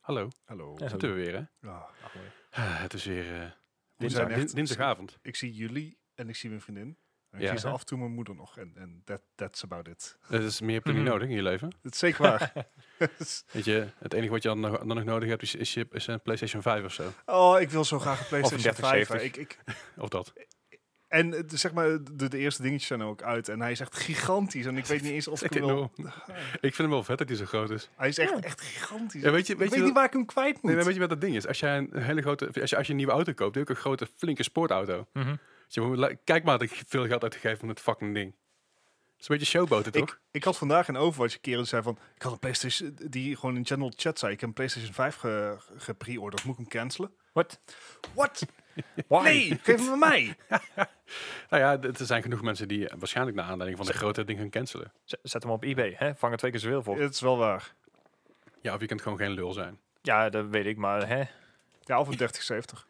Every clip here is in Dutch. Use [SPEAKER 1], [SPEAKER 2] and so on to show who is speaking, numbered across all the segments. [SPEAKER 1] Hallo,
[SPEAKER 2] Hallo.
[SPEAKER 3] Ja.
[SPEAKER 1] zitten we weer hè?
[SPEAKER 2] Ah,
[SPEAKER 1] Ah, het is weer eh,
[SPEAKER 2] zijn
[SPEAKER 1] woensdag,
[SPEAKER 2] echt-
[SPEAKER 1] din- dinsdagavond.
[SPEAKER 2] ik zie jullie en ik zie mijn vriendin. En ik
[SPEAKER 1] Ja.
[SPEAKER 2] zie ze af en toe mijn moeder nog. En, en that, that's about it.
[SPEAKER 1] Eh, Dat is meer heb je niet
[SPEAKER 3] Mhm.
[SPEAKER 1] nodig in je leven.
[SPEAKER 2] Dat is zeker waar. Dus,
[SPEAKER 1] Weet je, het enige wat je dan nog, dan nog nodig hebt is, is, je- is een PlayStation 5 of zo.
[SPEAKER 2] oh, ik wil zo graag een PlayStation 5. hè. Ik,
[SPEAKER 3] 3070.
[SPEAKER 2] ik,
[SPEAKER 1] Of dat.
[SPEAKER 2] en eh, zeg maar, de, de eerste dingetjes zijn er ook uit. En hij is echt gigantisch. En ik weet niet eens of ik
[SPEAKER 1] Ik,
[SPEAKER 2] hem wil...
[SPEAKER 1] ik vind hem wel vet dat hij zo groot is.
[SPEAKER 2] Hij is echt,
[SPEAKER 3] Ja.
[SPEAKER 2] echt gigantisch.
[SPEAKER 1] Ja, weet je,
[SPEAKER 2] ik
[SPEAKER 1] weet
[SPEAKER 2] weet
[SPEAKER 1] je
[SPEAKER 2] niet
[SPEAKER 1] wat-
[SPEAKER 2] waar ik hem kwijt moet.
[SPEAKER 1] Nee, maar weet je wat dat ding is? Als jij een hele grote, als je, als je een nieuwe auto koopt, dan heb je ook een grote, flinke sportauto.
[SPEAKER 3] Mhm.
[SPEAKER 1] Dus je moet, li- kijk maar dat ik veel geld uitgegeven om dat fucking ding. Het is een beetje showboten toch?
[SPEAKER 2] ik, ik had vandaag in Overwatch een keer die zei van... Ik had een PlayStation... Die gewoon in general chat zei... Ik heb een PlayStation 5 ge, gepreorderd. Moet ik hem cancelen?
[SPEAKER 3] What?
[SPEAKER 2] What?
[SPEAKER 3] Why?
[SPEAKER 2] Nee, geef hem aan mij.
[SPEAKER 1] Nou ja, d- er zijn genoeg mensen die waarschijnlijk naar aanleiding van de grote ding gaan cancelen.
[SPEAKER 3] Z- Zet hem op eBay, hè? vang er twee keer zoveel voor.
[SPEAKER 2] Het is wel waar.
[SPEAKER 1] Ja, of je kunt gewoon geen lul zijn.
[SPEAKER 3] Ja, dat weet ik, maar hè? Ja,
[SPEAKER 2] Ja, of een 3070.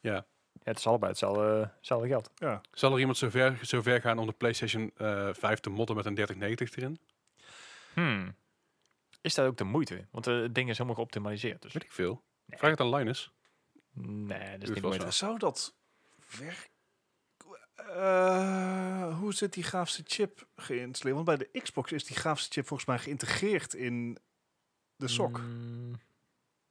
[SPEAKER 1] Ja.
[SPEAKER 3] het is allebei hetzelfde, hetzelfde geld.
[SPEAKER 2] Ja.
[SPEAKER 1] Zal er iemand zover, zover gaan om de PlayStation eh 5 te motten met een 3090 erin?
[SPEAKER 3] Hmm. Is dat ook de moeite? Want eh, het ding is helemaal geoptimaliseerd. Dus.
[SPEAKER 1] Weet ik veel.
[SPEAKER 3] Nee.
[SPEAKER 1] Vraag het aan Linus.
[SPEAKER 3] Nee, dat is
[SPEAKER 1] Duurt
[SPEAKER 3] niet de
[SPEAKER 1] wel
[SPEAKER 3] moeite.
[SPEAKER 1] zo.
[SPEAKER 2] Zou dat werken? Eh, hoe zit die grafische chip geïnstalleerd? Want bij de Xbox is die grafische chip volgens mij geïntegreerd in de sok.
[SPEAKER 3] Hmm,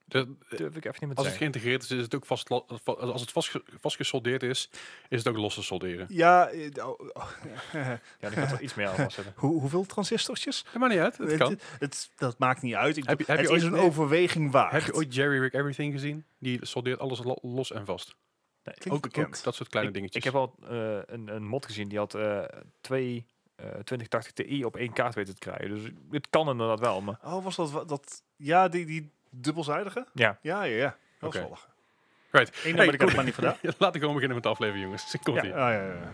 [SPEAKER 1] De- eh,
[SPEAKER 3] durf ik even niet meer
[SPEAKER 1] als
[SPEAKER 3] te
[SPEAKER 1] het
[SPEAKER 3] zeggen.
[SPEAKER 1] geïntegreerd is, is het ook vast, la- va- als het vast, ge- vast gesoldeerd is, is het ook los te solderen.
[SPEAKER 2] Ja, eh, oh, oh,
[SPEAKER 3] Ja, ik had er iets meer aan vastzetten.
[SPEAKER 2] hoe, hoeveel transistortjes?
[SPEAKER 1] Dat maakt niet uit, het kan.
[SPEAKER 2] Het, het- dat maakt niet uit. Ik,
[SPEAKER 1] Heb je- heb
[SPEAKER 2] het
[SPEAKER 1] je
[SPEAKER 2] is
[SPEAKER 1] ooit-
[SPEAKER 2] een overweging waard.
[SPEAKER 1] Heb je ooit Jerry Rick Everything gezien? Die soldeert alles lo- los en vast.
[SPEAKER 2] Klinkt
[SPEAKER 1] Ook,
[SPEAKER 2] bekend.
[SPEAKER 1] ook dat soort kleine
[SPEAKER 3] Ik,
[SPEAKER 1] dingetjes.
[SPEAKER 3] ik heb al eh, een, een mod gezien die had eh, twee eh 2080 Ti op één kaart weten te krijgen. Dus het kan inderdaad wel, maar
[SPEAKER 2] Oh, was dat wa- dat? Ja, die, die dubbelzijdige?
[SPEAKER 3] ja.
[SPEAKER 2] Ja, ja, ja. Dat
[SPEAKER 1] Oké.
[SPEAKER 2] is wel lachen.
[SPEAKER 1] Right.
[SPEAKER 2] Eén
[SPEAKER 1] Hey,
[SPEAKER 2] nummer ik heb maar niet gedaan.
[SPEAKER 1] Laten we gewoon beginnen met de aflevering, jongens. Komt
[SPEAKER 3] Ja.
[SPEAKER 1] ie.
[SPEAKER 2] Ah, ja, ja, ja.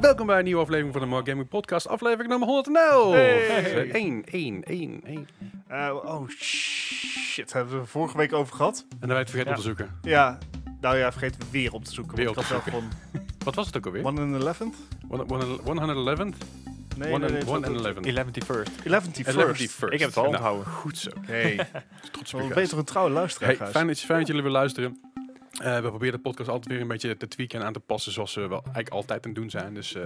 [SPEAKER 1] Welkom bij een nieuwe aflevering van de Mark Gaming Podcast, aflevering nummer 111. Eh,
[SPEAKER 2] Hey.
[SPEAKER 1] 1, 1, 1, 1.
[SPEAKER 2] Eh, oh, shit. Hebben we er vorige week over gehad?
[SPEAKER 1] En dan wij het vergeten
[SPEAKER 3] Ja.
[SPEAKER 1] op te zoeken.
[SPEAKER 2] Ja, nou ja, vergeet weer op te zoeken.
[SPEAKER 1] Weer
[SPEAKER 2] want
[SPEAKER 1] op
[SPEAKER 2] ik had wel
[SPEAKER 1] Wat was het ook alweer?
[SPEAKER 2] gewoon 1 in 11th?
[SPEAKER 1] One- one- 111?
[SPEAKER 2] Nee, nee, nee,
[SPEAKER 1] 111.
[SPEAKER 2] het was-
[SPEAKER 3] 11st.
[SPEAKER 2] 11th first.
[SPEAKER 1] 111.
[SPEAKER 3] Ik heb het al
[SPEAKER 1] Nou,
[SPEAKER 3] onthouden.
[SPEAKER 1] Goed zo.
[SPEAKER 2] Hey,
[SPEAKER 1] Trots op
[SPEAKER 2] we
[SPEAKER 1] je guys.
[SPEAKER 2] beter een trouwe luisteraar,
[SPEAKER 1] Hey,
[SPEAKER 2] Gijs.
[SPEAKER 1] fijn, dat, je- fijn dat jullie weer luisteren. Eh, we proberen de podcast altijd weer een beetje te tweaken en aan te passen, zoals we wel eigenlijk altijd aan het doen zijn. Dus eh,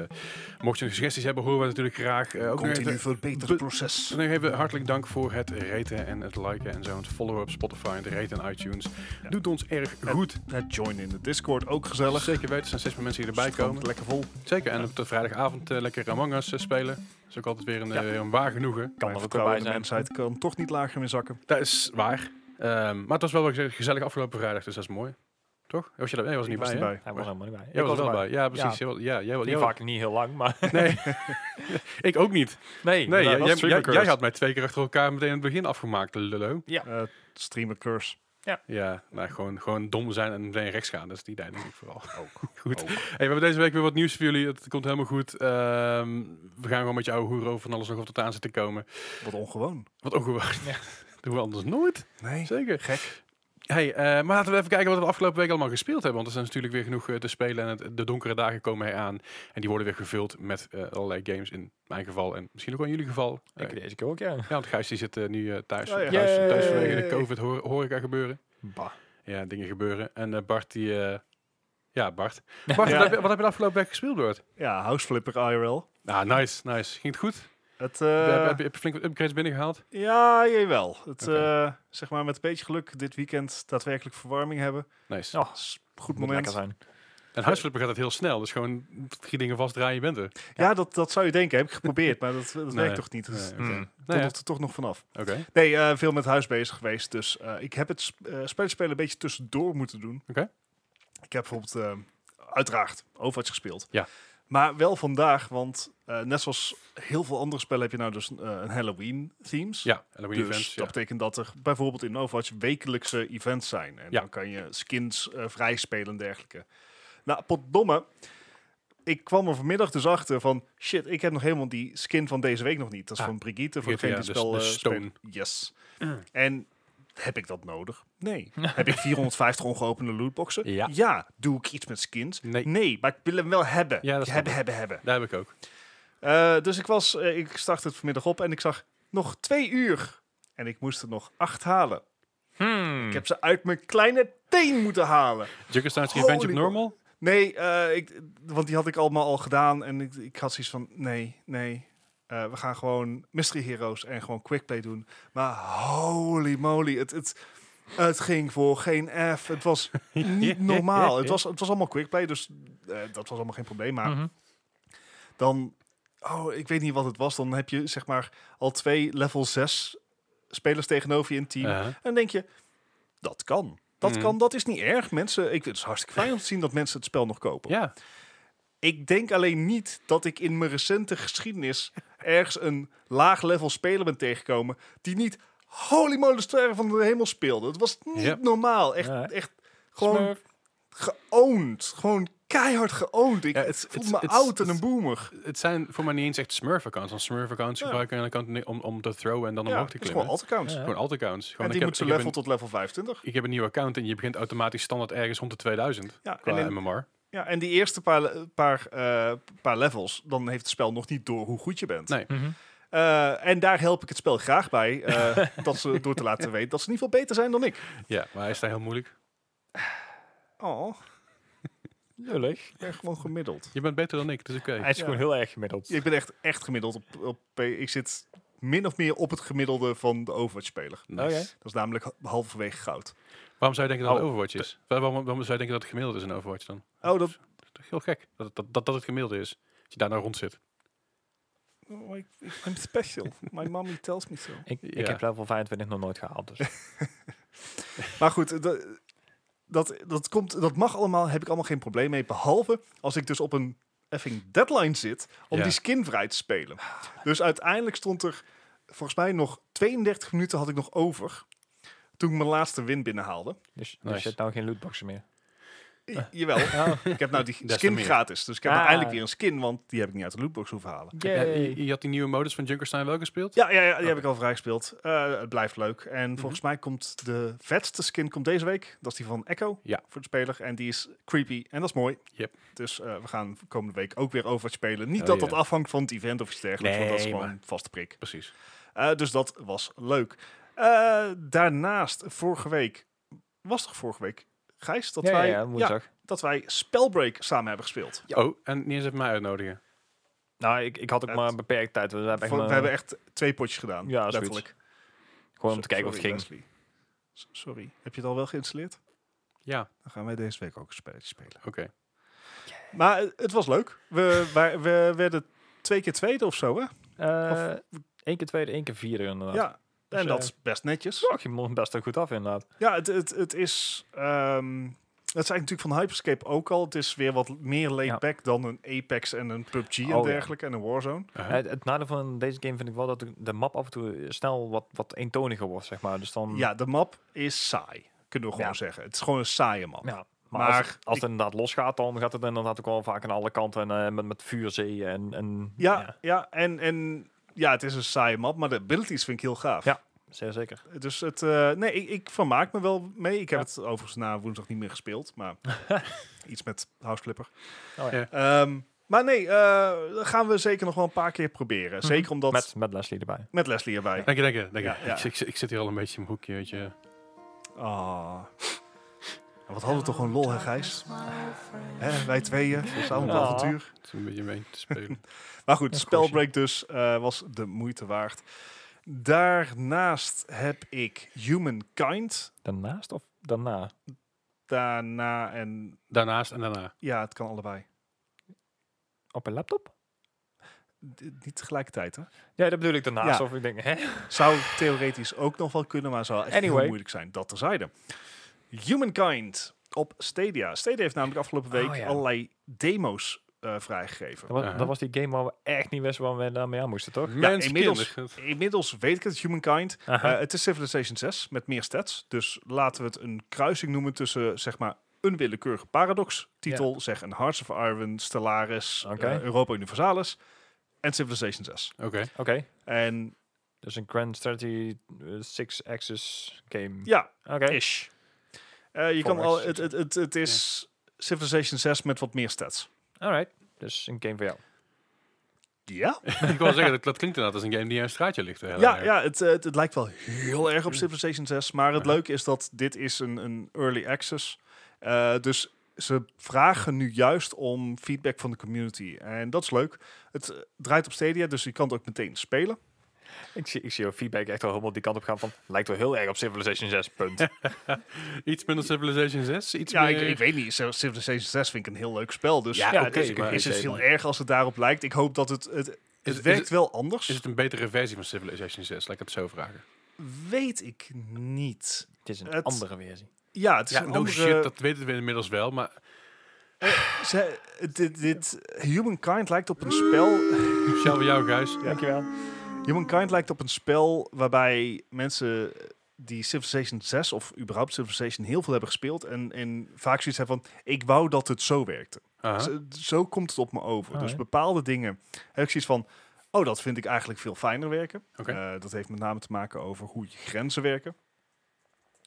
[SPEAKER 1] mocht je nog suggesties hebben, horen we het natuurlijk graag. Eh, ook nog even-
[SPEAKER 2] Continu verbeterproces.
[SPEAKER 1] Dan nog even hartelijk dank voor het raten en het liken en zo. Het follow op Spotify, het raten en iTunes.
[SPEAKER 2] Ja.
[SPEAKER 1] Doet ons erg goed.
[SPEAKER 2] Het join in de Discord, ook gezellig.
[SPEAKER 1] Zeker weten, er zijn steeds meer mensen die erbij
[SPEAKER 2] Stroomt
[SPEAKER 1] komen.
[SPEAKER 2] Lekker vol.
[SPEAKER 1] Zeker, en op de vrijdagavond eh, lekker Among Us eh, spelen. Dat is ook altijd weer een,
[SPEAKER 3] Ja.
[SPEAKER 1] eh, een waar genoegen.
[SPEAKER 3] Kan
[SPEAKER 2] Mijn
[SPEAKER 3] er ook
[SPEAKER 2] vertrouwen
[SPEAKER 3] bij
[SPEAKER 2] in de
[SPEAKER 3] zijn.
[SPEAKER 2] mensheid kan toch niet lager meer zakken.
[SPEAKER 1] Dat is waar. Ehm, maar het was wel weer geze- gezellig afgelopen vrijdag, dus dat is mooi. Toch? Eh, Was je daar? Jij was er niet
[SPEAKER 2] Ik was
[SPEAKER 1] bij,
[SPEAKER 2] niet
[SPEAKER 1] hè?
[SPEAKER 2] bij.
[SPEAKER 3] Hij was helemaal niet bij.
[SPEAKER 1] Jij
[SPEAKER 3] Ik
[SPEAKER 1] was er wel bij. Ja,
[SPEAKER 3] Ja.
[SPEAKER 1] precies. Jij was- Ja, jij, wel-
[SPEAKER 3] Niet
[SPEAKER 1] jij,
[SPEAKER 3] vaak, niet heel lang, maar
[SPEAKER 1] wel- Nee, ik ook niet.
[SPEAKER 3] nee.
[SPEAKER 1] Nee, jij,
[SPEAKER 3] inderdaad,
[SPEAKER 1] jij,
[SPEAKER 3] dat is
[SPEAKER 1] jij-
[SPEAKER 3] supercurse.
[SPEAKER 1] jij had mij twee keer achter elkaar meteen in het begin afgemaakt, lullo.
[SPEAKER 2] Eh, streamer curse.
[SPEAKER 1] Ja, nou, gewoon, gewoon dom zijn en meteen rechts gaan. Dat is die idee, denk ik vooral. Goed. Hey, we hebben deze week weer wat nieuws voor jullie. Het komt helemaal goed. Ehm, we gaan gewoon met jouw hoeren over van alles nog wat tot aan zit te komen.
[SPEAKER 2] Wat ongewoon.
[SPEAKER 1] Wat ook gewoon.
[SPEAKER 3] Ja.
[SPEAKER 1] Doen we anders nooit.
[SPEAKER 2] Nee.
[SPEAKER 1] Zeker.
[SPEAKER 2] Gek.
[SPEAKER 1] Hey, eh, maar laten we even kijken wat we de afgelopen week allemaal gespeeld hebben. Want er zijn natuurlijk weer genoeg eh, te spelen. En het- de donkere dagen komen eraan. En die worden weer gevuld met eh, allerlei games. In mijn geval en misschien ook wel in jullie geval. Eh,
[SPEAKER 3] Ik deze keer ook, ja.
[SPEAKER 1] ja, want Gijs die zit eh, nu eh, thuis.
[SPEAKER 2] Oh ja.
[SPEAKER 1] Thuis, thuis
[SPEAKER 3] Yay.
[SPEAKER 1] vanwege de COVID hoor, horeca gebeuren.
[SPEAKER 3] Bah.
[SPEAKER 1] Ja, dingen gebeuren. En eh, Bart die... eh, ja, Bart. Bart,
[SPEAKER 2] Ja.
[SPEAKER 1] Wat, heb je, wat heb je de afgelopen week gespeeld, Bart?
[SPEAKER 2] Ja, houseflipper IRL.
[SPEAKER 1] Nou, nice, nice. Ging het goed?
[SPEAKER 2] Het,
[SPEAKER 1] Heb je-
[SPEAKER 2] eh,
[SPEAKER 1] heb, je, heb je flink wat upgrades binnengehaald?
[SPEAKER 2] Ja, jawel. Het,
[SPEAKER 1] Oké.
[SPEAKER 2] eh, zeg maar met een beetje geluk dit weekend daadwerkelijk verwarming hebben.
[SPEAKER 1] Nice.
[SPEAKER 3] Oh,
[SPEAKER 2] Is een goed
[SPEAKER 3] moet lekker
[SPEAKER 2] moment.
[SPEAKER 3] zijn.
[SPEAKER 1] En huisflippen gaat het heel snel. Dus gewoon drie dingen vastdraaien, je bent er.
[SPEAKER 2] Ja, dat, dat zou je denken. Heb ik geprobeerd, maar dat, dat
[SPEAKER 1] Nee.
[SPEAKER 2] werkt toch niet. Dus
[SPEAKER 1] Nee,
[SPEAKER 3] Hmm.
[SPEAKER 1] oké.
[SPEAKER 2] dat
[SPEAKER 1] Nou ja,
[SPEAKER 2] er toch nog vanaf.
[SPEAKER 1] Oké,
[SPEAKER 2] Nee, eh, veel met huis bezig geweest. Dus eh, ik heb het sp- eh, spelletjes-spelen een beetje tussendoor moeten doen.
[SPEAKER 1] Oké.
[SPEAKER 2] Ik heb bijvoorbeeld eh, uiteraard Overwatch gespeeld.
[SPEAKER 1] Ja.
[SPEAKER 2] Maar wel vandaag, want eh, net zoals heel veel andere spellen heb je nou dus eh, een Halloween-themes.
[SPEAKER 1] ja. Halloween
[SPEAKER 2] dus
[SPEAKER 1] events.
[SPEAKER 2] dat
[SPEAKER 1] Ja.
[SPEAKER 2] betekent dat er bijvoorbeeld in Overwatch wekelijkse events zijn. En
[SPEAKER 1] Ja.
[SPEAKER 2] dan kan je skins eh, vrijspelen en dergelijke. Nou, potdomme. Ik kwam er vanmiddag dus achter van... Shit, ik heb nog helemaal die skin van deze week nog niet. Dat is
[SPEAKER 1] Ah,
[SPEAKER 2] van Brigitte, voor
[SPEAKER 1] Brigitte,
[SPEAKER 2] degene die
[SPEAKER 1] ja,
[SPEAKER 2] spel
[SPEAKER 1] dus
[SPEAKER 2] eh,
[SPEAKER 1] de Stone.
[SPEAKER 2] spelen. Yes. En heb ik dat nodig? Nee. heb ik 450 ongeopende lootboxen?
[SPEAKER 1] Ja.
[SPEAKER 2] ja. Doe ik iets met skins?
[SPEAKER 1] Nee.
[SPEAKER 2] Nee, maar ik wil hem wel hebben.
[SPEAKER 1] Ja, dat snap
[SPEAKER 2] hebben,
[SPEAKER 1] ik.
[SPEAKER 2] hebben, hebben.
[SPEAKER 1] Daar heb ik ook.
[SPEAKER 2] Eh, dus ik, was, eh, ik startte het vanmiddag op en ik zag nog twee uur. En ik moest er nog acht halen.
[SPEAKER 3] Hmm.
[SPEAKER 2] Ik heb ze uit mijn kleine teen moeten halen.
[SPEAKER 1] Junkerstein's Revenge of
[SPEAKER 2] Holy
[SPEAKER 1] Normal?
[SPEAKER 2] Nee, eh, ik, want die had ik allemaal al gedaan. En ik, ik had zoiets van, nee, nee. Eh, we gaan gewoon Mystery Heroes en gewoon Quickplay doen. Maar holy moly, het, het, het ging voor geen F. Het was niet normaal. Het was, het was allemaal Quickplay, dus eh, dat was allemaal geen probleem. Maar
[SPEAKER 3] Mhm.
[SPEAKER 2] dan, oh, ik weet niet wat het was. Dan heb je zeg maar al twee level 6 spelers tegenover je in het team.
[SPEAKER 1] Eh,
[SPEAKER 2] En dan denk je, dat kan. Dat
[SPEAKER 1] Mhm.
[SPEAKER 2] kan, dat is niet erg. Mensen, ik, het is hartstikke fijn om te zien dat mensen het spel nog kopen.
[SPEAKER 1] ja.
[SPEAKER 2] Ik denk alleen niet dat ik in mijn recente geschiedenis ergens een laag level speler ben tegengekomen die niet holy moly de sterren van de hemel speelde. Het was niet
[SPEAKER 1] Ja.
[SPEAKER 2] normaal. Echt,
[SPEAKER 3] Ja.
[SPEAKER 2] echt gewoon
[SPEAKER 1] Smurf.
[SPEAKER 2] geowned. Gewoon keihard geowned. Ik
[SPEAKER 1] Ja, het-
[SPEAKER 2] het,
[SPEAKER 1] het-
[SPEAKER 2] voelde me
[SPEAKER 1] het-
[SPEAKER 2] oud en
[SPEAKER 1] het-
[SPEAKER 2] een boomer.
[SPEAKER 1] Het zijn voor mij niet eens echt Smurf-accounts. Want Smurf-accounts
[SPEAKER 2] Ja.
[SPEAKER 1] gebruiken aan de kant ne- om, om te throwen en dan
[SPEAKER 2] ja,
[SPEAKER 1] omhoog te
[SPEAKER 2] het is
[SPEAKER 1] klimmen.
[SPEAKER 2] gewoon alt-account.
[SPEAKER 3] Ja.
[SPEAKER 1] Gewoon alt-accounts. Gewoon,
[SPEAKER 2] En die
[SPEAKER 1] ik heb-
[SPEAKER 2] moet ze
[SPEAKER 1] ik heb
[SPEAKER 2] level
[SPEAKER 1] een-
[SPEAKER 2] tot level 25.
[SPEAKER 1] Ik heb een nieuwe account en je begint automatisch standaard ergens rond de 2000
[SPEAKER 2] Ja, en
[SPEAKER 1] qua
[SPEAKER 2] in-
[SPEAKER 1] MMR.
[SPEAKER 2] ja, en die eerste paar, le- paar, eh, paar levels, dan heeft het spel nog niet door hoe goed je bent.
[SPEAKER 1] Nee.
[SPEAKER 3] Mhm.
[SPEAKER 2] Eh, en daar help ik het spel graag bij, eh, dat ze door te laten weten dat ze niet veel beter zijn dan ik.
[SPEAKER 1] Ja, maar hij is daar heel moeilijk.
[SPEAKER 2] Oh,
[SPEAKER 3] Lullig.
[SPEAKER 2] ik ben gewoon gemiddeld.
[SPEAKER 1] Je bent beter dan ik, dus oké.
[SPEAKER 3] Hij is
[SPEAKER 2] Ja.
[SPEAKER 3] gewoon heel erg gemiddeld.
[SPEAKER 2] Ik ben echt, echt gemiddeld. Op, op, P- ik zit min of meer op het gemiddelde van de Overwatch-speler.
[SPEAKER 1] Nice.
[SPEAKER 3] Oké.
[SPEAKER 2] Dat is oh, namelijk ha- halverwege goud.
[SPEAKER 1] Waarom zou je denken dat het
[SPEAKER 3] Oh,
[SPEAKER 1] Overwatch is? Waar- Waarom, waarom zou je denken dat het gemiddeld is in Overwatch dan?
[SPEAKER 2] Oh, dat...
[SPEAKER 1] Dat is toch heel gek dat, dat, dat, dat het gemiddelde is. Dat je daar nou rond zit.
[SPEAKER 2] Oh, ik, ik- I'm special. My mommy tells me so.
[SPEAKER 3] Ik,
[SPEAKER 1] Ja.
[SPEAKER 3] ik heb level 25 nog nooit gehaald. Dus.
[SPEAKER 2] Maar goed, eh, dat, dat, dat, komt, dat mag allemaal, heb ik allemaal geen probleem mee. Behalve als ik dus op een effing deadline zit om
[SPEAKER 1] Ja.
[SPEAKER 2] die skin vrij te spelen. Dus uiteindelijk stond er volgens mij nog 32 minuten had ik nog over. Toen ik mijn laatste win binnehaalde.
[SPEAKER 3] Dus,
[SPEAKER 1] Nice.
[SPEAKER 3] dus je hebt nou geen lootboxen meer.
[SPEAKER 2] I- Jawel, ik heb nou die
[SPEAKER 1] Eh. Des te
[SPEAKER 2] skin
[SPEAKER 1] meer.
[SPEAKER 2] gratis. Dus ik heb
[SPEAKER 3] Ah.
[SPEAKER 2] nou eindelijk weer een skin, want die heb ik niet uit de lootbox hoeven halen.
[SPEAKER 1] Ja, je, je had die nieuwe modus van Junkerstein wel gespeeld?
[SPEAKER 2] Ja, ja, ja die
[SPEAKER 3] Oh.
[SPEAKER 2] heb ik al vrijgespeeld. Eh het blijft leuk. En
[SPEAKER 3] Mhm.
[SPEAKER 2] volgens mij komt de vetste skin komt deze week. Dat is die van Echo
[SPEAKER 1] Ja.
[SPEAKER 2] voor de speler. En die is creepy en dat is mooi.
[SPEAKER 1] Yep.
[SPEAKER 2] Dus eh, we gaan komende week ook weer Overwatch spelen. Niet
[SPEAKER 1] Oh,
[SPEAKER 2] dat
[SPEAKER 1] ja.
[SPEAKER 2] dat afhangt van het event of iets dergelijks. want dat is
[SPEAKER 1] Nee,
[SPEAKER 2] gewoon
[SPEAKER 1] maar-
[SPEAKER 2] vaste prik.
[SPEAKER 1] Precies.
[SPEAKER 2] Eh, dus dat was leuk. Eh, daarnaast, vorige week... Was toch vorige week, Gijs? Dat,
[SPEAKER 3] ja, ja,
[SPEAKER 2] wij,
[SPEAKER 3] ja, woensdag.
[SPEAKER 2] dat wij Spellbreak samen hebben gespeeld.
[SPEAKER 1] Oh, en niet eens even mij uitnodigen.
[SPEAKER 3] Nou, ik, ik had ook
[SPEAKER 2] Het-
[SPEAKER 3] maar een beperkt tijd. dus We hebben echt
[SPEAKER 2] Voor-
[SPEAKER 3] maar-
[SPEAKER 2] we hebben echt twee potjes gedaan.
[SPEAKER 3] Ja, zoiets.
[SPEAKER 2] letterlijk.
[SPEAKER 3] gewoon om te kijken of het
[SPEAKER 2] Sorry,
[SPEAKER 3] ging.
[SPEAKER 2] Leslie. S- Sorry, heb je het al wel geïnstalleerd?
[SPEAKER 1] Ja,
[SPEAKER 2] Dan gaan wij deze week ook een spelletje spelen.
[SPEAKER 1] oké.
[SPEAKER 2] Maar eh, het was leuk. We, wij- we werden twee keer tweede of zo, hè?
[SPEAKER 3] Eh Eén keer tweede, één keer vierde inderdaad.
[SPEAKER 2] Ja,
[SPEAKER 3] Dus,
[SPEAKER 2] en dat
[SPEAKER 3] eh,
[SPEAKER 2] is best netjes.
[SPEAKER 3] Zo, je mond best wel goed af inderdaad.
[SPEAKER 2] Ja, het, het, het is... ehm dat zei ik natuurlijk van Hyperscape ook al. Het is weer wat meer
[SPEAKER 3] Ja.
[SPEAKER 2] laid-back dan een Apex en een PUBG en
[SPEAKER 3] Oh, ja.
[SPEAKER 2] dergelijke. En een Warzone.
[SPEAKER 1] Uh-huh.
[SPEAKER 3] Eh, Het, het nadeel van deze game vind ik wel dat de- de map af en toe snel wat, wat eentoniger wordt, zeg maar. Dus dan,
[SPEAKER 2] Ja, de map is saai. Kunnen we gewoon
[SPEAKER 3] Ja.
[SPEAKER 2] zeggen. Het is gewoon een saaie map.
[SPEAKER 3] Ja, maar,
[SPEAKER 2] Maar
[SPEAKER 3] als, het- als
[SPEAKER 2] ik-
[SPEAKER 3] het inderdaad losgaat, dan gaat het inderdaad ook wel vaak aan alle kanten. En eh, met, met vuurzee en... en
[SPEAKER 2] Ja, ja. en, en ja, het is een saaie map, maar de abilities vind ik heel gaaf.
[SPEAKER 3] Ja. zeer zeker.
[SPEAKER 2] Dus het, eh, nee, ik, ik vermaak me wel mee. Ik heb
[SPEAKER 3] Ja.
[SPEAKER 2] het overigens na woensdag niet meer gespeeld, maar iets met House Clipper.
[SPEAKER 3] Oh,
[SPEAKER 1] Ja.
[SPEAKER 3] ja.
[SPEAKER 2] Ehm, maar nee, eh, dat gaan we zeker nog wel een paar keer proberen. Zeker omdat Mhm. met,
[SPEAKER 3] Met, met Leslie erbij.
[SPEAKER 2] Leslie erbij.
[SPEAKER 1] Dank je, dank je. Dank je.
[SPEAKER 2] Ja, ja.
[SPEAKER 1] Ik, ik, ik zit hier al een beetje in mijn hoekje, weet je.
[SPEAKER 2] Ah. En Wat hadden we toch gewoon lol, hè, Gijs? Hè, wij tweeën, samen op
[SPEAKER 3] Ja.
[SPEAKER 2] avontuur.
[SPEAKER 1] Het is een beetje mee te spelen.
[SPEAKER 2] Maar goed,
[SPEAKER 3] Ja,
[SPEAKER 2] Spellbreak dus eh, was de moeite waard. Daarnaast heb ik Humankind.
[SPEAKER 3] Daarnaast of daarna?
[SPEAKER 2] Daarna en
[SPEAKER 1] Daarnaast en daarna.
[SPEAKER 2] ja, het kan allebei.
[SPEAKER 3] Op een laptop?
[SPEAKER 2] D- niet tegelijkertijd, hè?
[SPEAKER 3] Ja, dat bedoel ik daarnaast.
[SPEAKER 2] Ja.
[SPEAKER 3] Of ik denk, hè?
[SPEAKER 2] Zou theoretisch ook nog wel kunnen, maar zou echt heel
[SPEAKER 3] Anyway.
[SPEAKER 2] moeilijk zijn. Dat terzijde. Humankind op Stadia. Stadia heeft namelijk afgelopen week
[SPEAKER 3] Oh, ja.
[SPEAKER 2] allerlei demo's eh, vrijgegeven.
[SPEAKER 3] Dat was,
[SPEAKER 1] Uh-huh.
[SPEAKER 3] dat was die game waar we echt niet wisten waar we daarmee aan moesten, toch?
[SPEAKER 1] Menskinder.
[SPEAKER 3] Oh.
[SPEAKER 2] Inmiddels weet ik het, Humankind.
[SPEAKER 3] Aha.
[SPEAKER 2] Eh, het is Civilization 6 met meer stats. Dus laten we het een kruising noemen tussen, zeg maar, een willekeurige paradox. Titel, zeg een Hearts of Iron, Stellaris,
[SPEAKER 3] Oké.
[SPEAKER 2] eh, Europa Universalis en Civilization 6.
[SPEAKER 1] Oké.
[SPEAKER 3] Oké.
[SPEAKER 2] En
[SPEAKER 3] Dus een Grand Strategy 6-axis game.
[SPEAKER 2] ja,
[SPEAKER 3] Oké.
[SPEAKER 2] Ish. Eh, je
[SPEAKER 3] Voor
[SPEAKER 2] kan al,
[SPEAKER 3] West
[SPEAKER 2] het, het, het, het is Civilization 6 met wat meer stats.
[SPEAKER 3] Alright. Dus een game voor jou.
[SPEAKER 2] Ja,
[SPEAKER 1] ik wil zeggen, dat, dat klinkt inderdaad als een game die aan een straatje ligt. de hele
[SPEAKER 2] ja,
[SPEAKER 1] erg.
[SPEAKER 2] ja het, eh, het, het lijkt wel heel erg op Civilization 6. Maar het leuke is dat dit is een, een early access. Eh dus ze vragen nu juist om feedback van de community. En dat is leuk. Het eh, draait op Stadia, dus je kan het ook meteen spelen.
[SPEAKER 3] Ik zie, ik zie jouw feedback echt wel helemaal die kant op gaan van... Lijkt wel heel erg op Civilization 6, punt.
[SPEAKER 1] Iets minder Civilization 6, iets
[SPEAKER 2] Ja,
[SPEAKER 1] meer...
[SPEAKER 2] ik, ik weet niet. Civ- Civilization 6 vind ik een heel leuk spel. Dus
[SPEAKER 1] Ja,
[SPEAKER 2] ja,
[SPEAKER 1] oké,
[SPEAKER 2] het is,
[SPEAKER 1] maar-
[SPEAKER 2] is het heel erg als het daarop lijkt. Ik hoop dat het... het het
[SPEAKER 1] is
[SPEAKER 2] werkt
[SPEAKER 1] het-
[SPEAKER 2] wel anders.
[SPEAKER 1] Is het een betere versie van Civilization 6? Laat ik het zo vragen.
[SPEAKER 2] Weet ik niet.
[SPEAKER 3] Het is een
[SPEAKER 2] Het-
[SPEAKER 3] andere versie.
[SPEAKER 2] Ja, het is
[SPEAKER 1] Ja,
[SPEAKER 2] een
[SPEAKER 1] no
[SPEAKER 2] andere...
[SPEAKER 1] shit, dat weten we inmiddels wel, maar...
[SPEAKER 2] Ze- dit, dit, Humankind lijkt op een spel...
[SPEAKER 1] Shell voor jou, Gijs.
[SPEAKER 3] Dankjewel.
[SPEAKER 2] Humankind lijkt op een spel waarbij mensen die Civilization 6 of überhaupt Civilization heel veel hebben gespeeld en, en vaak zoiets hebben van ik wou dat het zo werkte.
[SPEAKER 1] Aha.
[SPEAKER 2] Zo, zo komt het op me over.
[SPEAKER 3] Ah,
[SPEAKER 2] dus
[SPEAKER 3] hè.
[SPEAKER 2] bepaalde dingen heb ik zoiets van oh dat vind ik eigenlijk veel fijner werken.
[SPEAKER 1] Oké.
[SPEAKER 2] Eh, dat heeft met name te maken over hoe je grenzen werken.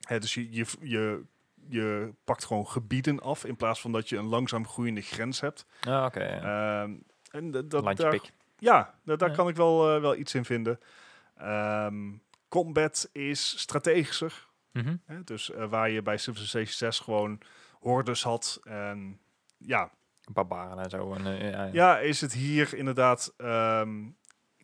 [SPEAKER 2] Hè, dus je, je, je, je pakt gewoon gebieden af in plaats van dat je een langzaam groeiende grens hebt.
[SPEAKER 3] Ah, oké. ja.
[SPEAKER 2] Ehm, en dat, dat,
[SPEAKER 3] Landje
[SPEAKER 2] daar-
[SPEAKER 3] pik.
[SPEAKER 2] ja, da- daar
[SPEAKER 3] Ja.
[SPEAKER 2] kan ik wel, eh, wel iets in vinden. Ehm, combat is strategischer.
[SPEAKER 3] Mhm.
[SPEAKER 2] Hè? Dus eh, waar je bij Civilization 6 gewoon hordes had. En ja,
[SPEAKER 3] Barbaren en zo. En, eh, ja, ja.
[SPEAKER 2] ja, is het hier inderdaad... ehm,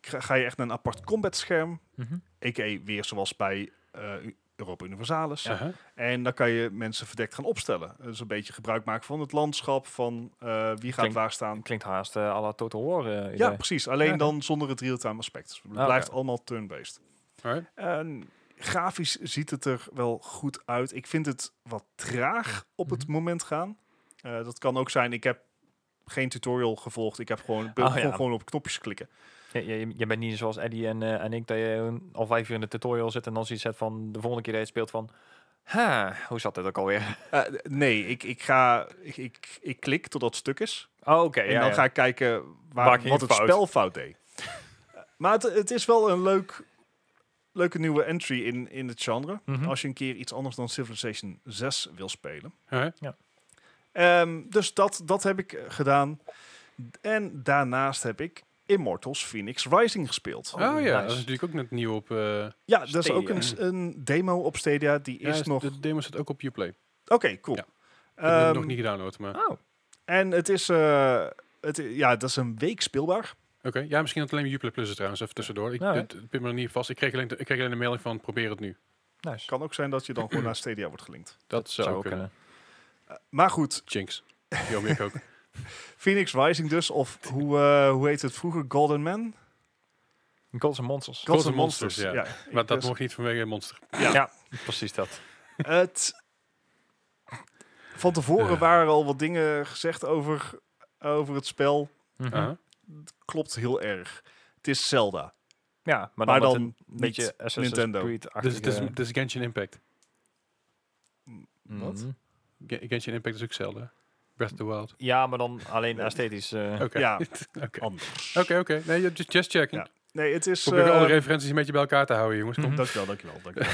[SPEAKER 2] ga, ga je echt naar een apart combat scherm.
[SPEAKER 3] Mhm.
[SPEAKER 2] A.k.a. weer zoals bij eh, Europa Universalis.
[SPEAKER 1] Aha.
[SPEAKER 2] En dan kan je mensen verdekt gaan opstellen. Dus een beetje gebruik maken van het landschap. Van eh, wie gaat
[SPEAKER 3] Klinkt-
[SPEAKER 2] waar staan.
[SPEAKER 3] Klinkt haast eh à la Total War. eh, idee.
[SPEAKER 2] Ja, precies. Alleen
[SPEAKER 3] Ja.
[SPEAKER 2] dan zonder het real-time aspect. Dus het
[SPEAKER 3] Ah, oké.
[SPEAKER 2] blijft allemaal turn-based.
[SPEAKER 1] Alright.
[SPEAKER 2] En grafisch ziet het er wel goed uit. Ik vind het wat traag op het
[SPEAKER 3] Mhm.
[SPEAKER 2] moment gaan. Eh, dat kan ook zijn, ik heb geen tutorial gevolgd. Ik heb gewoon, ik
[SPEAKER 3] Oh,
[SPEAKER 2] kon
[SPEAKER 3] ja.
[SPEAKER 2] gewoon op knopjes klikken.
[SPEAKER 3] Je, eh, je, je bent niet zoals Eddie en, eh, en ik, dat je al vijf uur in de tutorial zit en dan zoiets hebt van de volgende keer dat je het speelt van... Ha, hoe zat dit ook alweer?
[SPEAKER 2] Eh, d- nee, ik, ik ga, ik, ik, ik klik tot dat stuk is.
[SPEAKER 3] Oh, oké.
[SPEAKER 2] en dan ga ik kijken waar,
[SPEAKER 3] Waar ging
[SPEAKER 2] wat
[SPEAKER 3] het
[SPEAKER 2] het
[SPEAKER 3] fout?
[SPEAKER 2] spel fout deed. Eh, maar het, het is wel een leuk, leuke nieuwe entry in, in het genre.
[SPEAKER 3] Mhm.
[SPEAKER 2] Als je een keer iets anders dan Civilization 6 wil spelen.
[SPEAKER 1] Aha.
[SPEAKER 2] Ehm, dus dat, dat heb ik eh, gedaan. En daarnaast heb ik Immortals Phoenix Rising gespeeld.
[SPEAKER 1] Oh, ja,
[SPEAKER 3] nice.
[SPEAKER 1] dat is natuurlijk ook net nieuw op... eh,
[SPEAKER 2] ja, dat is ook een, s-
[SPEAKER 1] Stadia.
[SPEAKER 2] een demo op Stadia. Die
[SPEAKER 1] ja,
[SPEAKER 2] is
[SPEAKER 1] is-
[SPEAKER 2] nog...
[SPEAKER 1] De demo staat ook op Uplay. Ik
[SPEAKER 2] Oké, cool.
[SPEAKER 1] Ja. heb hem
[SPEAKER 2] Ehm,
[SPEAKER 1] nog niet gedownload, maar...
[SPEAKER 3] Oh,
[SPEAKER 2] En het is... eh, het, i- ja, dat is een week speelbaar.
[SPEAKER 1] Oké, ja, misschien dat alleen maar Uplay Plus is trouwens, even tussendoor. Ik
[SPEAKER 3] Ja, hè.
[SPEAKER 1] dit- dit pin me er niet vast. Ik kreeg, alleen, ik kreeg alleen een mailing van probeer het nu.
[SPEAKER 3] nice.
[SPEAKER 2] Kan ook zijn dat je dan gewoon naar Stadia wordt gelinkt.
[SPEAKER 1] Dat, zou, ook kunnen.
[SPEAKER 2] Eh, maar goed,
[SPEAKER 1] Jinx. Yo, ik ook.
[SPEAKER 2] Phoenix Rising dus. Of hoe, eh, hoe heet het vroeger? Golden Man?
[SPEAKER 3] Gods and Monsters.
[SPEAKER 1] Gods and Monsters, ja.
[SPEAKER 2] ik
[SPEAKER 1] Maar dat
[SPEAKER 2] dus-
[SPEAKER 1] mocht niet vanwege een monster.
[SPEAKER 2] Ja.
[SPEAKER 3] ja, precies dat.
[SPEAKER 2] Het... Van tevoren
[SPEAKER 1] Eh.
[SPEAKER 2] waren al wat dingen gezegd over, over het spel.
[SPEAKER 3] Mhm.
[SPEAKER 1] Aha.
[SPEAKER 2] Klopt heel erg. Het is Zelda.
[SPEAKER 3] Ja, maar dan,
[SPEAKER 2] Maar
[SPEAKER 3] met
[SPEAKER 2] dan
[SPEAKER 3] een
[SPEAKER 2] niet
[SPEAKER 3] beetje Assassin's
[SPEAKER 2] Nintendo.
[SPEAKER 1] Dus
[SPEAKER 3] Creed-achtige...
[SPEAKER 1] het is dit is Genshin Impact.
[SPEAKER 2] Wat?
[SPEAKER 3] Mhm.
[SPEAKER 1] Ge- Genshin Impact is ook Zelda. Breath of the Wild.
[SPEAKER 3] Ja, maar dan alleen esthetisch. eh.
[SPEAKER 1] Oké.
[SPEAKER 2] Ja,
[SPEAKER 1] Oké,
[SPEAKER 2] anders.
[SPEAKER 1] oké. oké. Nee, ju- just, just checking.
[SPEAKER 2] Ja. Nee, het is...
[SPEAKER 1] Probeer alle
[SPEAKER 2] eh,
[SPEAKER 1] referenties een beetje bij elkaar te houden, jongens. Kom.
[SPEAKER 3] Mhm.
[SPEAKER 2] Dankjewel, dankjewel, dankjewel.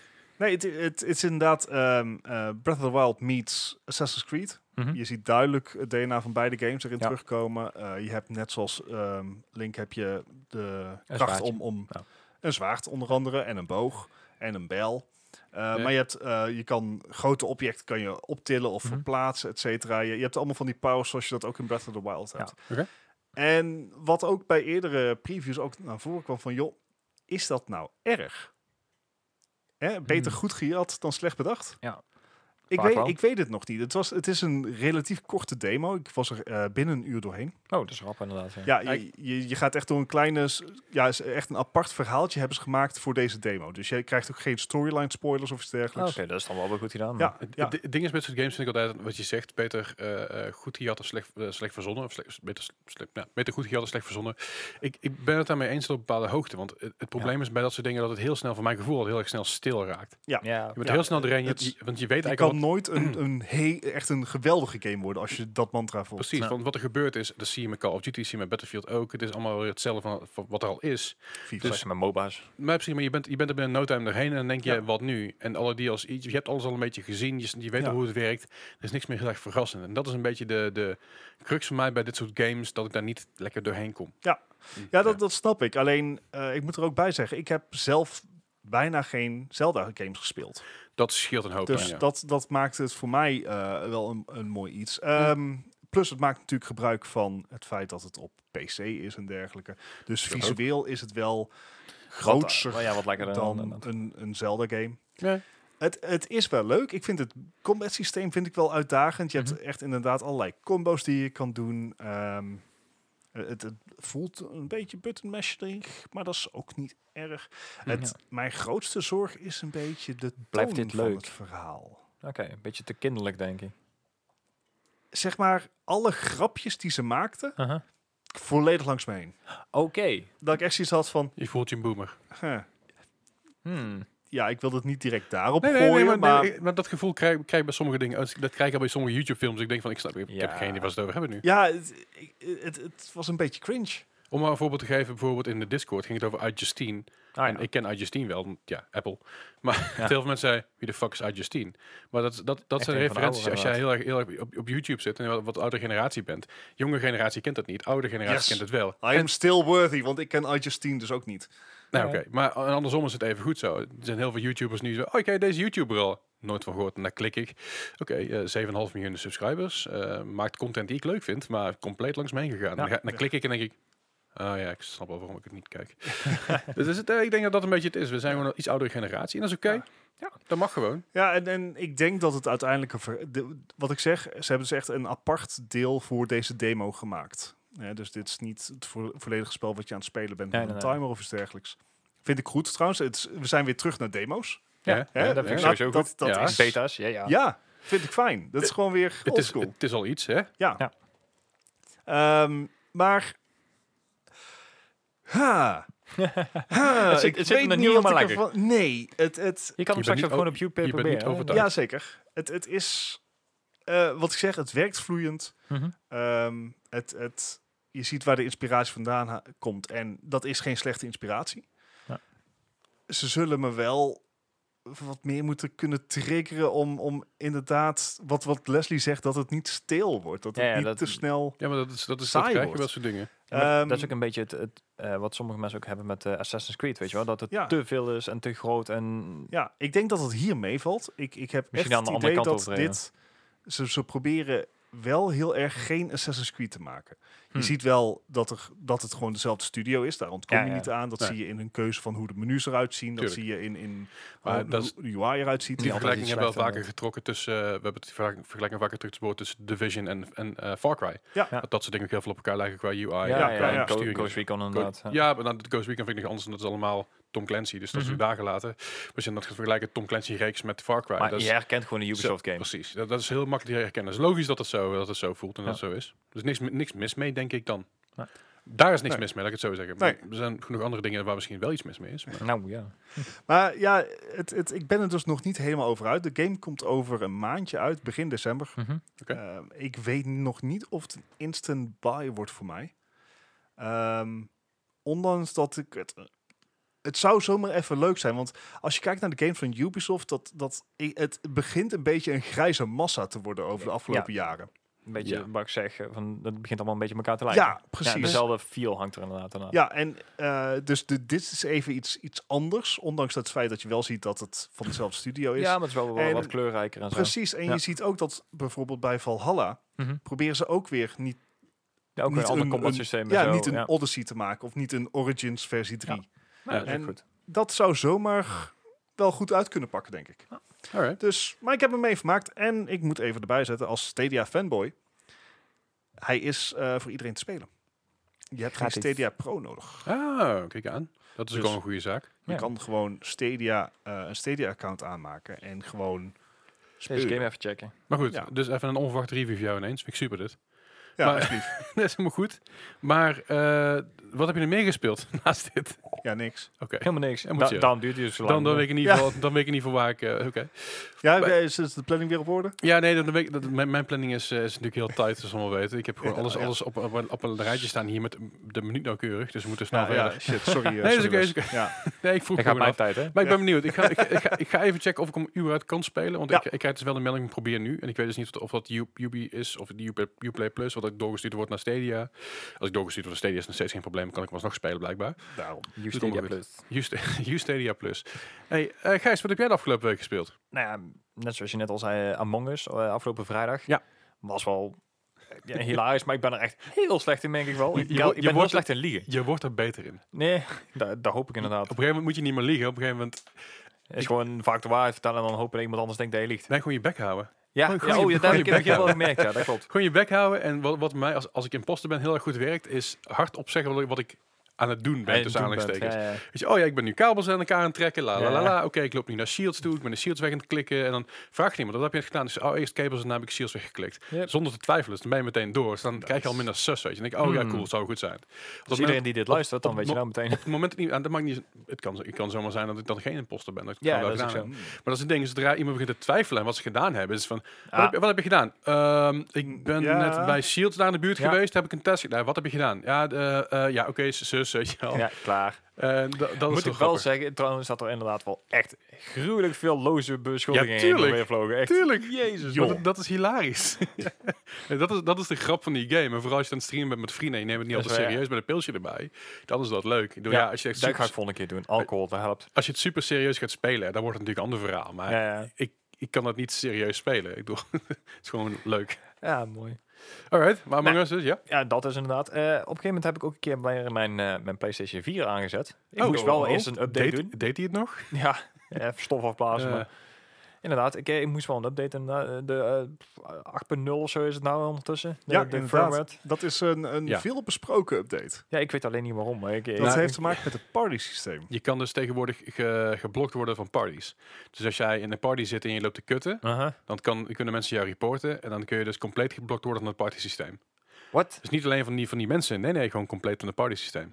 [SPEAKER 2] nee, het, het, het is inderdaad ehm, eh, Breath of the Wild meets Assassin's Creed.
[SPEAKER 3] Mhm.
[SPEAKER 2] Je ziet duidelijk het DNA van beide games erin
[SPEAKER 3] Ja.
[SPEAKER 2] terugkomen. Eh, je hebt net zoals ehm, Link heb je de kracht
[SPEAKER 3] zwaardje.
[SPEAKER 2] om, om
[SPEAKER 3] Ja.
[SPEAKER 2] een zwaard onder andere en een boog en een bijl. Eh, Maar je, hebt, eh, je kan grote objecten kan je optillen of
[SPEAKER 3] Mhm.
[SPEAKER 2] verplaatsen, et cetera. Je, je hebt allemaal van die powers zoals je dat ook in Breath of the Wild
[SPEAKER 3] Ja.
[SPEAKER 2] hebt.
[SPEAKER 1] Oké.
[SPEAKER 2] En wat ook bij eerdere previews ook naar voren kwam van... joh, is dat nou erg? Hè, beter
[SPEAKER 3] Hmm.
[SPEAKER 2] goed gejat dan slecht bedacht?
[SPEAKER 3] Ja.
[SPEAKER 2] Ik
[SPEAKER 3] Vaak
[SPEAKER 2] weet,
[SPEAKER 3] wel.
[SPEAKER 2] ik weet het nog niet. Het, was, het is een relatief korte demo. Ik was er eh, binnen een uur doorheen.
[SPEAKER 3] Oh, dat is rap inderdaad. Ja.
[SPEAKER 2] Ja, je, je, je gaat echt door een kleine... s- Ja, is echt een apart verhaaltje hebben ze gemaakt voor deze demo. Dus je krijgt ook geen storyline spoilers of iets
[SPEAKER 3] Ah, Oké,
[SPEAKER 2] dergelijks.
[SPEAKER 3] dat is dan wel weer goed gedaan.
[SPEAKER 2] Ja,
[SPEAKER 1] Het
[SPEAKER 2] ja.
[SPEAKER 1] het di- ding is met soort games vind ik altijd, wat je zegt, beter eh, eh, goed gejat of slecht, eh, slecht verzonnen. Of slecht, beter, s- slecht, nou, beter goed gejat of slecht verzonnen. Ik, ik ben het daarmee eens tot op een bepaalde hoogte. Want het, het probleem is bij dat soort dingen dat het heel snel, voor mijn gevoel, al heel erg snel stil raakt.
[SPEAKER 3] Ja,
[SPEAKER 1] Je bent
[SPEAKER 2] Ja,
[SPEAKER 1] heel snel erin, je,
[SPEAKER 2] het is-
[SPEAKER 1] je- want je weet
[SPEAKER 2] Je
[SPEAKER 1] eigenlijk al
[SPEAKER 2] kan nooit een, een he- echt een geweldige game worden als je dat mantra volgt.
[SPEAKER 1] Precies,
[SPEAKER 3] Ja.
[SPEAKER 1] want wat er gebeurd is, dat zie je met Call of Duty, zie je met Battlefield ook. Het is allemaal weer hetzelfde van, van wat er al is.
[SPEAKER 2] FIFA.
[SPEAKER 3] Dus met MOBA's.
[SPEAKER 1] Maar, precies, maar je, bent, je bent er binnen no time doorheen en dan denk je,
[SPEAKER 2] Ja.
[SPEAKER 1] wat nu? En alle DLC's, je hebt alles al een beetje gezien, je, je weet
[SPEAKER 2] Ja.
[SPEAKER 1] al hoe het werkt. Er is niks meer heel erg verrassend. En dat is een beetje de, de crux van mij bij dit soort games, dat ik daar niet lekker doorheen kom.
[SPEAKER 2] Ja.
[SPEAKER 1] Hm.
[SPEAKER 2] ja, dat, dat snap ik. Alleen, eh, ik moet er ook bij zeggen, ik heb zelf bijna geen Zelda-games gespeeld.
[SPEAKER 1] Dat scheelt een hoop.
[SPEAKER 2] Dus
[SPEAKER 1] ja.
[SPEAKER 2] dat, dat maakt het voor mij eh, wel een, een mooi iets. Ehm, Plus het maakt natuurlijk gebruik van het feit dat het op PC is en dergelijke. Dus
[SPEAKER 1] ook.
[SPEAKER 2] visueel is het wel grootser
[SPEAKER 3] Wat, eh, ja, wat lekkerder
[SPEAKER 2] dan een, een Zelda-game.
[SPEAKER 1] Ja.
[SPEAKER 2] Het, het is wel leuk. Ik vind het combat systeem vind ik wel uitdagend. Je hebt echt inderdaad allerlei combo's die je kan doen. Ehm, het, het voelt een beetje button mashing, maar dat is ook niet erg. Het, Mijn grootste zorg is een beetje de toon
[SPEAKER 3] Blijft dit
[SPEAKER 2] van
[SPEAKER 3] leuk?
[SPEAKER 2] het verhaal
[SPEAKER 3] Oké, een beetje te kinderlijk, denk ik.
[SPEAKER 2] zeg maar, alle grapjes die ze maakten,
[SPEAKER 3] Aha.
[SPEAKER 2] volledig langs me heen.
[SPEAKER 3] Oké.
[SPEAKER 2] Dat ik echt zoiets had van,
[SPEAKER 1] Je voelt je een boomer.
[SPEAKER 2] huh,
[SPEAKER 3] Hmm.
[SPEAKER 2] ja, ik wil het niet direct daarop
[SPEAKER 1] Nee, nee,
[SPEAKER 2] gooien,
[SPEAKER 1] nee, maar,
[SPEAKER 2] maar,
[SPEAKER 1] nee, ik- maar dat gevoel krijg, krijg ik bij sommige dingen. Als ik- Dat krijg ik al bij sommige YouTube-films. Ik denk van, ik, snap, ik heb
[SPEAKER 3] Ja.
[SPEAKER 1] geen idee waar ze het over hebben nu.
[SPEAKER 2] ja, het, ik- het, het was een beetje cringe.
[SPEAKER 1] Om maar een voorbeeld te geven, bijvoorbeeld in de Discord ging het over iJustine.
[SPEAKER 3] Ah,
[SPEAKER 1] En
[SPEAKER 3] ja.
[SPEAKER 1] ik ken iJustine wel, want ja, Apple. Maar heel veel mensen zeiden, wie de fuck is iJustine? Maar dat, dat, dat
[SPEAKER 3] Echt
[SPEAKER 1] zijn
[SPEAKER 3] een van de
[SPEAKER 1] referenties als jij
[SPEAKER 3] oudere,
[SPEAKER 1] heel erg, heel erg op, op YouTube zit en wat, wat ouder generatie bent. Jonge generatie kent dat niet, oude generatie
[SPEAKER 2] Yes.
[SPEAKER 1] kent het wel.
[SPEAKER 2] I am still worthy, want ik ken I Justine dus ook niet.
[SPEAKER 1] Nou,
[SPEAKER 3] Ja.
[SPEAKER 1] oké. Maar a- andersom is het even goed zo. Er zijn heel veel YouTubers nu zo. Oh, ik ken deze YouTuber al. Nooit van gehoord. En daar klik ik. Oké, eh 7,5 miljoen subscribers. eh, maakt content die ik leuk vind, maar compleet langs me heen gegaan. En Dan, ga- dan klik ik en denk ik. Oh ja, ik snap wel waarom ik het niet kijk. dus is het, eh, ik denk dat dat een beetje het is. We zijn gewoon een iets oudere generatie. En dat is oké. Ja. dat mag gewoon.
[SPEAKER 2] Ja, en, en ik denk dat het uiteindelijk, een ver- de- wat ik zeg, ze hebben dus echt een apart deel voor deze demo gemaakt. Ja, dus dit is niet het vo- volledige spel wat je aan het spelen bent,
[SPEAKER 3] Nee,
[SPEAKER 2] met
[SPEAKER 3] nee,
[SPEAKER 2] een
[SPEAKER 3] nee.
[SPEAKER 2] timer of iets dergelijks. Vind ik goed trouwens. Het is- we zijn weer terug naar demo's.
[SPEAKER 1] Ja,
[SPEAKER 2] Hè?
[SPEAKER 3] Ja, dat vind ik
[SPEAKER 2] Dat-
[SPEAKER 3] sowieso
[SPEAKER 2] dat-
[SPEAKER 3] goed.
[SPEAKER 2] dat
[SPEAKER 1] Ja.
[SPEAKER 2] is-
[SPEAKER 3] Beta's, ja, ja.
[SPEAKER 2] Ja, vind ik fijn. Dat is gewoon weer
[SPEAKER 1] Het is,
[SPEAKER 2] oldschool.
[SPEAKER 1] het is al iets, hè?
[SPEAKER 2] Ja.
[SPEAKER 3] Ja.
[SPEAKER 2] Ehm, maar... Ha. Ha,
[SPEAKER 3] Het zit-
[SPEAKER 2] ik
[SPEAKER 3] het zit
[SPEAKER 2] weet
[SPEAKER 3] in een
[SPEAKER 2] niet
[SPEAKER 3] nieuwe,
[SPEAKER 2] wat
[SPEAKER 3] maar
[SPEAKER 2] ik
[SPEAKER 3] lekker.
[SPEAKER 2] ervan- Nee, het... het
[SPEAKER 3] Je kan hem
[SPEAKER 1] Je bent
[SPEAKER 3] straks
[SPEAKER 1] niet
[SPEAKER 3] ook gewoon
[SPEAKER 1] o-
[SPEAKER 3] op
[SPEAKER 1] je bent
[SPEAKER 3] YouTube
[SPEAKER 1] niet
[SPEAKER 3] proberen. hè?
[SPEAKER 1] overtuigd.
[SPEAKER 2] ja, zeker. Het, het is... eh, wat ik zeg, het werkt vloeiend.
[SPEAKER 3] Mhm.
[SPEAKER 2] Ehm, het, het, je ziet waar de inspiratie vandaan ha- komt. En dat is geen slechte inspiratie.
[SPEAKER 3] Ja.
[SPEAKER 2] Ze zullen me wel wat meer moeten kunnen triggeren om, om inderdaad, wat, wat Leslie zegt, dat het niet stil wordt. Dat het
[SPEAKER 3] Ja, ja,
[SPEAKER 2] niet
[SPEAKER 3] dat-
[SPEAKER 2] te snel...
[SPEAKER 1] Ja, maar dat, is, dat, is, dat
[SPEAKER 2] Saai
[SPEAKER 1] krijg je
[SPEAKER 2] wordt.
[SPEAKER 1] wel soort dingen.
[SPEAKER 3] Ja, maar
[SPEAKER 2] Ehm,
[SPEAKER 3] dat is ook een beetje het, het, eh, wat sommige mensen ook hebben met eh, Assassin's Creed, weet je wel? Dat het
[SPEAKER 2] Ja.
[SPEAKER 3] te veel is en te groot en...
[SPEAKER 2] Ja, ik denk dat het hier meevalt. Ik, ik heb
[SPEAKER 3] Misschien
[SPEAKER 2] echt
[SPEAKER 3] aan de
[SPEAKER 2] het
[SPEAKER 3] andere
[SPEAKER 2] idee
[SPEAKER 3] kant
[SPEAKER 2] dat
[SPEAKER 3] overdreven.
[SPEAKER 2] dit... Ze, ze proberen wel heel erg geen Assassin's Creed te maken. Je
[SPEAKER 3] Hm.
[SPEAKER 1] Hmm.
[SPEAKER 2] ziet wel dat, er, dat het gewoon dezelfde studio is. Daar ontkom
[SPEAKER 3] Ja,
[SPEAKER 2] je
[SPEAKER 3] ja.
[SPEAKER 2] niet aan. Dat
[SPEAKER 1] Nee.
[SPEAKER 2] zie je in hun keuze van hoe de menus eruit zien. Dat
[SPEAKER 1] Tuurlijk.
[SPEAKER 2] zie je in, in
[SPEAKER 1] Maar
[SPEAKER 2] hoe
[SPEAKER 1] dat is-
[SPEAKER 2] de UI eruit ziet.
[SPEAKER 1] Die
[SPEAKER 3] Ja, altijd
[SPEAKER 1] vergelijking
[SPEAKER 3] iets
[SPEAKER 1] hebben we wel
[SPEAKER 3] slechter,
[SPEAKER 1] vaker getrokken tussen... eh, we hebben het vergelijking, vergelijking vaker teruggespoord tussen Division en, en eh, Far Cry.
[SPEAKER 2] Ja.
[SPEAKER 3] Ja.
[SPEAKER 1] Dat, dat soort dingen ook heel veel op elkaar lijken qua UI.
[SPEAKER 3] Ja,
[SPEAKER 1] en
[SPEAKER 3] ja,
[SPEAKER 1] qua
[SPEAKER 2] ja.
[SPEAKER 3] en Go-
[SPEAKER 1] besturing.
[SPEAKER 3] Ghost Recon inderdaad.
[SPEAKER 1] Go-
[SPEAKER 3] ja.
[SPEAKER 1] ja, maar dan de Ghost Recon vind ik nog anders. en Dat is allemaal Tom Clancy. Dus dat is
[SPEAKER 3] Mhm.
[SPEAKER 1] weer dagen later. Maar als je dat gaat vergelijken, Tom Clancy reeks met Far Cry.
[SPEAKER 3] Maar
[SPEAKER 1] dat is,
[SPEAKER 3] je herkent gewoon een Ubisoft game.
[SPEAKER 1] Precies. Dat, dat is heel makkelijk te herkennen. Het is logisch dat het zo, dat het zo voelt en dat
[SPEAKER 3] Ja.
[SPEAKER 1] het zo is. Dus niks, mi- niks mis mee, denk ik dan.
[SPEAKER 3] Nee.
[SPEAKER 1] Daar is niks
[SPEAKER 2] Nee.
[SPEAKER 1] mis mee, laat ik het zo zeggen.
[SPEAKER 2] Nee.
[SPEAKER 1] Maar Er zijn genoeg andere dingen waar misschien wel iets mis mee is. Maar
[SPEAKER 3] Nou ja.
[SPEAKER 2] Maar ja, het, het, ik ben er dus nog niet helemaal over uit. De game komt over een maandje uit, begin december.
[SPEAKER 3] Mhm.
[SPEAKER 1] Oké.
[SPEAKER 2] Ehm, ik weet nog niet of het een instant buy wordt voor mij. Ehm, ondanks dat ik het... Het zou zomaar even leuk zijn, want als je kijkt naar de game van Ubisoft, dat, dat, i- het begint een beetje een grijze massa te worden over de afgelopen jaren.
[SPEAKER 3] Een beetje
[SPEAKER 1] Ja.
[SPEAKER 3] wat ik zeg, eh, van, het begint allemaal een beetje elkaar te lijken.
[SPEAKER 2] Ja, precies. Ja,
[SPEAKER 3] dezelfde feel hangt er inderdaad aan.
[SPEAKER 2] en eh, dus de, dit is even iets, iets anders, ondanks het feit dat je wel ziet dat het van dezelfde studio is.
[SPEAKER 3] Ja, maar het is wel, wel
[SPEAKER 2] En-
[SPEAKER 3] wat kleurrijker en zo.
[SPEAKER 2] precies, en
[SPEAKER 3] Ja.
[SPEAKER 2] je ziet ook dat bijvoorbeeld bij Valhalla
[SPEAKER 3] Mhm.
[SPEAKER 2] proberen ze ook weer niet
[SPEAKER 3] Ja, ook
[SPEAKER 2] niet
[SPEAKER 3] een ander
[SPEAKER 2] een-
[SPEAKER 3] combat
[SPEAKER 2] een-
[SPEAKER 3] systeem en
[SPEAKER 2] ja,
[SPEAKER 3] zo.
[SPEAKER 2] niet een
[SPEAKER 3] ja.
[SPEAKER 2] Odyssey te maken of niet een Origins versie 3.
[SPEAKER 3] Ja, dat is ook
[SPEAKER 2] en-
[SPEAKER 3] goed.
[SPEAKER 2] Dat zou zomaar wel goed uit kunnen pakken, denk ik.
[SPEAKER 1] alright.
[SPEAKER 2] Dus, maar ik heb hem meegemaakt en ik moet even erbij zetten als Stadia fanboy. Hij is eh, voor iedereen te spelen. Je hebt geen
[SPEAKER 3] Gratis.
[SPEAKER 2] Stadia Pro nodig.
[SPEAKER 1] Ah, kijk aan. Dat is
[SPEAKER 2] Dus-
[SPEAKER 1] gewoon een goede zaak.
[SPEAKER 2] Je
[SPEAKER 3] Ja.
[SPEAKER 2] kan gewoon Stadia, eh, een Stadia-account aanmaken en gewoon
[SPEAKER 3] Deze
[SPEAKER 2] spelen.
[SPEAKER 3] game even checken.
[SPEAKER 1] Maar goed,
[SPEAKER 2] Ja.
[SPEAKER 1] dus even een onverwachte review voor jou ineens. Vind ik super dit.
[SPEAKER 2] Ja,
[SPEAKER 1] maar-
[SPEAKER 2] alsjeblieft.
[SPEAKER 1] Dat is helemaal goed. Maar eh, wat heb je er meer gespeeld naast dit?
[SPEAKER 2] Ja, niks.
[SPEAKER 1] Oké.
[SPEAKER 3] Helemaal niks.
[SPEAKER 1] Ja, moet
[SPEAKER 3] Da-
[SPEAKER 1] je-
[SPEAKER 3] daarom duurt het dus zo lang.
[SPEAKER 1] Dan, dan weet ik in ieder
[SPEAKER 2] Ja.
[SPEAKER 1] geval, dan weet ik in ieder geval waar ik. eh, Oké.
[SPEAKER 2] Ja, eh,
[SPEAKER 1] Maar-
[SPEAKER 2] is, is de planning weer op orde?
[SPEAKER 1] Ja, nee, dan weet ik, dat, mijn, mijn planning is, eh, is natuurlijk heel tight, zoals we allemaal weten. Ik heb gewoon
[SPEAKER 2] Ja,
[SPEAKER 1] alles,
[SPEAKER 2] ja.
[SPEAKER 1] alles op, op, een- op een rijtje staan hier met de minuut nauwkeurig, dus we moeten snel
[SPEAKER 2] Nou,
[SPEAKER 1] verder.
[SPEAKER 2] ja, shit, sorry. eh,
[SPEAKER 1] Nee, dat is
[SPEAKER 2] sorry,
[SPEAKER 1] oké,
[SPEAKER 2] Wes. Ja.
[SPEAKER 1] Ja. Nee, ik vroeg
[SPEAKER 3] Dat gaat
[SPEAKER 1] gewoon
[SPEAKER 3] mij
[SPEAKER 1] af.
[SPEAKER 3] op tijd, hè?
[SPEAKER 1] Maar ik ben benieuwd. Ik ga, ik, ik ga, ik ga even checken of ik hem überhaupt kan spelen. Want
[SPEAKER 2] Ja.
[SPEAKER 1] ik, ik krijg dus wel een melding, probeer nu. En ik weet dus niet of, dat- of dat U- Ubi is of die Uplay- Uplay Plus, wat ik doorgestuurd wordt naar Stadia. Als ik doorgestuurd word naar Stadia is het nog steeds geen probleem, kan ik hem alsnog spelen blijkbaar.
[SPEAKER 2] Daarom.
[SPEAKER 3] You
[SPEAKER 1] Doe het
[SPEAKER 3] Stadia
[SPEAKER 1] allemaal
[SPEAKER 3] Plus.
[SPEAKER 1] Just- Ustadia Plus. Hey, eh, Gijs, wat heb jij de afgelopen week gespeeld?
[SPEAKER 3] Nou ja, net zoals je net al zei, eh, Among Us eh, afgelopen vrijdag.
[SPEAKER 1] Ja.
[SPEAKER 3] Was wel eh, ja, hilarisch, maar ik ben er echt heel slecht in, denk ik wel.
[SPEAKER 1] Je-
[SPEAKER 3] Ik,
[SPEAKER 1] je
[SPEAKER 3] ik
[SPEAKER 1] wordt- je
[SPEAKER 3] ben heel
[SPEAKER 1] wordt-
[SPEAKER 3] slecht in liegen.
[SPEAKER 1] Je wordt er beter in. Op
[SPEAKER 3] Nee, da- daar hoop ik inderdaad.
[SPEAKER 1] een gegeven moment moet je niet meer liegen. Op een gegeven moment,
[SPEAKER 3] Het is gewoon vaak de waarheid vertellen en dan hopen dat iemand anders denkt dat je liegt.
[SPEAKER 1] nee, gewoon je bek houden.
[SPEAKER 3] Ja,
[SPEAKER 1] Gooi-
[SPEAKER 3] ja,
[SPEAKER 1] gooi je-
[SPEAKER 3] oh, ja, dat heb
[SPEAKER 1] gooi
[SPEAKER 3] ik,
[SPEAKER 1] je
[SPEAKER 3] dat heb
[SPEAKER 1] bek
[SPEAKER 3] ik wel gemerkt, ja, dat klopt.
[SPEAKER 1] Gewoon je bek houden. En wat, wat mij, als, als ik imposter ben, heel erg goed werkt, is hardop zeggen wat ik, wat ik aan het doen ben,
[SPEAKER 3] Ja, je
[SPEAKER 1] tussen
[SPEAKER 3] doet bent,
[SPEAKER 1] aanhalingstekens.
[SPEAKER 3] ja, ja.
[SPEAKER 1] Weet je, oh ja, ik ben nu kabels aan elkaar aan het trekken, la la la
[SPEAKER 3] Ja.
[SPEAKER 1] la. Oké, ik loop nu naar shields toe, ik ben de shields weg aan het klikken. En dan vraagt niemand, wat heb je net gedaan? Dus, oh, eerst kabels en dan heb ik shields weggeklikt.
[SPEAKER 3] Yep.
[SPEAKER 1] Zonder te twijfelen, dus dan ben je meteen door. Dus dan krijg je al minder sus, weet je. En denk ik, oh ja,
[SPEAKER 3] Hmm.
[SPEAKER 1] cool, zou goed zijn.
[SPEAKER 3] Als
[SPEAKER 1] Als
[SPEAKER 3] iedereen die dit luistert, dan
[SPEAKER 1] op-
[SPEAKER 3] weet je
[SPEAKER 1] op-
[SPEAKER 3] nou meteen.
[SPEAKER 1] op het moment niet, aan, dat maakt niet, het kan, zo- het kan zomaar zijn dat ik dan geen imposter ben. Dat ik
[SPEAKER 3] Ja,
[SPEAKER 1] ja, wel
[SPEAKER 3] dat is
[SPEAKER 1] gedaan
[SPEAKER 3] ook
[SPEAKER 1] heb.
[SPEAKER 3] zo.
[SPEAKER 1] Maar dat is het ding, zodra iemand begint te twijfelen aan wat ze gedaan hebben, is het van, wat,
[SPEAKER 3] Ah.
[SPEAKER 1] heb, je- wat heb je gedaan? Ehm, ik ben
[SPEAKER 2] Ja.
[SPEAKER 1] net bij Shields daar in de buurt
[SPEAKER 3] Ja.
[SPEAKER 1] geweest, heb ik een test gedaan. Wat heb je gedaan? Ja, de, eh, ja oké, zus, weet je wel.
[SPEAKER 3] Ja, klaar.
[SPEAKER 1] Eh, da- dat is
[SPEAKER 3] Moet
[SPEAKER 1] heel
[SPEAKER 3] ik wel
[SPEAKER 1] grappig.
[SPEAKER 3] zeggen, trouwens dat er inderdaad wel echt gruwelijk veel loze beschuldigingen
[SPEAKER 1] Ja, tuurlijk.
[SPEAKER 3] heen weer vlogen. Echt.
[SPEAKER 1] Tuurlijk.
[SPEAKER 3] Jezus,
[SPEAKER 1] Want
[SPEAKER 3] joh.
[SPEAKER 1] Dat, dat is hilarisch. Ja, dat, is, dat is de grap van die game. En vooral als je aan het streamen bent met vrienden, en je neemt het niet
[SPEAKER 3] Dat is
[SPEAKER 1] altijd
[SPEAKER 3] waar,
[SPEAKER 1] serieus met een pilsje erbij. Dan is dat leuk. Ik bedoel, ja, als, je echt
[SPEAKER 3] dat ga
[SPEAKER 1] super,
[SPEAKER 3] ik volgende keer doen. Alcohol, dat helpt.
[SPEAKER 1] als je het super serieus gaat spelen, dan wordt het natuurlijk een ander verhaal. Maar
[SPEAKER 3] Ja, ja.
[SPEAKER 1] ik, ik kan dat niet serieus spelen. Ik bedoel, het is gewoon leuk.
[SPEAKER 3] ja mooi.
[SPEAKER 1] Alright, maar Among
[SPEAKER 3] Nou.
[SPEAKER 1] Us dus, ja.
[SPEAKER 3] Ja, dat is inderdaad. Eh, op een gegeven moment heb ik ook een keer weer mijn, eh, mijn PlayStation 4 aangezet. Ik
[SPEAKER 1] Oh,
[SPEAKER 3] moest wel
[SPEAKER 1] oh,
[SPEAKER 3] eerst een update
[SPEAKER 1] deed,
[SPEAKER 3] doen.
[SPEAKER 1] Deed hij het nog?
[SPEAKER 3] Ja, even stof afblazen.
[SPEAKER 1] Eh.
[SPEAKER 3] maar inderdaad, ik, eh, ik moest wel een update. inderdaad, eh, De eh, 8.0 of zo is het nou ondertussen. De,
[SPEAKER 2] Ja,
[SPEAKER 3] de
[SPEAKER 2] inderdaad.
[SPEAKER 3] firmware.
[SPEAKER 2] Dat is een, een
[SPEAKER 1] Ja.
[SPEAKER 2] veelbesproken update.
[SPEAKER 3] Ja, ik weet alleen niet waarom. Maar ik,
[SPEAKER 2] Dat
[SPEAKER 3] ja,
[SPEAKER 2] heeft
[SPEAKER 3] ik-
[SPEAKER 2] te maken met het party systeem.
[SPEAKER 1] Je kan dus tegenwoordig ge- geblokt worden van parties. Dus als jij in een party zit en je loopt te kutten,
[SPEAKER 3] Aha.
[SPEAKER 1] dan kan, kunnen mensen jou reporten. En dan kun je dus compleet geblokt worden van het partysysteem.
[SPEAKER 3] Wat?
[SPEAKER 1] Dus niet alleen van die, van die mensen. Nee, nee, gewoon compleet van het partysysteem.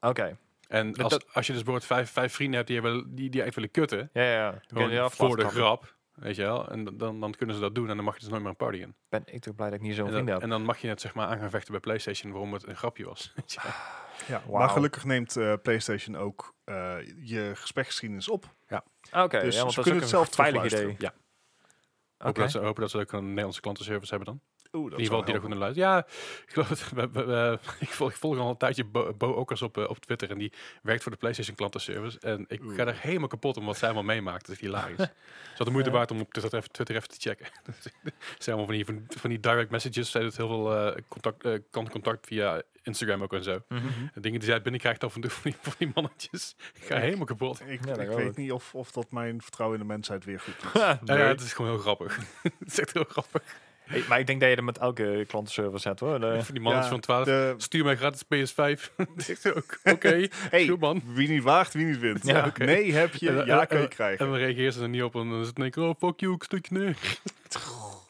[SPEAKER 3] Oké.
[SPEAKER 1] En
[SPEAKER 3] Dat-
[SPEAKER 1] als,
[SPEAKER 3] dat-
[SPEAKER 1] als je dus bijvoorbeeld vijf, vijf vrienden hebt die, hebben, die, die echt willen kutten.
[SPEAKER 3] Ja, ja. ja.
[SPEAKER 1] gewoon
[SPEAKER 3] Kun je af
[SPEAKER 1] voor de
[SPEAKER 3] laten trappen.
[SPEAKER 1] grap. Weet je wel? En dan- dan, dan kunnen ze dat doen en dan mag je dus nooit meer een party in.
[SPEAKER 3] Ben ik toch blij dat ik niet zo'n
[SPEAKER 1] En
[SPEAKER 3] vriend
[SPEAKER 1] dan,
[SPEAKER 3] heb.
[SPEAKER 1] en dan mag je het zeg maar aan gaan vechten bij PlayStation waarom het een grapje was. Weet
[SPEAKER 3] Ah,
[SPEAKER 1] je wel.
[SPEAKER 2] Ja,
[SPEAKER 3] Wauw.
[SPEAKER 2] Maar gelukkig neemt eh, PlayStation ook eh, je gespreksgeschiedenis op.
[SPEAKER 3] Ah, Oké,
[SPEAKER 2] dus
[SPEAKER 3] ja, want
[SPEAKER 2] ze
[SPEAKER 3] dat is ook
[SPEAKER 2] kunnen
[SPEAKER 3] een
[SPEAKER 2] het zelf
[SPEAKER 3] veilig
[SPEAKER 2] terugluisteren.
[SPEAKER 3] idee.
[SPEAKER 1] Ja.
[SPEAKER 3] Oké.
[SPEAKER 1] Hopen, dat ze, hopen dat ze ook een Nederlandse klantenservice hebben dan.
[SPEAKER 2] Oeh,
[SPEAKER 1] in ieder geval die er goed naar luisteren. Ja, ik geloof het. we- we- we- ik, volg, ik volg al een tijdje Bo, Bo Okkers op, eh, op Twitter. En die werkt voor de PlayStation klantenservice. En ik ga
[SPEAKER 2] Oeh.
[SPEAKER 1] daar helemaal kapot om wat zij allemaal meemaakt. Dat is hilarisch. Het is altijd de moeite
[SPEAKER 3] Ja.
[SPEAKER 1] waard om op Twitter even, Twitter even te checken. Er zijn allemaal van die, van, van die direct messages. Zij doet heel veel eh, contact, eh, kan contact via Instagram ook en zo.
[SPEAKER 3] Mhm.
[SPEAKER 1] En dingen die zij binnenkrijgt af en toe van die, van die mannetjes. Ik ga helemaal kapot.
[SPEAKER 2] Ik,
[SPEAKER 3] Ja, dat
[SPEAKER 2] ik
[SPEAKER 3] wel.
[SPEAKER 2] weet niet of, of dat mijn vertrouwen in de mensheid weer goed doet.
[SPEAKER 1] Nou
[SPEAKER 3] nee.
[SPEAKER 1] Ja, het is gewoon heel grappig. het is echt heel grappig.
[SPEAKER 3] Hey, maar ik denk dat je dat met elke klantenservice hebt hoor. Eh, De-
[SPEAKER 1] Van die mannetjes
[SPEAKER 2] Ja,
[SPEAKER 1] van 12.
[SPEAKER 2] de-
[SPEAKER 1] Stuur mij gratis PS5. Dat is ook. Oké,
[SPEAKER 2] Hey.
[SPEAKER 1] goed man.
[SPEAKER 2] wie niet waagt, wie niet wint.
[SPEAKER 3] Ja,
[SPEAKER 1] oké.
[SPEAKER 2] Nee heb je,
[SPEAKER 1] En-
[SPEAKER 2] ja
[SPEAKER 1] en-
[SPEAKER 2] kun je
[SPEAKER 1] en-
[SPEAKER 2] krijgen.
[SPEAKER 1] En we reageren ze er niet op en dan is het in één keer, oh fuck you, ik stuk je neer.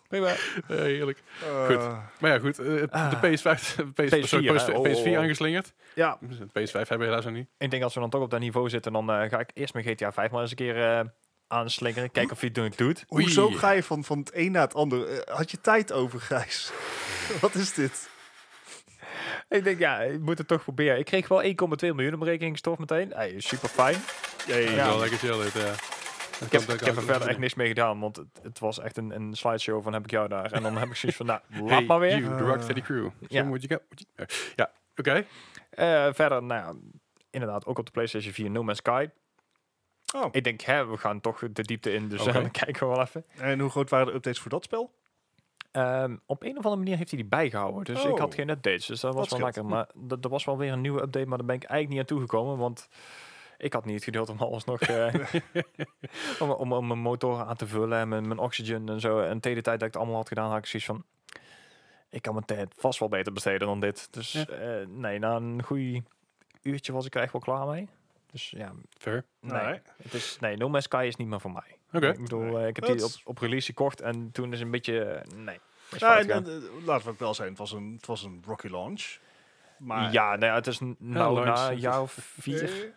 [SPEAKER 1] Eh, heerlijk.
[SPEAKER 2] Eh,
[SPEAKER 1] Maar ja, goed, eh, de
[SPEAKER 3] Ah.
[SPEAKER 1] PS5, PS, PS4,
[SPEAKER 3] PS4, hè? Oh,
[SPEAKER 1] PS4
[SPEAKER 3] oh, oh.
[SPEAKER 1] aangeslingerd.
[SPEAKER 2] ja,
[SPEAKER 1] PS5 hebben we helaas nog niet.
[SPEAKER 3] Ik denk als we dan toch op dat niveau zitten, dan eh, ga ik eerst mijn GTA 5 maar eens een keer eh aanslingeren. Kijken of hij het doet- doet.
[SPEAKER 1] Oei.
[SPEAKER 2] hoezo ga je van, van het een naar het ander? Eh, had je tijd over, Gijs? Wat is dit?
[SPEAKER 3] Ik denk, ja, ik moet het toch proberen. Ik kreeg wel 1,2 miljoen op mijn rekening gestopt meteen. Hey, super fijn.
[SPEAKER 1] Ja,
[SPEAKER 3] ja.
[SPEAKER 1] Dat is wel lekker chill dit, ja.
[SPEAKER 3] Ik heb, ik heb er verder echt niks mee gedaan, want het, het was echt een, een slideshow van heb ik jou daar. En dan heb ik zoiets van, nou, laat
[SPEAKER 1] Hey,
[SPEAKER 3] maar weer.
[SPEAKER 1] you, the Rocksteady crew.
[SPEAKER 3] ja.
[SPEAKER 1] Show me what you got, what you- eh, Ja, oké.
[SPEAKER 3] Eh, verder, nou ja, inderdaad, ook op de PlayStation 4 No Man's Sky.
[SPEAKER 2] Oh.
[SPEAKER 3] Ik denk, hè, we gaan toch de diepte in, dus
[SPEAKER 1] Oké.
[SPEAKER 3] eh, dan kijken we wel even.
[SPEAKER 2] En hoe groot waren de updates voor dat spel?
[SPEAKER 3] Ehm, op een of andere manier heeft hij die bijgehouden, dus ik had
[SPEAKER 2] Oh.
[SPEAKER 3] geen updates, dus dat was
[SPEAKER 2] Dat
[SPEAKER 3] wel lekker.
[SPEAKER 2] scheelt. Hm.
[SPEAKER 3] Maar dat er was wel weer een nieuwe update, maar daar ben ik eigenlijk niet aan toegekomen, want ik had niet het geduld om alles nog... eh, om, om, om mijn motor aan te vullen en mijn, mijn oxygen en zo. En tegen de tijd dat ik het allemaal had gedaan, had ik zoiets van... Ik kan mijn tijd vast wel beter besteden dan dit. Dus
[SPEAKER 1] Ja.
[SPEAKER 3] eh, nee, na een goed uurtje was ik er echt wel klaar mee. Dus ja,
[SPEAKER 1] Fair.
[SPEAKER 3] nee.
[SPEAKER 2] Nee.
[SPEAKER 3] Het is, nee, No Man's Sky is niet meer voor mij.
[SPEAKER 1] Oké.
[SPEAKER 3] Ik bedoel, eh, ik heb die op,
[SPEAKER 2] Dat-
[SPEAKER 3] op release gekocht en toen is een beetje... eh, Nee.
[SPEAKER 2] Ja,
[SPEAKER 3] is fout
[SPEAKER 2] en,
[SPEAKER 3] gegaan.
[SPEAKER 2] en, eh, laten we ook wel zijn, het was een, het was een rocky launch. Maar
[SPEAKER 3] ja, nou ja, het is n- nou
[SPEAKER 1] Lawrence,
[SPEAKER 3] na een
[SPEAKER 1] het
[SPEAKER 3] jaar of vier.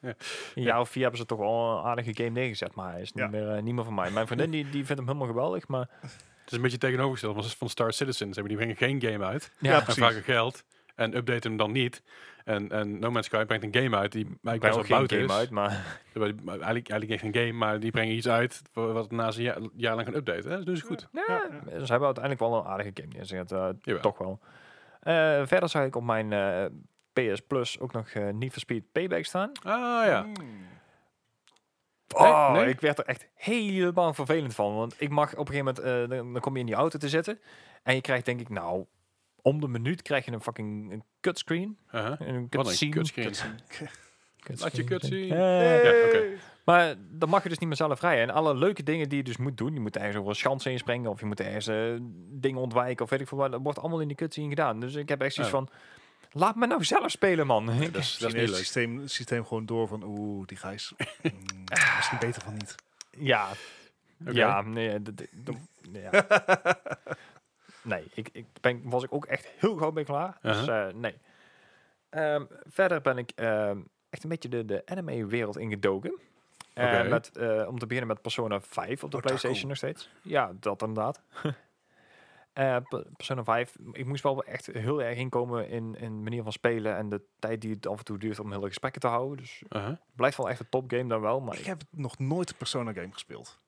[SPEAKER 2] Eh,
[SPEAKER 3] Een jaar of vier hebben ze toch wel een aardige game neergezet. Maar hij is niet,
[SPEAKER 2] Ja.
[SPEAKER 3] meer, eh, niet meer van mij. Mijn vriendin die, die vindt hem helemaal geweldig. Maar
[SPEAKER 1] Het is een beetje tegenovergesteld, want het is van Star Citizen. Ze hebben die brengen geen game uit
[SPEAKER 2] Ja,
[SPEAKER 3] ja,
[SPEAKER 1] en
[SPEAKER 2] precies.
[SPEAKER 1] vragen geld en updaten hem dan niet. En, en No Man's Sky brengt een game uit die eigenlijk
[SPEAKER 3] ik
[SPEAKER 1] best
[SPEAKER 3] ben
[SPEAKER 1] wel
[SPEAKER 3] ook
[SPEAKER 1] bout
[SPEAKER 3] geen game
[SPEAKER 2] dus.
[SPEAKER 1] is.
[SPEAKER 3] uit. Maar
[SPEAKER 1] Ze hebben die- Eigenlijk, eigenlijk echt een game, maar die brengen iets uit wa- wat na een jaar, jaar lang gaan updaten. Hè? Dus Dat doen ze goed.
[SPEAKER 3] ja,
[SPEAKER 2] ja.
[SPEAKER 3] ze hebben uiteindelijk wel een aardige game neergezet. eh,
[SPEAKER 1] Jawel.
[SPEAKER 3] toch wel. Eh, verder zag ik op mijn eh, PS Plus ook nog eh Need for Speed Payback staan.
[SPEAKER 1] Ah ja.
[SPEAKER 2] mm.
[SPEAKER 1] Nee,
[SPEAKER 3] Oh,
[SPEAKER 1] nee.
[SPEAKER 3] ik werd er echt helemaal vervelend van. Want ik mag op een gegeven moment, eh, dan, dan kom je in die auto te zitten. En je krijgt denk ik, nou, om de minuut krijg je een fucking een cutscreen.
[SPEAKER 1] Uh-huh.
[SPEAKER 3] Een
[SPEAKER 1] Wat een
[SPEAKER 3] cutscene.
[SPEAKER 1] kutscreen. Laat je cutscene.
[SPEAKER 3] Eh,
[SPEAKER 1] Ja, oké.
[SPEAKER 2] Hey.
[SPEAKER 3] Maar dan mag je dus niet meer zelf rijden. En alle leuke dingen die je dus moet doen. Je moet ergens over een chance heen springen. Of je moet ergens eh, dingen ontwijken. Of weet ik veel wat. Dat wordt allemaal in die cutscene gedaan. Dus ik heb echt zoiets
[SPEAKER 1] Ja.
[SPEAKER 3] van... Laat me nou zelf spelen, man.
[SPEAKER 1] Ja, dat is, dat is
[SPEAKER 2] Misschien heeft
[SPEAKER 1] niet
[SPEAKER 2] het
[SPEAKER 1] leuk.
[SPEAKER 2] systeem, het systeem gewoon door van, oeh, die gijs. Mm, misschien beter van niet.
[SPEAKER 3] Ja.
[SPEAKER 1] Oké.
[SPEAKER 3] Ja, nee. d- d- d- ja. nee, ik, ik ben, was ik ook echt heel gauw mee klaar. Dus eh, nee. Ehm, verder ben ik ehm, echt een beetje de, de anime-wereld ingedoken. Eh,
[SPEAKER 1] Oké.
[SPEAKER 3] met, eh, om te beginnen met Persona 5 op de
[SPEAKER 2] Otaku.
[SPEAKER 3] PlayStation nog steeds. Ja, dat inderdaad. Eh, P- Persona 5, ik moest wel echt heel erg inkomen in, in manier van spelen en de tijd die het af en toe duurt om hele gesprekken te houden. Dus
[SPEAKER 1] Uh-huh.
[SPEAKER 3] het blijft wel echt een topgame dan wel. Maar
[SPEAKER 2] Ik heb nog nooit een Persona game gespeeld.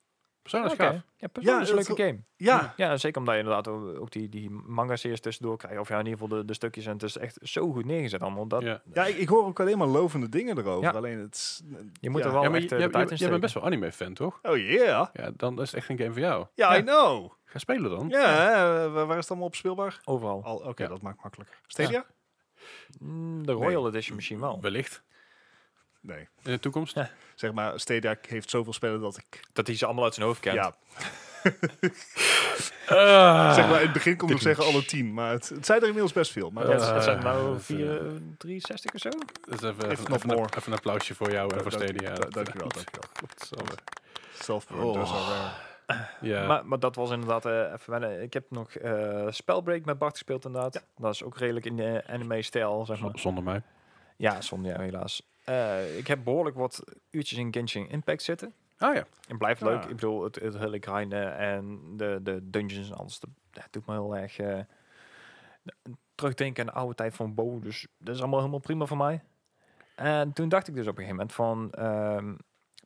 [SPEAKER 1] Persona is
[SPEAKER 3] Oké.
[SPEAKER 1] gaaf.
[SPEAKER 3] Ja, Persona
[SPEAKER 2] Ja,
[SPEAKER 3] is een
[SPEAKER 2] dat-
[SPEAKER 3] leuke game.
[SPEAKER 2] Ja,
[SPEAKER 3] Hmm. Ja, zeker omdat je inderdaad ook ook die, die manga-series tussendoor krijgt. Of ja, in ieder geval de, de stukjes. En het is echt zo goed neergezet allemaal. Dat,
[SPEAKER 1] Ja.
[SPEAKER 2] ja ik, ik hoor ook alleen maar lovende dingen erover.
[SPEAKER 3] Ja.
[SPEAKER 2] Alleen het is-
[SPEAKER 3] Je moet
[SPEAKER 2] ja.
[SPEAKER 3] er wel
[SPEAKER 1] Ja, maar
[SPEAKER 3] echt
[SPEAKER 1] je,
[SPEAKER 3] eh,
[SPEAKER 1] jij-
[SPEAKER 3] de tijd
[SPEAKER 1] jij- jij
[SPEAKER 3] in steken.
[SPEAKER 1] bent best wel anime-fan, toch?
[SPEAKER 2] Oh yeah.
[SPEAKER 1] Ja, dan is het echt een game voor jou.
[SPEAKER 2] Ja,
[SPEAKER 3] Ja.
[SPEAKER 2] I know.
[SPEAKER 1] Ga spelen dan.
[SPEAKER 2] Ja, hè, eh, waar waar is het allemaal op speelbaar?
[SPEAKER 3] Overal.
[SPEAKER 2] Al, Oké,
[SPEAKER 1] Ja.
[SPEAKER 2] dat maakt makkelijk. Stadia?
[SPEAKER 3] Mm, de Royal Edition misschien wel.
[SPEAKER 1] Oh. Wellicht.
[SPEAKER 2] Nee.
[SPEAKER 1] In de toekomst.
[SPEAKER 3] Ja.
[SPEAKER 2] Zeg maar, Stadia heeft zoveel spellen dat ik...
[SPEAKER 3] Dat hij ze allemaal uit zijn hoofd kent.
[SPEAKER 2] Ja,
[SPEAKER 1] Ah.
[SPEAKER 2] zeg maar, in het begin kon ik nog zeggen alle tien. Maar het, het zijn er inmiddels best veel. Maar
[SPEAKER 3] Ja, het-
[SPEAKER 2] dat-
[SPEAKER 1] Eh,
[SPEAKER 3] het zijn nou
[SPEAKER 1] dat,
[SPEAKER 3] 4, 63 of zo.
[SPEAKER 1] Dus even,
[SPEAKER 2] If
[SPEAKER 1] even,
[SPEAKER 2] not
[SPEAKER 1] even een,
[SPEAKER 2] more.
[SPEAKER 1] even een applausje voor jou en voor
[SPEAKER 2] dat-
[SPEAKER 1] Stadia.
[SPEAKER 2] dat- Dankjewel, dankjewel.
[SPEAKER 1] Godsamme.
[SPEAKER 2] Self-burn
[SPEAKER 1] Oh.
[SPEAKER 2] does are rare.
[SPEAKER 1] Ja.
[SPEAKER 3] Maar, maar dat was inderdaad eh, even wennen. Ik heb nog eh Spellbreak met Bart gespeeld inderdaad. Dat is ook redelijk in de anime-stijl, zeg maar.
[SPEAKER 1] Z- Zonder mij.
[SPEAKER 3] Ja, zonder jou helaas. Eh, ik heb behoorlijk wat uurtjes in Genshin Impact zitten.
[SPEAKER 1] Ah ja.
[SPEAKER 3] En blijft leuk.
[SPEAKER 2] Ja.
[SPEAKER 3] Ik bedoel, het, het hele grinden en de, de dungeons en alles. Dat, dat doet me heel erg eh, terugdenken aan de oude tijd van Bo. Dus dat is allemaal helemaal prima voor mij. En toen dacht ik dus op een gegeven moment van... ehm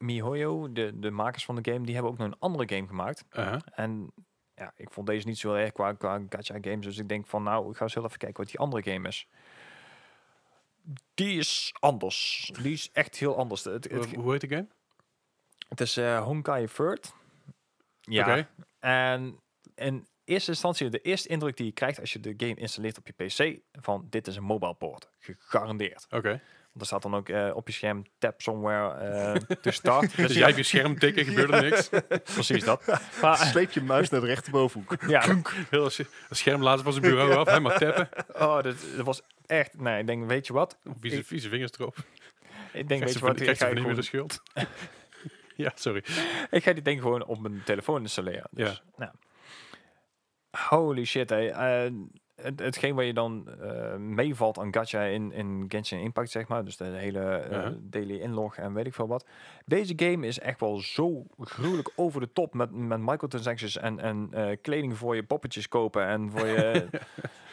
[SPEAKER 3] MiHoYo, de, de makers van de game, die hebben ook nog een andere game gemaakt.
[SPEAKER 1] Uh-huh.
[SPEAKER 3] En ja, ik vond deze niet zo erg qua, qua gacha games. Dus ik denk van, nou, ik ga zelf even kijken wat die andere game is. Die is anders. Die is echt heel anders. Het, het,
[SPEAKER 1] Hoe- Hoe heet de game?
[SPEAKER 3] het is eh Honkai Third. Ja.
[SPEAKER 1] Oké.
[SPEAKER 3] En in eerste instantie, de eerste indruk die je krijgt als je de game installeert op je PC, van dit is een mobile port. Gegarandeerd.
[SPEAKER 1] Oké.
[SPEAKER 3] Want er staat dan ook eh, op je scherm tap somewhere eh to start.
[SPEAKER 1] Dus
[SPEAKER 3] Dus
[SPEAKER 1] jij hebt je scherm tikken, gebeurde niks.
[SPEAKER 3] precies dat. Maar,
[SPEAKER 2] Sleep je muis naar de rechterbovenhoek.
[SPEAKER 3] Ah. ja,
[SPEAKER 1] Heel s- het scherm laatst van zijn bureau af, helemaal tappen.
[SPEAKER 3] oh, dat, dat was echt, nee, ik denk, weet je wat?
[SPEAKER 1] Vieze, vieze vingers erop.
[SPEAKER 3] Ik
[SPEAKER 1] Krijgt
[SPEAKER 3] denk, weet
[SPEAKER 1] ze
[SPEAKER 3] je
[SPEAKER 1] van-
[SPEAKER 3] wat? Ik
[SPEAKER 1] krijgt ze
[SPEAKER 3] ga,
[SPEAKER 1] van niet meer
[SPEAKER 3] gewoon,
[SPEAKER 1] de schuld. Ja, sorry.
[SPEAKER 3] ik ga die ding gewoon op mijn telefoon installeren. Dus, nou. Holy shit, hé. Eh, het, hetgeen waar je dan eh, meevalt aan gacha in, in Genshin Impact, zeg maar. Dus de hele eh,
[SPEAKER 1] Ja.
[SPEAKER 3] daily inlog en weet ik veel wat. Deze game is echt wel zo gruwelijk over de top met, met microtransactions en, en eh, kleding voor je poppetjes kopen. En voor je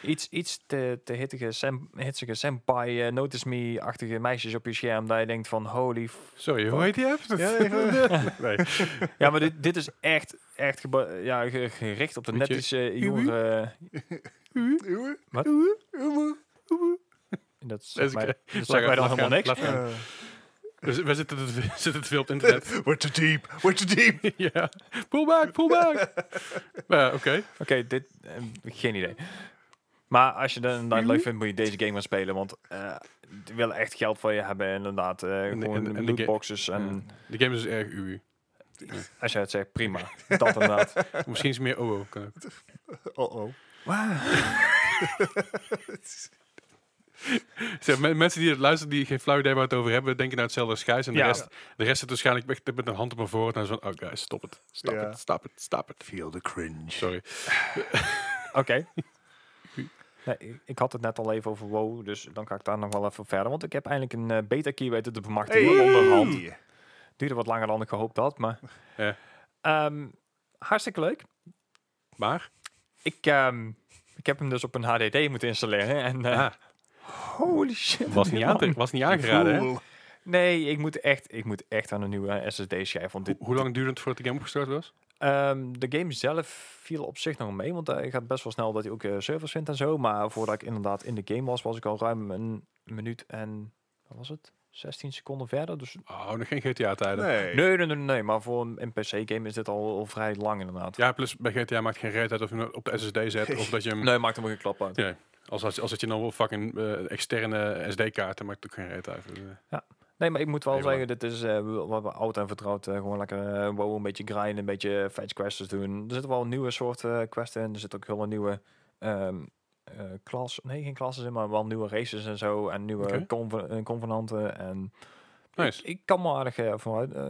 [SPEAKER 3] iets, iets te, te hittige, sem, hitsige senpai, eh, notice me-achtige meisjes op je scherm. Dat je denkt van, holy
[SPEAKER 1] Sorry, hoe heet die app?
[SPEAKER 2] Ja, even-
[SPEAKER 1] Nee.
[SPEAKER 3] Ja, maar dit, dit is echt, echt geba- ja, ge- gericht op de
[SPEAKER 1] Moet je-
[SPEAKER 3] nettische
[SPEAKER 1] Uwu?
[SPEAKER 3] jongeren. eh. Wat? Dat zegt
[SPEAKER 1] Deze
[SPEAKER 3] mij,
[SPEAKER 1] keer.
[SPEAKER 3] dat
[SPEAKER 1] Laat
[SPEAKER 3] zegt mij
[SPEAKER 1] gaan,
[SPEAKER 3] dan helemaal niks.
[SPEAKER 1] laat gaan.
[SPEAKER 2] Eh,
[SPEAKER 1] Dus we zitten te, we zitten te veel op het internet.
[SPEAKER 2] we're too deep, we're too deep.
[SPEAKER 1] ja. Pull back, pull back. Eh, Oké.
[SPEAKER 3] Oké, dit... eh, geen idee. Maar als je dat inderdaad leuk vindt, moet je deze game gaan spelen. Want eh die willen echt geld van je hebben, inderdaad. eh,
[SPEAKER 1] en de-
[SPEAKER 3] gewoon
[SPEAKER 1] en de
[SPEAKER 3] lootboxes. En,
[SPEAKER 1] De game is dus erg uw.
[SPEAKER 3] als jij het zegt, prima. Dat inderdaad.
[SPEAKER 1] Misschien is het meer OO. Kan ook. Oh,
[SPEAKER 2] Oh-oh.
[SPEAKER 1] Zeg, men- mensen die het luisteren, die geen flauw idee waar we het over hebben, denken nou hetzelfde als Gijs. En
[SPEAKER 3] Ja.
[SPEAKER 1] de, rest, de rest zit waarschijnlijk echt met een hand op mijn voorhoofd en zo van, oh guys, stop het. Stop
[SPEAKER 2] Ja.
[SPEAKER 1] het, stop het, stop het.
[SPEAKER 2] Feel the cringe.
[SPEAKER 1] Sorry.
[SPEAKER 3] Oké. Nee, ik- ik had het net al even over WoW, dus dan ga ik daar nog wel even verder. Want ik heb eindelijk een eh, beta key weten te bemachtigen
[SPEAKER 2] Hey!
[SPEAKER 3] onderhand. Duurde wat langer dan ik gehoopt had, maar...
[SPEAKER 1] Ja.
[SPEAKER 3] Ehm, hartstikke leuk.
[SPEAKER 1] Maar,
[SPEAKER 3] Ik, ehm, ik heb hem dus op een HDD moeten installeren. En, eh,
[SPEAKER 1] ah,
[SPEAKER 3] Holy shit.
[SPEAKER 1] was, niet aan, was niet aangeraden. Hè? Hoe,
[SPEAKER 2] Cool.
[SPEAKER 3] Nee, ik moet echt, ik moet echt aan een nieuwe SSD-schijf. Want dit,
[SPEAKER 1] hoe lang duurde het voordat de game opgestart was?
[SPEAKER 3] Ehm, de game zelf viel op zich nog mee, want hij gaat best wel snel dat hij ook eh, servers vindt en zo. Maar voordat ik inderdaad in de game was, was ik al ruim een minuut en, wat was het? 16 seconden verder. Dus
[SPEAKER 1] Oh, nog geen GTA-tijden.
[SPEAKER 2] Nee.
[SPEAKER 3] nee, nee, nee, nee. Maar voor een, PC-game is dit al, al vrij lang inderdaad.
[SPEAKER 1] Ja, plus bij GTA maakt geen reet uit of je hem op de SSD zet
[SPEAKER 2] Nee.
[SPEAKER 1] of dat je hem...
[SPEAKER 3] Nee, maakt hem ook een klap uit.
[SPEAKER 1] Als, als, als dat je dan wel fucking eh, externe SD-kaarten maakt ook geen reet uit. Dus, eh,
[SPEAKER 3] Nee, maar ik moet wel
[SPEAKER 1] Nee,
[SPEAKER 3] zeggen, dit is eh, wel- wat we oud en vertrouwd. eh, gewoon lekker eh, wow, een beetje grinden, een beetje fetch quests doen. Er zitten wel nieuwe soorten eh, quests in. Er zit ook heel een nieuwe ehm eh, klas, nee geen klassen in, maar wel nieuwe races en zo. En nieuwe
[SPEAKER 1] Oké.
[SPEAKER 3] conve- eh, convenanten. En
[SPEAKER 1] Nice.
[SPEAKER 3] ik, ik kan me aardig eh, vooruit. eh,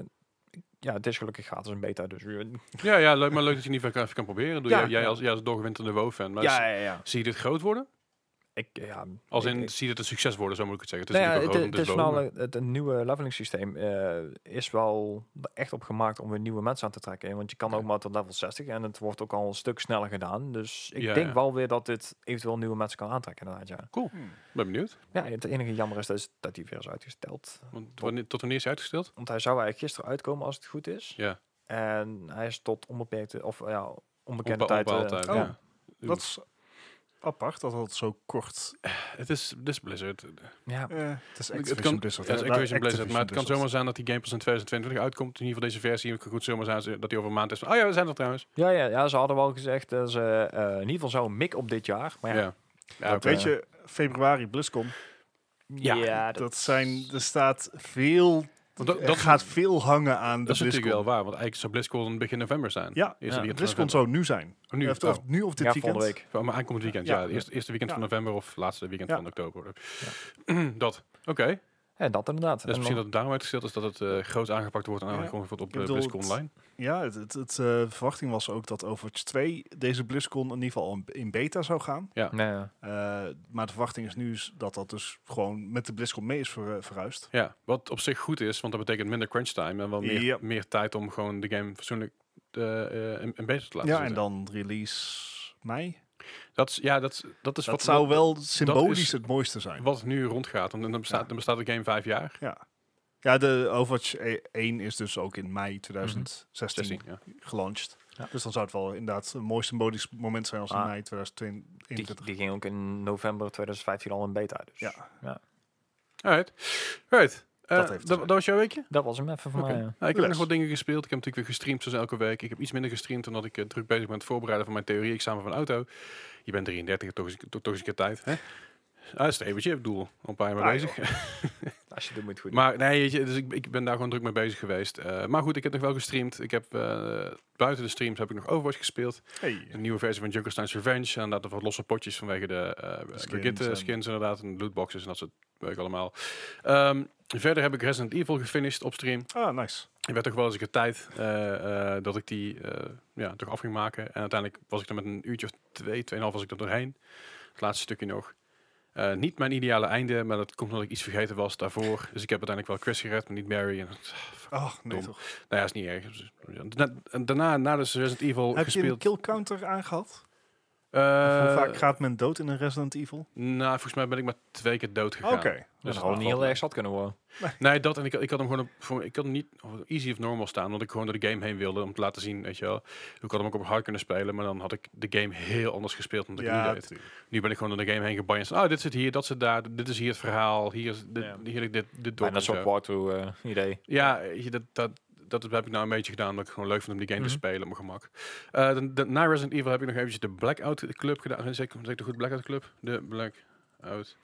[SPEAKER 3] ik- ja, het is gelukkig gratis een beta, dus... eh,
[SPEAKER 1] Ja, ja leuk, maar leuk dat je niet even kan proberen. Doe
[SPEAKER 3] Ja,
[SPEAKER 1] jij, jij
[SPEAKER 3] ja.
[SPEAKER 1] als, jij als doorgewinterde WoW-fan. Maar
[SPEAKER 3] ja, ja, ja.
[SPEAKER 1] s- zie je dit groot worden?
[SPEAKER 3] Ik, ja
[SPEAKER 1] Als
[SPEAKER 3] ik-
[SPEAKER 1] in,
[SPEAKER 3] ik-
[SPEAKER 1] zie je dit een succes worden, zo moet ik het zeggen. Het is
[SPEAKER 3] Nou ja,
[SPEAKER 1] niet
[SPEAKER 3] het,
[SPEAKER 1] groot,
[SPEAKER 3] het
[SPEAKER 1] het
[SPEAKER 3] is
[SPEAKER 1] is WoW,
[SPEAKER 3] wel
[SPEAKER 1] maar-
[SPEAKER 3] een- het, een nieuwe leveling systeem eh, is wel echt op gemaakt om weer nieuwe mensen aan te trekken. Want je kan ook
[SPEAKER 1] Oké.
[SPEAKER 3] maar tot level 60 en het wordt ook al een stuk sneller gedaan. Dus ik
[SPEAKER 1] Ja,
[SPEAKER 3] denk
[SPEAKER 1] ja.
[SPEAKER 3] wel weer dat dit eventueel nieuwe mensen kan aantrekken inderdaad, ja.
[SPEAKER 2] Hmm.
[SPEAKER 1] Ben benieuwd.
[SPEAKER 3] ja het enige jammer is dat, dat hij weer is uitgesteld.
[SPEAKER 1] Want wanneer, tot wanneer is hij uitgesteld?
[SPEAKER 3] Want hij zou eigenlijk gisteren uitkomen als het goed is.
[SPEAKER 1] Ja.
[SPEAKER 3] En hij is tot onbeperkte, of ja, onbekende
[SPEAKER 1] Onbe-
[SPEAKER 3] tijd. eh,
[SPEAKER 1] onbepaald tijd,
[SPEAKER 3] ja.
[SPEAKER 1] ja.
[SPEAKER 2] Dat is apart dat dat zo kort...
[SPEAKER 1] Het is, dit is Blizzard.
[SPEAKER 3] Ja.
[SPEAKER 2] eh, het is Activision
[SPEAKER 1] het kan,
[SPEAKER 2] Blizzard.
[SPEAKER 1] ja, het
[SPEAKER 2] hè?
[SPEAKER 1] is
[SPEAKER 2] Nou,
[SPEAKER 1] Activision Blizzard. Maar het kan
[SPEAKER 2] Blizzard.
[SPEAKER 1] zomaar zijn dat die game pas in 2022 uitkomt. In ieder geval deze versie. Het kan goed zomaar zijn dat die over een maand is. Van, oh ja, we zijn er trouwens.
[SPEAKER 3] Ja, ja, ja, ze hadden wel gezegd, dat ze, eh, in ieder geval zou een mik op dit jaar. Maar ja,
[SPEAKER 1] Ja. Ja,
[SPEAKER 3] Dat,
[SPEAKER 1] oké.
[SPEAKER 2] Weet je, februari BlizzCon,
[SPEAKER 3] ja, dat,
[SPEAKER 2] dat zijn, er staat veel,
[SPEAKER 1] Want dat-
[SPEAKER 2] er
[SPEAKER 1] dat-
[SPEAKER 2] gaat veel hangen aan de
[SPEAKER 1] Dat is natuurlijk
[SPEAKER 2] BlizzCon.
[SPEAKER 1] wel waar. Want eigenlijk zou BlizzCon begin november zijn.
[SPEAKER 2] Ja,
[SPEAKER 1] Eerste
[SPEAKER 3] ja,
[SPEAKER 1] weekend van
[SPEAKER 2] BlizzCon zou nu zijn.
[SPEAKER 1] november. Nu,
[SPEAKER 2] Of, of
[SPEAKER 1] oh.
[SPEAKER 2] nu of dit
[SPEAKER 3] ja,
[SPEAKER 2] weekend.
[SPEAKER 3] volgende week.
[SPEAKER 1] Van- Maar aankomend weekend,
[SPEAKER 2] Ja.
[SPEAKER 1] ja. Eerst, eerste weekend van
[SPEAKER 2] Ja.
[SPEAKER 1] november of laatste weekend
[SPEAKER 2] Ja.
[SPEAKER 1] van oktober. dat. Oké.
[SPEAKER 3] Ja, dat inderdaad.
[SPEAKER 1] Dus
[SPEAKER 3] En
[SPEAKER 1] misschien dat
[SPEAKER 3] nog-
[SPEAKER 1] het daarom uitgesteld is dat het eh, groot aangepakt wordt en
[SPEAKER 2] Ja.
[SPEAKER 1] aangekondigd wordt op eh,
[SPEAKER 2] Ik bedoel,
[SPEAKER 1] BlizzCon
[SPEAKER 2] het-
[SPEAKER 1] Online.
[SPEAKER 2] Ja, het, het, het, eh, de verwachting was ook dat Overwatch 2 deze BlizzCon in ieder geval al in- in beta zou gaan.
[SPEAKER 3] Nee, ja.
[SPEAKER 2] Eh, maar de verwachting is nu is dat dat dus gewoon met de BlizzCon mee is ver, verhuisd.
[SPEAKER 1] Ja, wat op zich goed is, want dat betekent minder crunch time en wel meer,
[SPEAKER 2] Ja.
[SPEAKER 1] meer tijd om gewoon de game fatsoenlijk eh, eh, in, in beta te laten
[SPEAKER 2] Ja, en
[SPEAKER 1] zitten.
[SPEAKER 2] dan release mei.
[SPEAKER 1] dat is, ja, dat, is- dat is
[SPEAKER 2] Dat
[SPEAKER 1] wat,
[SPEAKER 2] zou
[SPEAKER 1] wat,
[SPEAKER 2] wel symbolisch
[SPEAKER 1] is-
[SPEAKER 2] het mooiste zijn.
[SPEAKER 1] wat nu rondgaat. Want dan bestaat,
[SPEAKER 2] Ja.
[SPEAKER 1] dan bestaat de game vijf jaar.
[SPEAKER 2] Ja, de Overwatch e- 1 is dus ook in mei 2016
[SPEAKER 1] 16, Mhm. ja.
[SPEAKER 2] gelanceerd.
[SPEAKER 3] Ja.
[SPEAKER 2] Dus dan zou het wel inderdaad een mooi symbolisch moment zijn als in
[SPEAKER 3] Ah.
[SPEAKER 2] mei
[SPEAKER 3] Die,
[SPEAKER 2] 2021.
[SPEAKER 3] die ging ook in november 2015 al in beta. Dus
[SPEAKER 2] Ja,
[SPEAKER 1] Alright. Alright. Eh,
[SPEAKER 2] Dat heeft
[SPEAKER 1] dat,
[SPEAKER 2] te zijn.
[SPEAKER 1] dat was jouw weekje?
[SPEAKER 3] dat was hem even voor
[SPEAKER 1] Oké.
[SPEAKER 3] mij. ja.
[SPEAKER 1] Nou, ik heb
[SPEAKER 2] Les.
[SPEAKER 1] nog wat dingen gespeeld. Ik heb natuurlijk weer gestreamd zoals elke week. Ik heb iets minder gestreamd omdat ik eh, druk bezig ben met het voorbereiden van mijn theorie-examen van auto. Je bent 33, toch is toch- toch is een keer tijd. Hè? Ah, is het eventje. Ik bedoel, al een paar jaar mee
[SPEAKER 2] Ah,
[SPEAKER 1] bezig.
[SPEAKER 3] Als je dit moet goed.
[SPEAKER 1] Maar nee, weet je, dus ik, ik ben daar gewoon druk mee bezig geweest. Eh, maar goed, ik heb nog wel gestreamd. Ik heb eh, buiten de streams heb ik nog Overwatch gespeeld.
[SPEAKER 2] hey.
[SPEAKER 1] Een nieuwe versie van Junkerstein's Revenge. En dat er wat losse potjes vanwege de skins,
[SPEAKER 2] Skins
[SPEAKER 1] skins,
[SPEAKER 2] en-
[SPEAKER 1] skins inderdaad. En lootboxes en dat soort werk allemaal. Ehm, verder heb ik Resident Evil gefinished op stream.
[SPEAKER 2] Ah, nice.
[SPEAKER 1] Ik werd toch wel eens een keer tijd eh, eh, dat ik die eh, ja, toch af ging maken. En uiteindelijk was ik er met een uurtje of twee, tweeënhalf was ik er doorheen. Het laatste stukje nog. Eh, niet mijn ideale einde, maar dat komt omdat ik iets vergeten was daarvoor. Dus ik heb uiteindelijk wel Chris gered, maar niet Mary. En, dat-
[SPEAKER 2] Oh, nee
[SPEAKER 1] Dom.
[SPEAKER 2] toch.
[SPEAKER 1] nou ja, is niet erg. Dus- da- en daarna, na dus Resident Evil
[SPEAKER 2] Heb je een
[SPEAKER 1] gespeeld.
[SPEAKER 2] kill counter aangehad?
[SPEAKER 1] eh,
[SPEAKER 2] Hoe vaak gaat men dood in een Resident Evil?
[SPEAKER 1] Nou, volgens mij ben ik maar twee keer dood gegaan.
[SPEAKER 3] dat
[SPEAKER 1] Dus
[SPEAKER 3] had niet heel erg zat kunnen worden.
[SPEAKER 1] Nee, dat en ik, ik had hem gewoon op, voor, ik had hem niet op easy of normal staan, want ik gewoon door de game heen wilde om te laten zien, weet je wel. Ik had hem ook op hard kunnen spelen, maar dan had ik de game heel anders gespeeld dan dat ik nu
[SPEAKER 2] Ja,
[SPEAKER 1] deed.
[SPEAKER 2] tuurlijk.
[SPEAKER 1] Nu ben ik gewoon door de game heen gebanjerd. van, Oh, dit zit hier, dat zit daar, dit is hier het verhaal, hier is dit,
[SPEAKER 3] Ja.
[SPEAKER 1] hier dit, dit dorp
[SPEAKER 3] Bijna een
[SPEAKER 1] en zo.
[SPEAKER 3] soort walkthrough eh, idee.
[SPEAKER 1] Ja, weet je, dat, dat, dat heb ik nou een beetje gedaan, omdat ik gewoon leuk vond om die game
[SPEAKER 3] Mhm.
[SPEAKER 1] te spelen op mijn gemak. Eh, dan- dan- na Resident Evil heb ik nog eventjes de Blackout Club gedaan. Zeg ik zeg ik de goed Blackout Club? De Blackout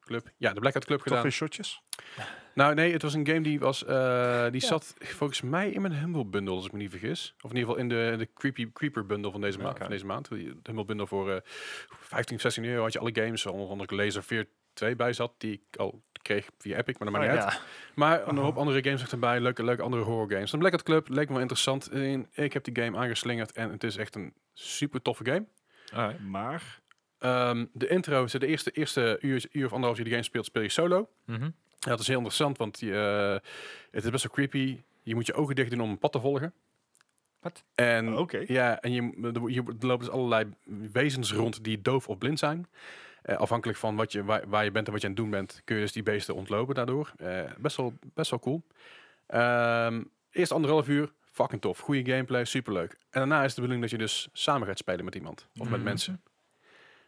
[SPEAKER 1] Club. Ja, de Blackout Club
[SPEAKER 2] Toch
[SPEAKER 1] gedaan.
[SPEAKER 2] weer shotjes?
[SPEAKER 1] Nou nee, het was een game die was, eh, die
[SPEAKER 3] Ja.
[SPEAKER 1] zat volgens mij in mijn Humble Bundle, als ik me niet vergis. Of in ieder geval in de, in de creepy, Creeper Bundle van deze, ma-
[SPEAKER 3] Oké.
[SPEAKER 1] van deze maand. De Humble Bundle voor eh 15 of 16 euro had je alle games, onder andere Laser 4 2 bij zat, die ik al kreeg via Epic,
[SPEAKER 3] Oh
[SPEAKER 1] maar dat maakt
[SPEAKER 2] Oh,
[SPEAKER 1] niet uit. Maar een hoop andere games erbij, leuke, leuke andere horror games. Dan Blackout Club leek me wel interessant. En ik heb die game aangeslingerd en het is echt een super toffe game.
[SPEAKER 3] Alright.
[SPEAKER 2] Maar
[SPEAKER 1] Ehm, de intro, de eerste, eerste uur, uur of anderhalf uur die game speelt, speel je solo.
[SPEAKER 3] Mhm.
[SPEAKER 1] Ja, dat is heel interessant, want je, eh, het is best wel creepy. Je moet je ogen dicht doen om een pad te volgen.
[SPEAKER 3] Wat?
[SPEAKER 1] En,
[SPEAKER 2] Oh, oké.
[SPEAKER 1] Mm. Ja, en je, er- je- er lopen dus allerlei wezens rond die doof of blind zijn. Eh, afhankelijk van wat je, waar, waar je bent en wat je aan het doen bent, kun je dus die beesten ontlopen daardoor. Eh, best, wel, best wel cool. Ehm, eerst anderhalf uur, fucking tof. Goede gameplay, superleuk. En daarna is de bedoeling dat je dus samen gaat spelen met iemand. Of met
[SPEAKER 3] Mhm.
[SPEAKER 1] mensen.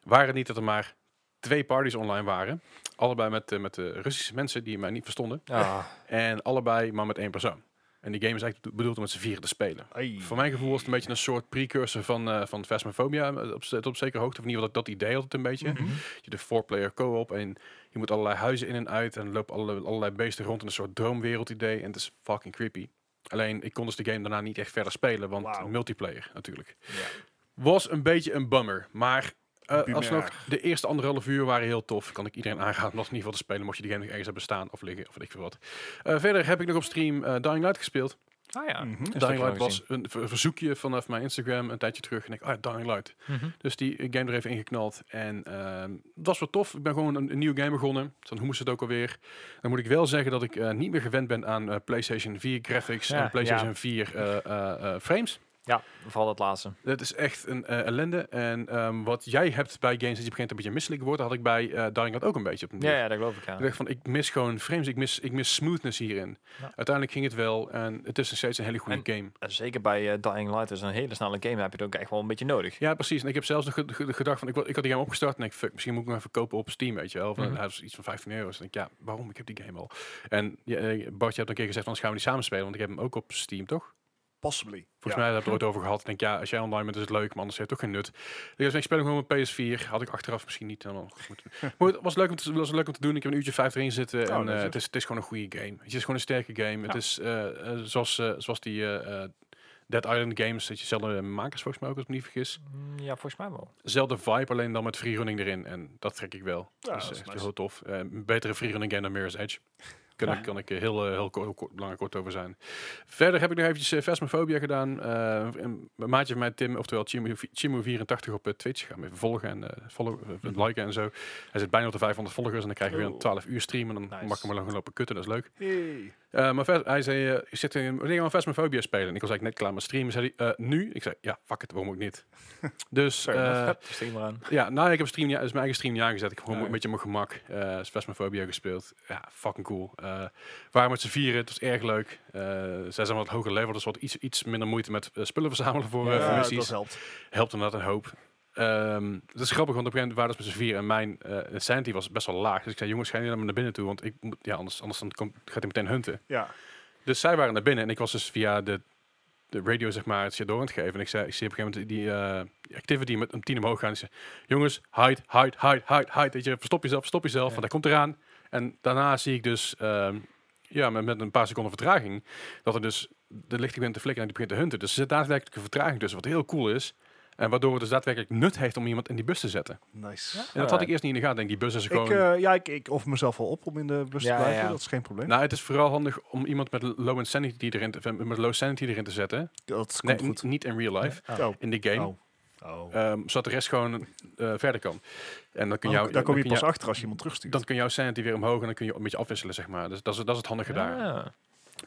[SPEAKER 1] Waren het niet dat er maar twee parties online waren. Allebei met, eh, met eh, Russische mensen die mij niet verstonden.
[SPEAKER 3] Ah,
[SPEAKER 1] En allebei maar met één persoon. En die game is eigenlijk bedoeld om met z'n vieren te spelen.
[SPEAKER 2] Ai.
[SPEAKER 1] Voor mijn gevoel was het een beetje een soort precursor van, eh van Phasmophobia eh, op, z- tot op zekere hoogte. Of in ieder geval dat, dat idee had het een beetje.
[SPEAKER 3] Mhm.
[SPEAKER 1] Je de four-player co-op en je moet allerlei huizen in en uit. En er lopen allerlei, allerlei beesten rond in een soort droomwereld idee. En het is fucking creepy. Alleen, ik kon dus de game daarna niet echt verder spelen, want
[SPEAKER 2] Wauw.
[SPEAKER 1] multiplayer natuurlijk.
[SPEAKER 2] Ja.
[SPEAKER 1] Was een beetje een bummer, maar eh
[SPEAKER 2] Bummer.
[SPEAKER 1] alsnog, de eerste anderhalf uur waren heel tof. Kan ik iedereen aanraden om dat in ieder geval te spelen, mocht je die game nog ergens hebben staan of liggen of weet ik veel wat. Eh, verder heb ik nog op stream eh, Dying Light gespeeld.
[SPEAKER 3] ah ja.
[SPEAKER 2] Mhm.
[SPEAKER 3] Een
[SPEAKER 1] Dying
[SPEAKER 3] stukje
[SPEAKER 1] Light
[SPEAKER 3] nog
[SPEAKER 1] was
[SPEAKER 3] gezien.
[SPEAKER 1] een ver- verzoekje vanaf mijn Instagram een tijdje terug. En ik, ah, Dying Light.
[SPEAKER 3] Mhm.
[SPEAKER 1] Dus die eh, game er even ingeknald. En ehm dat was wel tof. Ik ben gewoon een, een nieuwe game begonnen. Dus Dan hoe moest het ook alweer? Dan moet ik wel zeggen dat ik eh, niet meer gewend ben aan eh, PlayStation 4 graphics
[SPEAKER 3] Ja,
[SPEAKER 1] en PlayStation 4 eh, eh, eh, frames.
[SPEAKER 3] Ja, vooral dat laatste.
[SPEAKER 1] Dat is echt een eh, ellende. En ehm, wat jij hebt bij games, dat je op een gegeven moment een beetje misselijk wordt, had ik bij eh, Dying Light ook een beetje. Op een
[SPEAKER 3] Ja, ja, dat geloof ik, ja.
[SPEAKER 1] ik dacht van, ik mis gewoon frames, ik mis, ik mis smoothness hierin.
[SPEAKER 3] Ja.
[SPEAKER 1] Uiteindelijk ging het wel en het is nog steeds een hele goede game.
[SPEAKER 3] En Zeker bij eh, Dying Light is een hele snelle game. Daar heb je het ook echt wel een beetje nodig.
[SPEAKER 1] Ja, precies. En ik heb zelfs nog ge- ge- gedacht van, ik, wil- ik had die game opgestart en ik fuck, misschien moet ik hem even kopen op Steam, weet je wel. Van,
[SPEAKER 3] Mhm.
[SPEAKER 1] Hij was iets van 15 euro. Dus ik denk, ja, waarom? Ik heb die game al. En ja, eh, Bart, je hebt een keer gezegd, anders gaan we die samen spelen, want ik heb hem ook op Steam, toch?
[SPEAKER 2] Possibly.
[SPEAKER 1] Volgens
[SPEAKER 2] Ja.
[SPEAKER 1] mij hebben we het er ooit over gehad. Ik denk, ja, als jij online bent, is het leuk, maar anders heeft het toch geen nut. Dus ik speel hem gewoon op PS4. Had ik achteraf misschien niet helemaal goed moeten doen. Maar het was leuk om te, was leuk om te doen. Ik heb een uurtje vijf erin zitten.
[SPEAKER 2] Oh,
[SPEAKER 1] en, eh,
[SPEAKER 2] dat is het.
[SPEAKER 1] het, is, het is gewoon een goede game. Het is gewoon een sterke game. Het
[SPEAKER 3] Ja.
[SPEAKER 1] is eh, eh, zoals, eh, zoals die eh, eh, Dead Island games, dat je zelden makers volgens mij ook, als ik me niet vergis
[SPEAKER 3] Mm, Ja, volgens mij wel.
[SPEAKER 1] zelfde vibe, alleen dan met freerunning erin. En dat trek ik wel.
[SPEAKER 2] Ja,
[SPEAKER 1] dat is
[SPEAKER 2] dat is
[SPEAKER 1] echt
[SPEAKER 2] nice.
[SPEAKER 1] heel tof. Eh, een betere freerunning game dan Mirror's Edge. Kan, ik, kan ik eh, heel, eh, heel, kort, heel kort, lang en kort over zijn. Verder heb ik nog eventjes eh, Phasmophobia gedaan. Eh, een een maatje van mij, Tim, oftewel Chimu84 op eh, Twitch. Ga hem even volgen en eh, follow, eh, liken en zo. Hij zit bijna op de 500 volgers en dan krijg je weer een
[SPEAKER 2] Oh.
[SPEAKER 1] 12 uur stream. En dan
[SPEAKER 3] Nice.
[SPEAKER 1] mag ik hem gewoon lopen kutten, dat is leuk.
[SPEAKER 2] Hey.
[SPEAKER 1] Eh, maar Vers- hij zei, eh, je zit in wanneer gaan we Phasmophobia spelen? En ik was eigenlijk net klaar met streamen. Zei hij, eh, nu? Ik zei, ja, fuck het, waarom ook niet? Dus
[SPEAKER 3] Fair enough.
[SPEAKER 1] eh,
[SPEAKER 3] Hup, stream eraan.
[SPEAKER 1] ja, nou, ik heb stream, ja, is mijn eigen stream niet aangezet. Ik heb gewoon
[SPEAKER 3] Ja.
[SPEAKER 1] een beetje op mijn gemak. eh Spasmophobia gespeeld. Ja, fucking cool. Eh waren met z'n vieren, het was erg leuk. Eh, zij zijn wat hoger level, dus wat iets, iets minder moeite met eh, spullen verzamelen voor,
[SPEAKER 3] Ja,
[SPEAKER 1] eh, voor
[SPEAKER 2] Ja,
[SPEAKER 1] missies.
[SPEAKER 2] dat helpt.
[SPEAKER 1] Helpt inderdaad een hoop. Ehm, het is grappig, want op een gegeven moment waren we dus met z'n vieren en mijn eh insanity was best wel laag. Dus ik zei, jongens, ga jullie naar binnen toe, want ik moet, ja, anders, anders dan komt, gaat hij meteen hunten.
[SPEAKER 2] Ja.
[SPEAKER 1] Dus zij waren naar binnen en ik was dus via de, de radio zeg maar het shit door aan het geven. En ik zei, ik zie op een gegeven moment die eh, die activity met een tien omhoog gaan. Ik zei, jongens, hide, hide, hide, hide, hide. Weet je, verstop jezelf, verstop jezelf, want
[SPEAKER 3] Ja.
[SPEAKER 1] hij komt eraan. En daarna zie ik dus, ehm, ja, met, met een paar seconden vertraging, dat er dus de lichting begint te flikken en die begint te hunten. Dus er zit daadwerkelijk een vertraging tussen, wat heel cool is. En waardoor het dus daadwerkelijk nut heeft om iemand in die bus te zetten.
[SPEAKER 2] Nice.
[SPEAKER 1] En dat had ik eerst niet in de gaten. Ik Denk, die bus is gewoon...
[SPEAKER 2] Ik, eh, ja, ik, ik offer mezelf wel op om in de bus
[SPEAKER 3] Ja,
[SPEAKER 2] te blijven.
[SPEAKER 3] ja.
[SPEAKER 2] Dat is geen probleem.
[SPEAKER 1] nou, het is vooral handig om iemand met low insanity erin te, met low sanity erin te zetten.
[SPEAKER 2] dat
[SPEAKER 1] Nee, Eh,
[SPEAKER 2] komt goed.
[SPEAKER 1] niet in real life.
[SPEAKER 3] Ah.
[SPEAKER 2] Oh.
[SPEAKER 1] in de game.
[SPEAKER 2] Oh. Oh.
[SPEAKER 1] ehm, zodat de rest gewoon eh, verder kan. En dan kun
[SPEAKER 2] Oh,
[SPEAKER 1] jou,
[SPEAKER 2] daar kom je
[SPEAKER 1] dan kun
[SPEAKER 2] pas
[SPEAKER 1] jou-
[SPEAKER 2] achter als je iemand terugstuurt.
[SPEAKER 1] Dan kun jouw sanity weer omhoog en dan kun je een beetje afwisselen, zeg maar. Dus dat is, dat is het handige
[SPEAKER 2] Ah.
[SPEAKER 1] daar.
[SPEAKER 3] Ja.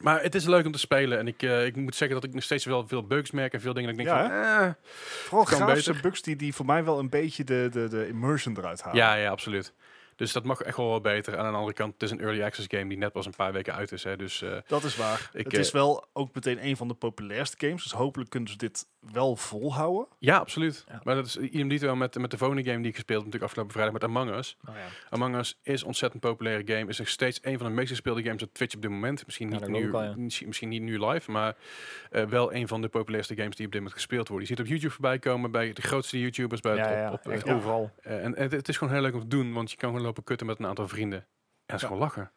[SPEAKER 1] Maar het is leuk om te spelen. En ik, eh, ik moet zeggen dat ik nog steeds wel veel bugs merk en veel dingen. Dat ik denk
[SPEAKER 2] Ja,
[SPEAKER 1] van, eh,
[SPEAKER 2] Vooral
[SPEAKER 1] kan
[SPEAKER 2] grafische
[SPEAKER 1] beter.
[SPEAKER 2] bugs die, die voor mij wel een beetje de, de, de immersion eruit halen.
[SPEAKER 1] ja, ja, absoluut. Dus dat mag echt wel wat beter. En aan de andere kant, het is een early access game die net pas een paar weken uit is. Hè. Dus eh,
[SPEAKER 2] Dat is waar.
[SPEAKER 1] Ik,
[SPEAKER 2] het
[SPEAKER 1] eh,
[SPEAKER 2] is wel ook meteen een van de populairste games. Dus hopelijk kunnen ze dit wel volhouden.
[SPEAKER 1] ja, absoluut.
[SPEAKER 3] Ja.
[SPEAKER 1] Maar dat is idem niet wel met, met de volgende game die ik gespeeld heb, natuurlijk afgelopen vrijdag met Among Us.
[SPEAKER 3] Oh, ja.
[SPEAKER 1] Among Us is een ontzettend populaire game. Is nog steeds een van de meest gespeelde games op Twitch op dit moment. Misschien
[SPEAKER 3] Ja,
[SPEAKER 1] niet,
[SPEAKER 3] dat
[SPEAKER 1] nu,
[SPEAKER 3] geloof ik al, ja.
[SPEAKER 1] misschien, misschien niet nu live, maar eh, wel een van de populairste games die op dit moment gespeeld worden. Je ziet op YouTube voorbij komen bij de grootste YouTubers. Bij
[SPEAKER 3] Ja,
[SPEAKER 1] het, op,
[SPEAKER 3] ja,
[SPEAKER 1] op,
[SPEAKER 3] echt
[SPEAKER 1] eh,
[SPEAKER 3] overal.
[SPEAKER 1] eh, en het, het is gewoon heel leuk om te doen, want je kan gewoon lopen kutten met een aantal vrienden. En het is
[SPEAKER 2] Ja.
[SPEAKER 1] gewoon lachen.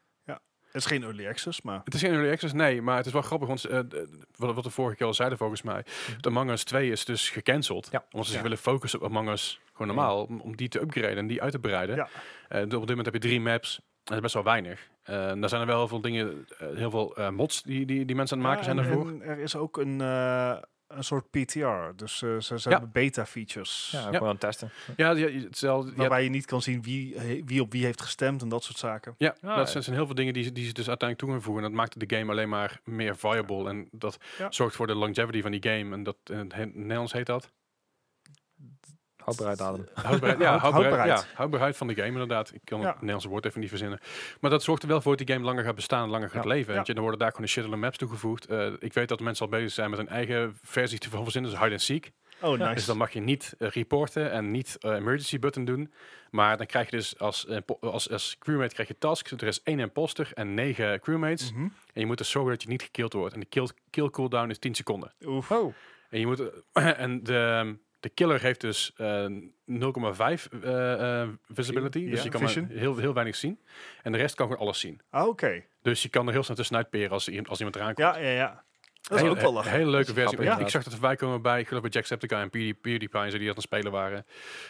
[SPEAKER 2] Het is geen early access, maar
[SPEAKER 1] Het is geen early access, nee, maar het is wel grappig, want eh, d- wat, wat we vorige keer al zeiden volgens mij, de Among Us 2 is dus gecanceld,
[SPEAKER 3] Mhm. Ja.
[SPEAKER 1] omdat ze
[SPEAKER 2] Ja.
[SPEAKER 1] zich willen focussen op Among Us, gewoon normaal, om, om die te upgraden en die uit te breiden.
[SPEAKER 2] Ja.
[SPEAKER 1] Eh, op dit moment heb je drie maps, dat is best wel weinig. Eh, en daar zijn er wel heel veel dingen, eh, heel veel eh, mods die, die, die mensen aan het maken
[SPEAKER 2] Ah, Ja,
[SPEAKER 1] zijn
[SPEAKER 2] en-
[SPEAKER 1] daarvoor.
[SPEAKER 2] en er is ook een, eh, een soort PTR. Dus eh, ze,
[SPEAKER 1] Ja.
[SPEAKER 2] ze hebben beta-features.
[SPEAKER 3] Ja, gewoon aan het testen.
[SPEAKER 1] Ja, ja, hetzelfde. ja,
[SPEAKER 2] Waarbij je niet kan zien wie, he- wie op wie heeft gestemd en dat soort zaken.
[SPEAKER 1] Ja,
[SPEAKER 3] Ah,
[SPEAKER 1] dat
[SPEAKER 3] ja.
[SPEAKER 1] zijn, zijn heel veel dingen die, ze- die ze dus uiteindelijk toe gaan voegen. En dat maakt de game alleen maar meer viable. En dat
[SPEAKER 2] Ja.
[SPEAKER 1] zorgt voor de longevity van die game. En dat in het he- Nederlands heet dat.
[SPEAKER 3] Houdbaarheid adem.
[SPEAKER 1] Houdbaarheid. Ja,
[SPEAKER 2] Houd-
[SPEAKER 1] houdbaarheid, ja,
[SPEAKER 2] houdbaarheid.
[SPEAKER 1] houdbaarheid van de game inderdaad. Ik kan
[SPEAKER 2] Ja.
[SPEAKER 1] het Nederlandse woord even niet verzinnen. Maar dat zorgt er wel voor dat die game langer gaat bestaan, langer gaat
[SPEAKER 3] Ja.
[SPEAKER 1] leven.
[SPEAKER 2] Ja.
[SPEAKER 1] Weet je, en er worden daar gewoon een shitload maps toegevoegd. Eh, ik weet dat mensen al bezig zijn met hun eigen versie te verzinnen. Dus hide and seek.
[SPEAKER 2] Oh, nice.
[SPEAKER 1] Dus dan mag je niet eh, reporten en niet eh, emergency button doen. Maar dan krijg je dus als, eh, po- als, als crewmate krijg je tasks. Er is één imposter en negen crewmates.
[SPEAKER 2] Mhm.
[SPEAKER 1] En je moet er zorgen dat je niet gekild wordt. En de kill, kill cooldown is 10 seconden.
[SPEAKER 2] Oef.
[SPEAKER 3] Oh,
[SPEAKER 1] En, je moet, eh, en de, de killer heeft dus eh, 0,5 eh, eh, visibility.
[SPEAKER 2] Ja,
[SPEAKER 1] Dus je kan maar
[SPEAKER 2] vision.
[SPEAKER 1] heel, heel weinig zien. En de rest kan gewoon alles zien.
[SPEAKER 2] Ah, Oké.
[SPEAKER 1] Dus je kan er heel snel tussenuit peren als, i- als iemand eraan komt.
[SPEAKER 2] Ja, ja, ja. Dat is
[SPEAKER 1] Hele-
[SPEAKER 2] ook wel
[SPEAKER 1] he-
[SPEAKER 2] lachen.
[SPEAKER 1] hele leuke versie. Ja,
[SPEAKER 3] grappig,
[SPEAKER 1] ik
[SPEAKER 3] inderdaad.
[SPEAKER 1] zag dat voorbij komen bij, ik geloof bij Jacksepticeye en Pewdie- PewDiePie en zo, die dat aan het spelen waren.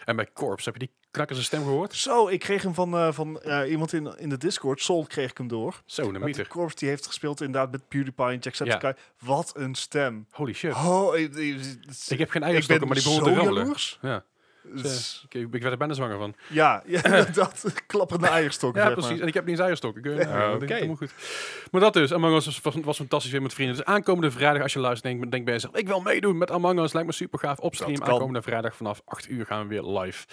[SPEAKER 1] En bij Corps, heb je die knakkers stem gehoord?
[SPEAKER 2] Zo, ik kreeg hem van, eh, van eh, iemand in, in de Discord. Sol kreeg ik hem door.
[SPEAKER 1] Zo, een
[SPEAKER 2] Want de
[SPEAKER 1] meter.
[SPEAKER 2] Corps die heeft gespeeld inderdaad met PewDiePie en Jacksepticeye. Wat een stem.
[SPEAKER 1] Holy shit.
[SPEAKER 2] Oh, ik, ik-
[SPEAKER 1] Ik heb geen
[SPEAKER 2] ik
[SPEAKER 1] eierstokken,
[SPEAKER 2] ben
[SPEAKER 1] maar die
[SPEAKER 2] zo
[SPEAKER 1] begonnen te rammelen.
[SPEAKER 2] jaloers.
[SPEAKER 1] Ja,
[SPEAKER 2] Dus-
[SPEAKER 1] ik, ik werd er bijna zwanger van.
[SPEAKER 2] Ja, ja dat klapperende eierstokken.
[SPEAKER 1] Ja,
[SPEAKER 2] zeg
[SPEAKER 1] precies.
[SPEAKER 2] Maar.
[SPEAKER 1] En ik heb niet eens eierstok. Ik, eh,
[SPEAKER 2] Ja,
[SPEAKER 1] nou, dat
[SPEAKER 3] oké.
[SPEAKER 1] is helemaal goed. Maar dat dus. Among Us was, was, was fantastisch weer met vrienden. Dus aankomende vrijdag, als je luistert, denk, denk bij jezelf... Ik wil meedoen met Among Us. Lijkt me super gaaf. Op stream
[SPEAKER 2] kan.
[SPEAKER 1] aankomende vrijdag vanaf 8 uur gaan we weer live.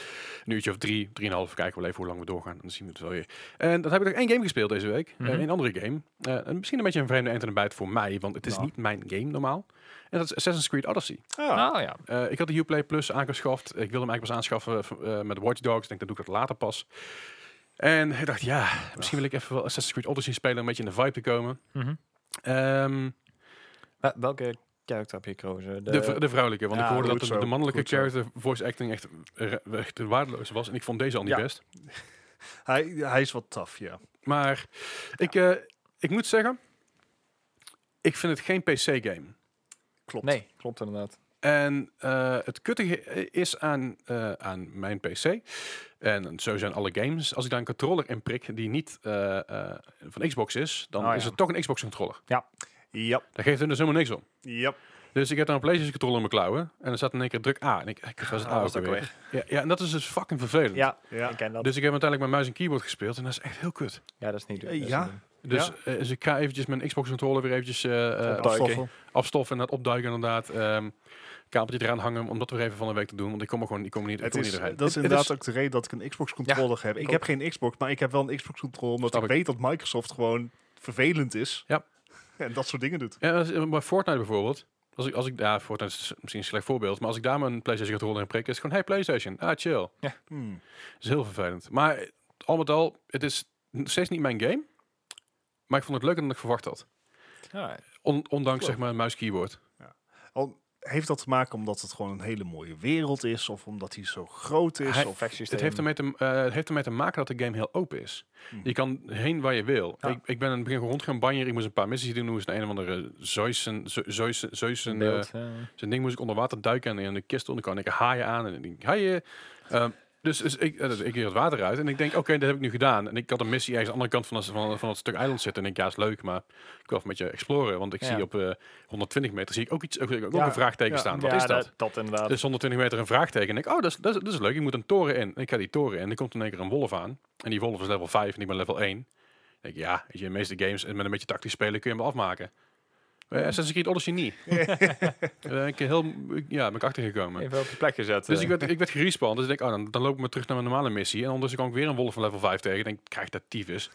[SPEAKER 1] Een uurtje of drie, drieënhalf. Kijken we wel even hoe lang we doorgaan. Dan zien we het wel weer. En dat heb ik nog één game gespeeld deze week. Eh,
[SPEAKER 3] Mhm.
[SPEAKER 1] een andere game. Eh, en misschien een beetje een vreemde eind en een buit voor mij. Want het is
[SPEAKER 3] Nou.
[SPEAKER 1] niet mijn game normaal. En dat is Assassin's Creed Odyssey.
[SPEAKER 2] Ah,
[SPEAKER 3] ah ja.
[SPEAKER 1] Eh, ik had de Uplay Plus aangeschaft. Ik wilde hem eigenlijk pas aanschaffen eh, met Watch Dogs. Ik denk, dat doe ik dat later pas. En ik dacht, ja, misschien wil ik even wel Assassin's Creed Odyssey spelen... om een beetje in de vibe te komen.
[SPEAKER 3] Mhm.
[SPEAKER 1] Ehm,
[SPEAKER 3] Wel- welke character heb je gekozen?
[SPEAKER 1] de, v- de vrouwelijke, want
[SPEAKER 2] Ja,
[SPEAKER 1] ik hoorde
[SPEAKER 2] goed
[SPEAKER 1] dat de,
[SPEAKER 2] zo,
[SPEAKER 1] de mannelijke
[SPEAKER 2] goed zo.
[SPEAKER 1] character voice acting echt, re- echt waardeloos was. En ik vond deze al niet
[SPEAKER 3] Ja.
[SPEAKER 1] best.
[SPEAKER 2] hij, hij is wat taf, ja.
[SPEAKER 1] Maar ik, eh, ik moet zeggen, ik vind het geen PC-game.
[SPEAKER 2] Klopt.
[SPEAKER 3] nee, klopt inderdaad.
[SPEAKER 1] En eh, het kuttige is aan, eh, aan mijn PC. En zo zijn alle games. Als ik daar een controller in prik die niet eh, eh, van Xbox is, dan
[SPEAKER 3] Oh ja.
[SPEAKER 1] is het toch een Xbox controller.
[SPEAKER 2] Ja,
[SPEAKER 1] Daar geeft het dus helemaal niks om.
[SPEAKER 2] ja.
[SPEAKER 1] Dus ik heb dan een PlayStation controller in mijn klauwen. En er zat in één keer druk A. En ik, ik was het
[SPEAKER 3] Ah,
[SPEAKER 1] A
[SPEAKER 3] was
[SPEAKER 1] ook
[SPEAKER 3] het ook
[SPEAKER 1] weer. Ja, ja, en dat is dus fucking vervelend.
[SPEAKER 3] Ja,
[SPEAKER 2] Ja.
[SPEAKER 3] ik ken dat.
[SPEAKER 1] Dus ik heb uiteindelijk met muis en keyboard gespeeld. En dat is echt heel kut.
[SPEAKER 3] ja, dat is niet doen.
[SPEAKER 2] Eh,
[SPEAKER 3] dat is
[SPEAKER 2] ja.
[SPEAKER 3] niet doen.
[SPEAKER 1] Dus,
[SPEAKER 2] Ja.
[SPEAKER 1] eh, dus ik ga eventjes mijn Xbox controller weer eventjes eh, eh,
[SPEAKER 3] Opduiken.
[SPEAKER 2] Afstoffel.
[SPEAKER 1] afstoffen en dat opduiken inderdaad. Ehm kabeltje eraan hangen om dat weer even van de week te doen. Want ik kom er gewoon ik kom er niet, ik
[SPEAKER 2] Het
[SPEAKER 1] kom er
[SPEAKER 2] is,
[SPEAKER 1] niet doorheen.
[SPEAKER 2] dat is
[SPEAKER 1] Het- het
[SPEAKER 2] inderdaad ook de reden dat ik een Xbox-controller heb. Ik
[SPEAKER 1] ook.
[SPEAKER 2] heb geen Xbox, maar ik heb wel een Xbox-controller... omdat
[SPEAKER 1] Snap
[SPEAKER 2] ik
[SPEAKER 1] ik.
[SPEAKER 2] weet dat Microsoft gewoon vervelend is.
[SPEAKER 1] Ja.
[SPEAKER 2] En dat soort dingen doet.
[SPEAKER 1] Ja, als- eh, bij Fortnite bijvoorbeeld. Als ik, als ik, ja, Fortnite is dus misschien een slecht voorbeeld. Maar als ik daar mijn PlayStation controller in prik, is het gewoon, hey PlayStation, ah chill.
[SPEAKER 2] Hmm.
[SPEAKER 1] is heel vervelend. Maar eh, al met al, het is nog steeds niet mijn game. Maar ik vond het leuker dan ik verwacht had.
[SPEAKER 3] Ja,
[SPEAKER 1] On- ondanks
[SPEAKER 2] Klopt.
[SPEAKER 1] zeg maar een muis-keyboard.
[SPEAKER 2] Al heeft dat te maken omdat het gewoon een hele mooie wereld is... of omdat hij zo groot is?
[SPEAKER 1] Hij-
[SPEAKER 2] of,
[SPEAKER 1] Het heeft,
[SPEAKER 3] Ehm.
[SPEAKER 1] ermee te, eh, het heeft ermee te maken dat de game heel open is.
[SPEAKER 2] Hmm.
[SPEAKER 1] Je kan heen waar je wil.
[SPEAKER 3] Ja.
[SPEAKER 1] Ik, ik ben in het begin gewoon rond gaan banjeren. Ik moest een paar missies doen. Hoe is een een of andere Zeus en Zeus Zeus en eh, Zijn ding moest ik onder water duiken en in de kist onder kan ik haaien aan en ik denk haaien. Ehm, dus, dus ik, eh, dus ik weer het water uit en ik denk, oké, dat heb ik nu gedaan. En ik had een missie ergens aan de andere kant van, dat- van, van dat stuk eiland zitten. En ik denk, ja, is leuk, maar ik wil even met je exploren. Want ik
[SPEAKER 3] Ja.
[SPEAKER 1] zie op eh, 120 meter zie ik ook, iets, ook, ook
[SPEAKER 3] Ja.
[SPEAKER 1] een vraagteken
[SPEAKER 2] Ja.
[SPEAKER 1] staan. Wat is dat?
[SPEAKER 3] Dat inderdaad.
[SPEAKER 1] Dus 120 meter een vraagteken. En ik, oh, dat is, dat, is, dat is leuk. Ik moet een toren in. En ik ga die toren in. Er komt in één keer een wolf aan. En die wolf is level 5 en ik ben level 1. Dan denk ik, ja, weet je, in de meeste games en met een beetje tactisch spelen kun je hem wel afmaken. Maar ja, Assassin's Creed Odyssey niet. Daar ben ik heel ja, ben ik achtergekomen.
[SPEAKER 3] Even op je plek gezet.
[SPEAKER 1] Dus
[SPEAKER 3] eh.
[SPEAKER 1] ik werd, ik werd gerespawnd. Dus ik denk, oh, dan, dan loop ik maar terug naar mijn normale missie. En ondertussen kwam ik weer een wolf van level 5 tegen. Ik denk, krijg dat tyfus.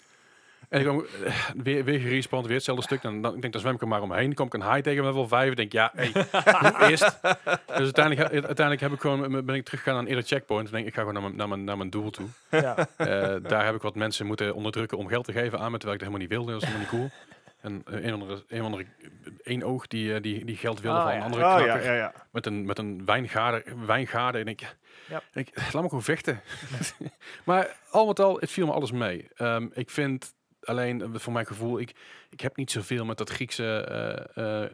[SPEAKER 1] En ik kwam eh, weer, weer gerespawnd, weer hetzelfde stuk. Dan, dan, ik denk, dan zwem ik er maar omheen. Dan kom ik een high tegen level 5. Ik denk, ja, hey, hoe is het? Dus uiteindelijk, heb- uiteindelijk heb ik gewoon, ben ik teruggegaan aan eerder checkpoint. Ik denk, ik ga gewoon naar mijn, naar mijn, naar mijn doel toe.
[SPEAKER 3] ja.
[SPEAKER 1] Eh, daar heb ik wat mensen moeten onderdrukken om geld te geven aan me, terwijl ik dat helemaal niet wilde. Dat is helemaal niet cool. En eh, een of andere, een of andere, één oog die, eh, die, die geld wilde
[SPEAKER 3] Ah,
[SPEAKER 1] van
[SPEAKER 3] ja.
[SPEAKER 1] een andere
[SPEAKER 2] Oh, ja,
[SPEAKER 1] knakker
[SPEAKER 2] ja, ja.
[SPEAKER 1] met een, met een wijngaarder, wijngaarder. En ik,
[SPEAKER 3] Ja.
[SPEAKER 1] en ik, laat me gewoon vechten. maar al met al, het viel me alles mee. Ehm, ik vind alleen, eh, voor mijn gevoel, ik, ik heb niet zoveel met dat Griekse eh, eh,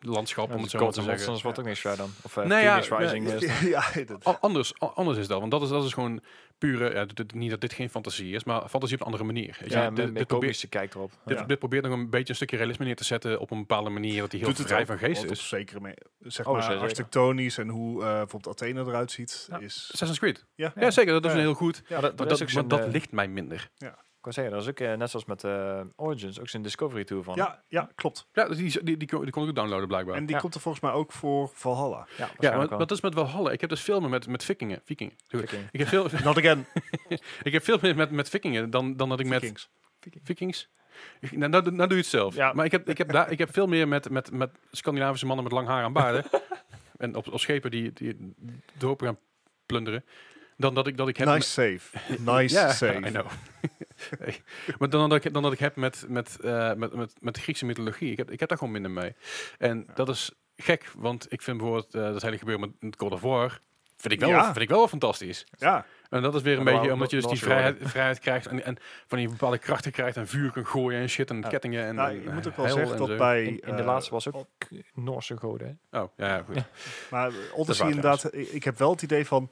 [SPEAKER 1] landschap, om
[SPEAKER 3] dat
[SPEAKER 1] het
[SPEAKER 3] is
[SPEAKER 1] zo maar te
[SPEAKER 3] Gotham,
[SPEAKER 1] zeggen.
[SPEAKER 3] anders wordt ook niks verder dan. Of eh,
[SPEAKER 1] Nee, ja,
[SPEAKER 3] Phoenix Rising.
[SPEAKER 1] nee.
[SPEAKER 3] is dan-
[SPEAKER 2] ja, dat-
[SPEAKER 1] A- anders, a- anders is dat, want dat is, dat is gewoon pure, ja, dit- niet dat dit geen fantasie is, maar fantasie op een andere manier. weet je.
[SPEAKER 3] ja,
[SPEAKER 1] Dit-
[SPEAKER 3] met,
[SPEAKER 1] dit
[SPEAKER 3] met
[SPEAKER 1] probeert-
[SPEAKER 3] komische kijk erop.
[SPEAKER 1] Dit,
[SPEAKER 2] Ja.
[SPEAKER 1] dit probeert nog een beetje een stukje realisme neer te zetten op een bepaalde manier dat die heel
[SPEAKER 2] Doet het
[SPEAKER 1] vrij
[SPEAKER 2] ook,
[SPEAKER 1] van geest
[SPEAKER 2] want op
[SPEAKER 1] is.
[SPEAKER 2] zekere me- zeg
[SPEAKER 3] Oh,
[SPEAKER 2] maar
[SPEAKER 3] zeker.
[SPEAKER 2] architectonisch en hoe eh, bijvoorbeeld Athene eruit ziet.
[SPEAKER 3] Ja.
[SPEAKER 2] Is,
[SPEAKER 1] Assassin's Creed.
[SPEAKER 2] ja.
[SPEAKER 1] Ja, zeker, dat is
[SPEAKER 2] Ja.
[SPEAKER 1] een heel goed.
[SPEAKER 3] Ja,
[SPEAKER 1] Maar
[SPEAKER 3] dat, dat
[SPEAKER 1] dat,
[SPEAKER 3] is ook
[SPEAKER 1] maar
[SPEAKER 3] zo'n,
[SPEAKER 1] dat
[SPEAKER 3] eh,
[SPEAKER 1] ligt mij minder.
[SPEAKER 3] Ik wou zeggen, dat is ook eh, net zoals met eh, Origins, ook zijn Discovery Tour van.
[SPEAKER 2] Ja, ja, klopt.
[SPEAKER 1] Ja, dus die, die, die, kon- die kon ik ook downloaden blijkbaar.
[SPEAKER 2] En die
[SPEAKER 3] Ja.
[SPEAKER 2] komt er volgens mij ook voor Valhalla.
[SPEAKER 3] ja,
[SPEAKER 1] ja,
[SPEAKER 3] waarschijnlijk
[SPEAKER 1] maar
[SPEAKER 3] wel.
[SPEAKER 1] dat is met Valhalla. Ik heb dus filmen met, met vikingen. vikingen. Goed.
[SPEAKER 3] Viking.
[SPEAKER 1] Ik heb veel,
[SPEAKER 2] Not again.
[SPEAKER 1] ik heb veel meer met, met vikingen dan, dan dat ik met
[SPEAKER 2] Vikings.
[SPEAKER 1] vikings... Ik- Nou, nou, doe- nou doe je het zelf.
[SPEAKER 3] Ja.
[SPEAKER 1] Maar ik heb, ik, heb daar, ik heb veel meer met, met, met Scandinavische mannen met lang haar aan baarden. en op, op schepen die, die dorpen gaan plunderen. Dan dat ik, dat ik heb
[SPEAKER 2] Nice save. Nice
[SPEAKER 1] Ja,
[SPEAKER 2] save.
[SPEAKER 1] I know. Hey. Maar dan dat, ik, dan dat ik heb met, met, eh, met, met, met de Griekse mythologie. Ik heb, ik heb daar gewoon minder mee. En
[SPEAKER 2] Ja.
[SPEAKER 1] dat is gek, want ik vind bijvoorbeeld eh, dat hele gebeuren met, met God of War... Vind ik, wel,
[SPEAKER 2] Ja.
[SPEAKER 1] vind ik wel wel fantastisch.
[SPEAKER 2] Ja,
[SPEAKER 1] En dat is weer een
[SPEAKER 3] Maar
[SPEAKER 1] beetje
[SPEAKER 3] waarom-
[SPEAKER 1] omdat je dus
[SPEAKER 3] dat
[SPEAKER 1] die
[SPEAKER 3] was je wel.
[SPEAKER 1] vrijheid, vrijheid krijgt en, en van die bepaalde krachten krijgt en vuur kan gooien en shit en
[SPEAKER 3] Ja.
[SPEAKER 1] kettingen en
[SPEAKER 2] nou,
[SPEAKER 1] en
[SPEAKER 2] je moet ook wel
[SPEAKER 1] hel
[SPEAKER 2] zeggen
[SPEAKER 1] en
[SPEAKER 2] dat
[SPEAKER 1] zo.
[SPEAKER 2] bij...
[SPEAKER 3] In, in de
[SPEAKER 2] eh,
[SPEAKER 3] laatste was ook Noorse goden. hè?
[SPEAKER 1] Oh, ja, ja, goed.
[SPEAKER 2] Maar Odyssey
[SPEAKER 1] waar
[SPEAKER 2] inderdaad, ik, ik heb wel het idee van...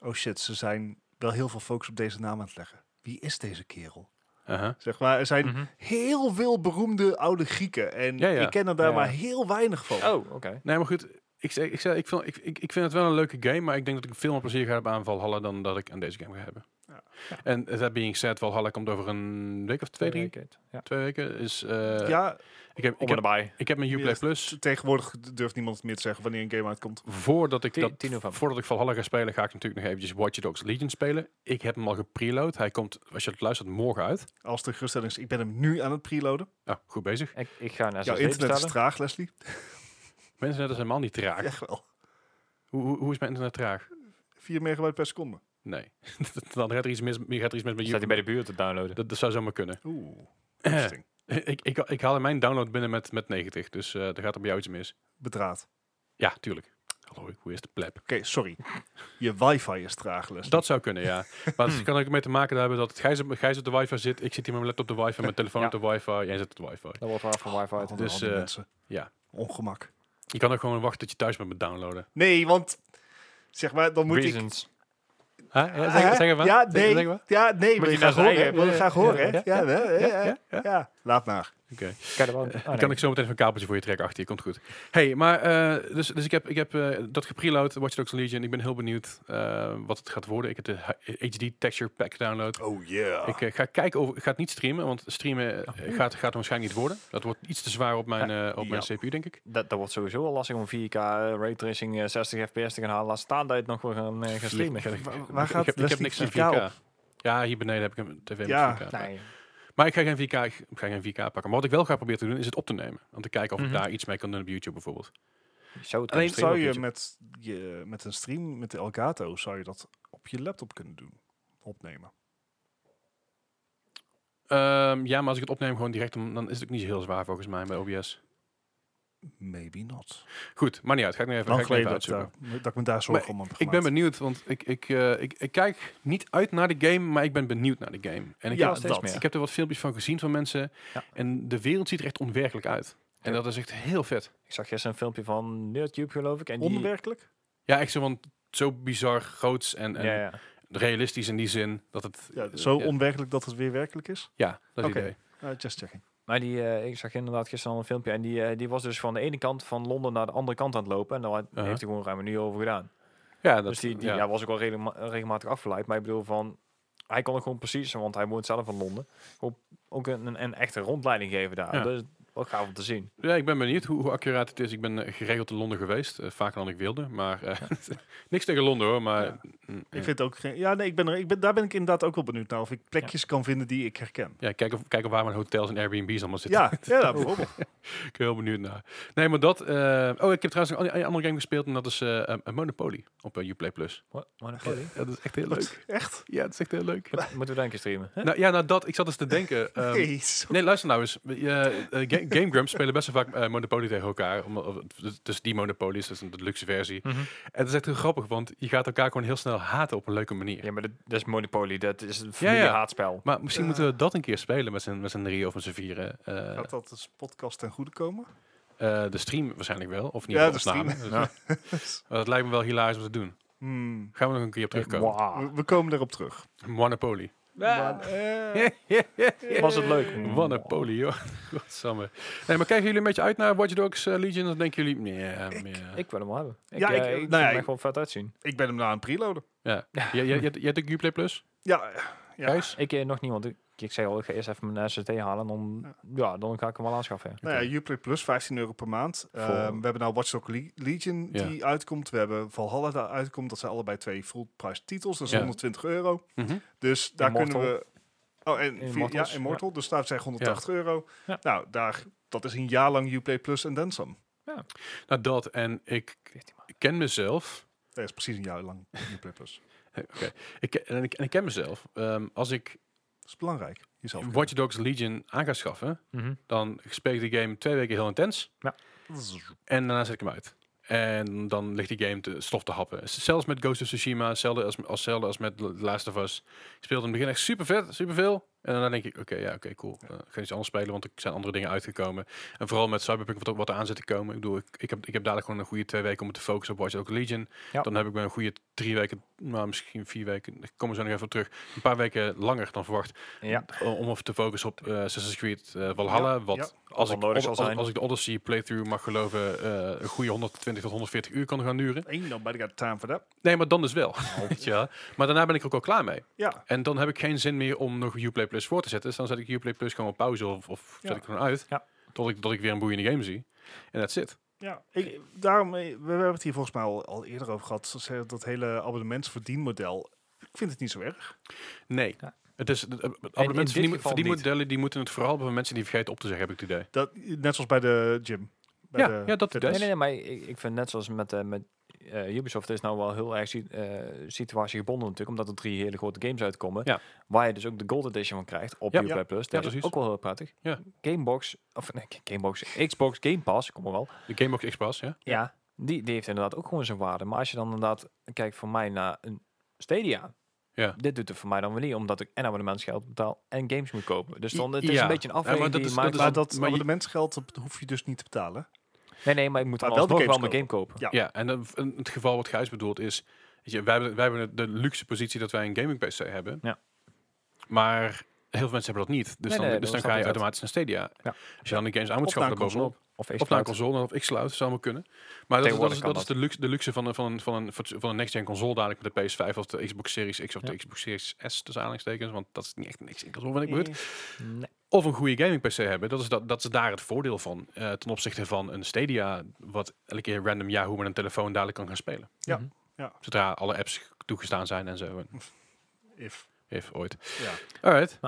[SPEAKER 2] Oh shit, ze zijn wel heel veel focus op deze naam aan het leggen. Wie is deze kerel?
[SPEAKER 1] Aha.
[SPEAKER 2] Zeg maar, er zijn
[SPEAKER 3] Mhm.
[SPEAKER 2] heel veel beroemde oude Grieken. En
[SPEAKER 1] Hm. Ja, ja.
[SPEAKER 2] ik ken er daar
[SPEAKER 3] Ja.
[SPEAKER 2] maar heel weinig van.
[SPEAKER 3] Oh, oké.
[SPEAKER 1] Nee, maar goed. Ik, zeg- ik, zeg- ik, vind, ik, ik, ik vind het wel een leuke game, maar ik denk dat ik veel meer plezier ga hebben aan Valhalla dan dat ik aan deze game ga hebben.
[SPEAKER 2] Ja.
[SPEAKER 1] En eh, that being said, Valhalla komt over een week of twee, drie,
[SPEAKER 3] Wicked, Ja.
[SPEAKER 1] twee weken. Is, eh,
[SPEAKER 2] ja,
[SPEAKER 1] ik, heb, ik,
[SPEAKER 3] Om
[SPEAKER 1] heb,
[SPEAKER 3] erbij.
[SPEAKER 1] ik heb mijn Uplay
[SPEAKER 2] Yes.
[SPEAKER 1] Plus.
[SPEAKER 2] tegenwoordig durft niemand meer te zeggen wanneer een game uitkomt.
[SPEAKER 1] Voordat ik,
[SPEAKER 3] Tien-
[SPEAKER 1] dat,
[SPEAKER 3] 10 november.
[SPEAKER 1] voordat ik Valhalla ga spelen, ga ik natuurlijk nog eventjes Watch Dogs Legion spelen. Ik heb hem al gepreload. Hij komt, als je het luistert, morgen uit.
[SPEAKER 2] Als de geruststelling is, ik ben hem nu aan het preloaden.
[SPEAKER 1] Ah, goed bezig.
[SPEAKER 3] Ik, ik ga naar
[SPEAKER 2] Jouw
[SPEAKER 3] SSD
[SPEAKER 2] internet is
[SPEAKER 3] bestellen.
[SPEAKER 2] traag, Leslie.
[SPEAKER 1] Mijn internet is helemaal niet traag.
[SPEAKER 2] Echt wel.
[SPEAKER 1] Hoe, hoe, hoe is mijn internet traag?
[SPEAKER 2] 4 megabyte per seconde.
[SPEAKER 1] Nee. dan gaat er iets mis, gaat er iets mis met
[SPEAKER 3] Staat hij
[SPEAKER 1] Uplay.
[SPEAKER 3] bij de buurt te downloaden.
[SPEAKER 1] Dat, dat zou zomaar kunnen.
[SPEAKER 2] Oeh, interesting.
[SPEAKER 1] Ik, ik, ik haal mijn download binnen met, met 90, dus eh er gaat er bij jou iets mis.
[SPEAKER 2] Bedraad.
[SPEAKER 1] Ja, tuurlijk. Hallo, hoe is de pleb?
[SPEAKER 2] Oké, sorry. Je wifi is traag, Leslie.
[SPEAKER 1] Dat zou kunnen, ja. Maar het kan ook mee te maken hebben dat Gijs, op- Gijs op de wifi zit, ik zit hier met mijn laptop op de wifi, mijn telefoon op de wifi, jij zit op de wifi.
[SPEAKER 3] Dat wordt waar van wifi.
[SPEAKER 2] Al
[SPEAKER 3] uit.
[SPEAKER 2] die-
[SPEAKER 1] dus,
[SPEAKER 2] al die
[SPEAKER 1] eh,
[SPEAKER 2] mensen.
[SPEAKER 1] ja.
[SPEAKER 2] Ongemak.
[SPEAKER 1] Je kan ook gewoon wachten tot je thuis bent met downloaden.
[SPEAKER 2] Nee, want zeg maar, dan moet ik.
[SPEAKER 3] Reasons.
[SPEAKER 1] Hè? Ja, zeg,
[SPEAKER 2] Hè?
[SPEAKER 1] zeg even.
[SPEAKER 2] Ja,
[SPEAKER 1] Zeg-
[SPEAKER 2] nee.
[SPEAKER 1] zeg even.
[SPEAKER 2] ja, nee, wil
[SPEAKER 3] je
[SPEAKER 2] je
[SPEAKER 3] nou
[SPEAKER 2] graag horen?
[SPEAKER 3] zeggen?
[SPEAKER 2] hè? Wil je
[SPEAKER 3] Ja,
[SPEAKER 2] graag
[SPEAKER 3] ja,
[SPEAKER 2] horen, hè?
[SPEAKER 3] ja,
[SPEAKER 2] Ja, hè, hè, hè,
[SPEAKER 1] ja,
[SPEAKER 2] hè. Ja, laat maar.
[SPEAKER 1] Oké.
[SPEAKER 3] Kijk, er wel- ah,
[SPEAKER 1] Dan
[SPEAKER 3] nee.
[SPEAKER 1] kan ik zo meteen even een kabeltje voor je trekken achter je, komt goed. hey, maar eh, dus, dus ik heb, ik heb eh, dat gepreload, Watch Dogs Legion. Ik ben heel benieuwd eh, wat het gaat worden. Ik heb de HD texture pack gedownload.
[SPEAKER 2] Oh yeah.
[SPEAKER 1] Ik eh, ga kijken of ik ga het niet streamen, want streamen eh, gaat, gaat er waarschijnlijk niet worden. Dat wordt iets te zwaar op mijn, eh, op mijn
[SPEAKER 2] Oh. Ja.
[SPEAKER 1] CPU, denk ik.
[SPEAKER 3] Dat, dat wordt sowieso wel lastig om 4K eh, raytracing eh, 60 fps te gaan halen. Laat staan dat je het nog wel gaan, eh, gaan streamen.
[SPEAKER 1] Ik- ik-
[SPEAKER 2] Waar-
[SPEAKER 1] ik-
[SPEAKER 2] waar gaat
[SPEAKER 1] ik, heb, ik heb
[SPEAKER 2] Leslie
[SPEAKER 1] niks in 4K.
[SPEAKER 2] 4K
[SPEAKER 1] Ja, hier beneden heb ik een tv
[SPEAKER 2] Ja.
[SPEAKER 1] met 4K.
[SPEAKER 3] Nee.
[SPEAKER 1] Maar ik ga geen 4K, ik ga geen 4K pakken. Maar wat ik wel ga proberen te doen, is het op te nemen. Om te kijken of
[SPEAKER 3] Mhm.
[SPEAKER 1] ik daar iets mee kan doen op YouTube bijvoorbeeld.
[SPEAKER 3] Zo het
[SPEAKER 1] Alleen
[SPEAKER 3] kan
[SPEAKER 2] Zou
[SPEAKER 1] op
[SPEAKER 2] je
[SPEAKER 1] YouTube.
[SPEAKER 2] met, je met een stream met de Elgato zou je dat op je laptop kunnen doen? Opnemen.
[SPEAKER 1] Ehm, ja, maar als ik het opneem gewoon direct, dan dan is het ook niet zo heel zwaar volgens mij bij OBS.
[SPEAKER 2] Maybe not.
[SPEAKER 1] Goed, maar niet uit. Ga ik nu even, ga
[SPEAKER 2] Lang
[SPEAKER 1] ik nu
[SPEAKER 2] geleden
[SPEAKER 1] even
[SPEAKER 2] dat, eh, ik
[SPEAKER 1] uitzoeken.
[SPEAKER 2] daar- dat ik me daar zorgen
[SPEAKER 1] Maar
[SPEAKER 2] om heb
[SPEAKER 1] Ik ben
[SPEAKER 2] gemaakt.
[SPEAKER 1] benieuwd, want ik, ik, eh, ik, ik kijk niet uit naar de game, maar ik ben benieuwd naar de game. En ik,
[SPEAKER 2] Ja,
[SPEAKER 1] heb,
[SPEAKER 2] steeds
[SPEAKER 1] dat.
[SPEAKER 3] meer.
[SPEAKER 1] ik heb er wat filmpjes van gezien van mensen.
[SPEAKER 3] Ja.
[SPEAKER 1] En de wereld ziet er echt onwerkelijk uit. En
[SPEAKER 3] Ja.
[SPEAKER 1] dat is echt heel vet.
[SPEAKER 3] Ik zag gisteren een filmpje van Nerdtube, geloof ik. En die,
[SPEAKER 2] Onwerkelijk?
[SPEAKER 1] Ja, echt zo, want zo bizar groots en, en
[SPEAKER 3] Ja, ja.
[SPEAKER 1] realistisch in die zin. Dat het,
[SPEAKER 2] Ja, zo
[SPEAKER 1] ja.
[SPEAKER 2] onwerkelijk dat het weer werkelijk is?
[SPEAKER 1] ja, dat is
[SPEAKER 2] Oké.
[SPEAKER 1] het idee.
[SPEAKER 2] Eh, just checking.
[SPEAKER 3] Maar die, eh, ik zag inderdaad gisteren al een filmpje. En die, eh, die was dus van de ene kant van Londen naar de andere kant aan het lopen. En daar had-
[SPEAKER 1] Uh-huh.
[SPEAKER 3] heeft hij gewoon ruim een uur over gedaan.
[SPEAKER 1] Ja, dat,
[SPEAKER 3] dus die, die
[SPEAKER 1] ja.
[SPEAKER 3] ja. was ook al regelma- regelmatig afgeleid. Maar ik bedoel van... Hij kon ook gewoon precies, want hij woont zelf in Londen... Ook, ook een, een, een echte rondleiding geven daar.
[SPEAKER 1] Ja.
[SPEAKER 3] Dat is wel gaaf om te zien.
[SPEAKER 1] Ja, ik ben benieuwd hoe, hoe accuraat het is. Ik ben eh, geregeld in Londen geweest, eh, vaker dan ik wilde. Maar eh, niks tegen Londen hoor, maar...
[SPEAKER 2] Ja.
[SPEAKER 1] mm,
[SPEAKER 2] Ik vind ook geen. Ja, nee, ik ben er, ik ben, daar ben ik inderdaad ook wel benieuwd naar. Of ik plekjes kan vinden die ik herken.
[SPEAKER 1] ja, kijk, of, kijk of waar mijn hotels en Airbnb's allemaal zitten.
[SPEAKER 2] Ja, ja,
[SPEAKER 1] Oh,
[SPEAKER 2] ja, bijvoorbeeld.
[SPEAKER 1] Ik ben heel benieuwd naar. Nee, maar dat... eh, oh, ik heb trouwens een an- een andere game gespeeld en dat is eh, een- een Monopoly op eh, Uplay Plus.
[SPEAKER 3] Wat? Monopoly?
[SPEAKER 1] Ja, dat is echt heel
[SPEAKER 2] Wat?
[SPEAKER 1] leuk.
[SPEAKER 2] Echt?
[SPEAKER 1] Ja, dat is echt heel leuk.
[SPEAKER 3] Moet- Moeten we dan een keer streamen? hè?
[SPEAKER 1] nou, ja, nou dat, ik zat eens te denken... ehm,
[SPEAKER 2] Nee, zo-
[SPEAKER 1] Nee, luister nou eens. Eh, eh, Ga- Game Grumps spelen best wel vaak eh, Monopoly tegen elkaar. Om, of, dus die Monopoly is dus een deluxe versie.
[SPEAKER 3] Mhm.
[SPEAKER 1] En het is echt heel grappig, want je gaat elkaar gewoon heel snel haten op een leuke manier.
[SPEAKER 3] Ja, maar dat, dat is Monopoly. Dat is een
[SPEAKER 1] Ja, ja.
[SPEAKER 3] familiehaatspel.
[SPEAKER 1] Maar misschien
[SPEAKER 2] Ja.
[SPEAKER 1] moeten we dat een keer spelen met z'n, met z'n drieën of met z'n vieren. Eh,
[SPEAKER 2] Gaat dat als podcast ten goede komen?
[SPEAKER 1] Eh, de stream waarschijnlijk wel, of niet?
[SPEAKER 2] Ja,
[SPEAKER 1] de
[SPEAKER 2] de stream.
[SPEAKER 1] opname. Dus, maar dat lijkt me wel hilarisch om te doen.
[SPEAKER 2] Hmm.
[SPEAKER 1] Gaan we nog een keer op terugkomen.
[SPEAKER 3] Wow.
[SPEAKER 2] We, we komen erop terug.
[SPEAKER 1] Monopoly.
[SPEAKER 2] Maar, eh,
[SPEAKER 3] Was het leuk?
[SPEAKER 1] Monopoly, joh. Godsamme. Nee, maar kijken jullie een beetje uit naar Watch Dogs eh, Legion? Dan denken jullie, nee, eh, meer.
[SPEAKER 3] Ik wil hem wel hebben. Ik,
[SPEAKER 2] Ja,
[SPEAKER 3] ja,
[SPEAKER 2] ik-
[SPEAKER 3] ik,
[SPEAKER 2] nou
[SPEAKER 3] vind
[SPEAKER 2] ja,
[SPEAKER 3] hem
[SPEAKER 2] ik-
[SPEAKER 3] echt wel vet uitzien.
[SPEAKER 2] ik ben hem nou aan het preloaden.
[SPEAKER 1] ja. Jij- jij- jij- Jij hebt ook Uplay Plus?
[SPEAKER 2] Ja, Ja.
[SPEAKER 1] Gijs?
[SPEAKER 3] Ik eh, nog niet, want ik, ik zei al, ik ga eerst even mijn SSD halen. Dan, ja. dan ga ik hem wel aanschaffen. ja.
[SPEAKER 2] Nou ja, Uplay Plus, 15 euro per maand.
[SPEAKER 3] Voor-
[SPEAKER 2] Ehm, we hebben nou Watch Dogs Le- Legion
[SPEAKER 1] Ja.
[SPEAKER 2] die uitkomt. We hebben Valhalla die uitkomt. Dat zijn allebei twee full price titels. Dat is
[SPEAKER 1] Ja.
[SPEAKER 2] 120 euro.
[SPEAKER 1] Mhm.
[SPEAKER 2] Dus daar
[SPEAKER 3] Immortal.
[SPEAKER 2] kunnen we... Oh, en vier-
[SPEAKER 3] Immortals,
[SPEAKER 2] ja, Immortal. Dus daar zijn 180 euro.
[SPEAKER 3] Ja.
[SPEAKER 2] Nou, daar, dat is een jaar lang Uplay Plus en dan some.
[SPEAKER 1] Nou, dat. En ik
[SPEAKER 3] 14 maanden.
[SPEAKER 1] ken mezelf.
[SPEAKER 2] Dat is precies een jaar lang Uplay Plus.
[SPEAKER 1] Hey, Oké. Ik, ken- en, ik, en ik ken mezelf. Ehm, als ik
[SPEAKER 2] Dat is belangrijk. Jezelf. kennen.
[SPEAKER 1] Watch Dogs Legion aan ga schaffen,
[SPEAKER 3] Mhm.
[SPEAKER 1] dan speel ik de game twee weken heel intens. En daarna zet ik hem uit. En dan ligt die game te, stof te happen. Zelfs met Ghost of Tsushima, hetzelfde als, als, hetzelfde als met The Last of Us. Ik speelde in het begin echt super vet, super veel. En dan denk ik, oké, ja, oké, cool. Eh, ik ga iets anders spelen, want er zijn andere dingen uitgekomen. En vooral met Cyberpunk, wat, ook- wat er aan zit te komen. Ik bedoel, ik, ik, heb, ik heb dadelijk gewoon een goede twee weken om me te focussen op Watch Dogs Legion.
[SPEAKER 3] Ja.
[SPEAKER 1] Dan heb ik me een goede drie weken, nou, misschien vier weken, ik kom er zo nog even op terug. Een paar weken langer dan verwacht
[SPEAKER 3] Ja.
[SPEAKER 1] om- om even te focussen op eh Assassin's Creed eh, Valhalla.
[SPEAKER 2] Ja,
[SPEAKER 1] wat
[SPEAKER 2] ja.
[SPEAKER 1] Als,
[SPEAKER 3] Wat
[SPEAKER 1] ik,
[SPEAKER 3] nodig
[SPEAKER 1] Od-
[SPEAKER 3] zal
[SPEAKER 1] als,
[SPEAKER 3] zijn.
[SPEAKER 1] als ik de Odyssey playthrough mag geloven, eh, een goede 120 tot 140 uur kan gaan duren.
[SPEAKER 2] Ain't nobody got time for that.
[SPEAKER 1] Nee, maar dan dus wel. Weet je wel. Maar daarna ben ik er ook al klaar mee.
[SPEAKER 2] Ja,
[SPEAKER 1] En dan heb ik geen zin meer om nog Uplay Plus voor te zetten. Dus dan zet ik Uplay Plus gewoon op pauze of, of
[SPEAKER 2] Ja.
[SPEAKER 1] zet ik gewoon uit.
[SPEAKER 3] Ja.
[SPEAKER 1] Tot, ik, tot ik weer een boeiende game zie. En that's it.
[SPEAKER 2] ja. Ik, daarom, eh, we, we hebben het hier volgens mij al, al eerder over gehad. Dat- Dat hele abonnementsverdienmodel. Ik vind het niet zo erg.
[SPEAKER 1] Nee.
[SPEAKER 3] Ja.
[SPEAKER 1] Het is, de- de-
[SPEAKER 3] dit
[SPEAKER 1] abonnementsverdien-
[SPEAKER 3] geval
[SPEAKER 1] verdienmodellen die moeten het vooral hebben voor mensen die vergeten op te zeggen, heb ik het idee.
[SPEAKER 2] Dat, net zoals bij de gym. Bij
[SPEAKER 1] Ja,
[SPEAKER 2] de
[SPEAKER 1] ja, dat
[SPEAKER 2] fitness.
[SPEAKER 3] Nee, nee, nee, maar ik, ik vind net zoals met, eh, met eh, Ubisoft is nou wel heel erg si- eh, situatiegebonden natuurlijk, omdat er drie hele grote games uitkomen,
[SPEAKER 1] Ja.
[SPEAKER 3] waar je dus ook de Gold Edition van krijgt op
[SPEAKER 1] Ja.
[SPEAKER 3] Uplay
[SPEAKER 2] Ja.
[SPEAKER 3] Plus. Dat
[SPEAKER 1] Ja,
[SPEAKER 3] is
[SPEAKER 1] precies.
[SPEAKER 3] ook wel heel prettig.
[SPEAKER 1] Ja.
[SPEAKER 3] Gamebox, of nee, Gamebox, Xbox Game Pass, kom maar wel.
[SPEAKER 1] De Gamebox X-Pass, ja?
[SPEAKER 3] Ja, die, die heeft inderdaad ook gewoon zijn waarde. Maar als je dan inderdaad kijkt voor mij naar een Stadia,
[SPEAKER 1] Ja.
[SPEAKER 3] dit doet het voor mij dan wel niet, omdat ik en abonnementsgeld betaal en games moet kopen. Dus dan het is
[SPEAKER 1] Ja.
[SPEAKER 3] een beetje een
[SPEAKER 1] Ja, maar
[SPEAKER 3] afweging
[SPEAKER 1] dat
[SPEAKER 3] die
[SPEAKER 1] is-
[SPEAKER 3] je maakt.
[SPEAKER 1] dat is-
[SPEAKER 2] Maar dat
[SPEAKER 1] Dus Maar je-
[SPEAKER 2] abonnementsgeld dat hoef je dus niet te betalen.
[SPEAKER 3] nee, nee, maar ik moet dan
[SPEAKER 2] Maar wel de
[SPEAKER 3] alsnog wel
[SPEAKER 2] games
[SPEAKER 3] mijn game kopen.
[SPEAKER 2] Ja.
[SPEAKER 1] Ja, en dan- en het geval wat Gijs bedoelt is... Weet je, wij, hebben, wij hebben de luxe positie dat wij een gaming PC hebben.
[SPEAKER 3] Ja.
[SPEAKER 1] Maar heel veel mensen hebben dat niet. Dus
[SPEAKER 3] Nee,
[SPEAKER 1] dan,
[SPEAKER 3] nee,
[SPEAKER 1] dus dan ga
[SPEAKER 3] dat snap
[SPEAKER 1] je
[SPEAKER 3] ik
[SPEAKER 1] automatisch naar Stadia.
[SPEAKER 3] Ja.
[SPEAKER 1] Als je dan de games aan moet
[SPEAKER 2] Of naar
[SPEAKER 1] schaffen,
[SPEAKER 2] een
[SPEAKER 1] daar bovenop. Of
[SPEAKER 3] Of
[SPEAKER 1] naar een
[SPEAKER 3] Xbox.
[SPEAKER 1] console of X-Cloud, dat zou allemaal kunnen. Maar dat, is- dat, is,
[SPEAKER 3] Tegenwoordig kan
[SPEAKER 1] dat is de luxe, de luxe van, een, van, een, van, een, fatso- van een next-gen console dadelijk met de PS5 of de Xbox Series X of de
[SPEAKER 3] Ja.
[SPEAKER 1] Xbox Series S, tussen aanhalingstekens. Want dat is niet echt niks in console, ben ik bedoeld
[SPEAKER 3] Nee.
[SPEAKER 1] of een goede gaming PC hebben. Dat is, dat, dat is daar het voordeel van. eh, ten opzichte van een Stadia, wat elke keer random Yahoo met een telefoon dadelijk kan gaan spelen.
[SPEAKER 2] Ja,
[SPEAKER 3] Mhm.
[SPEAKER 2] ja.
[SPEAKER 1] Zodra alle apps toegestaan zijn en zo. En
[SPEAKER 2] If.
[SPEAKER 1] Even ooit.
[SPEAKER 2] Ja.
[SPEAKER 1] Alright.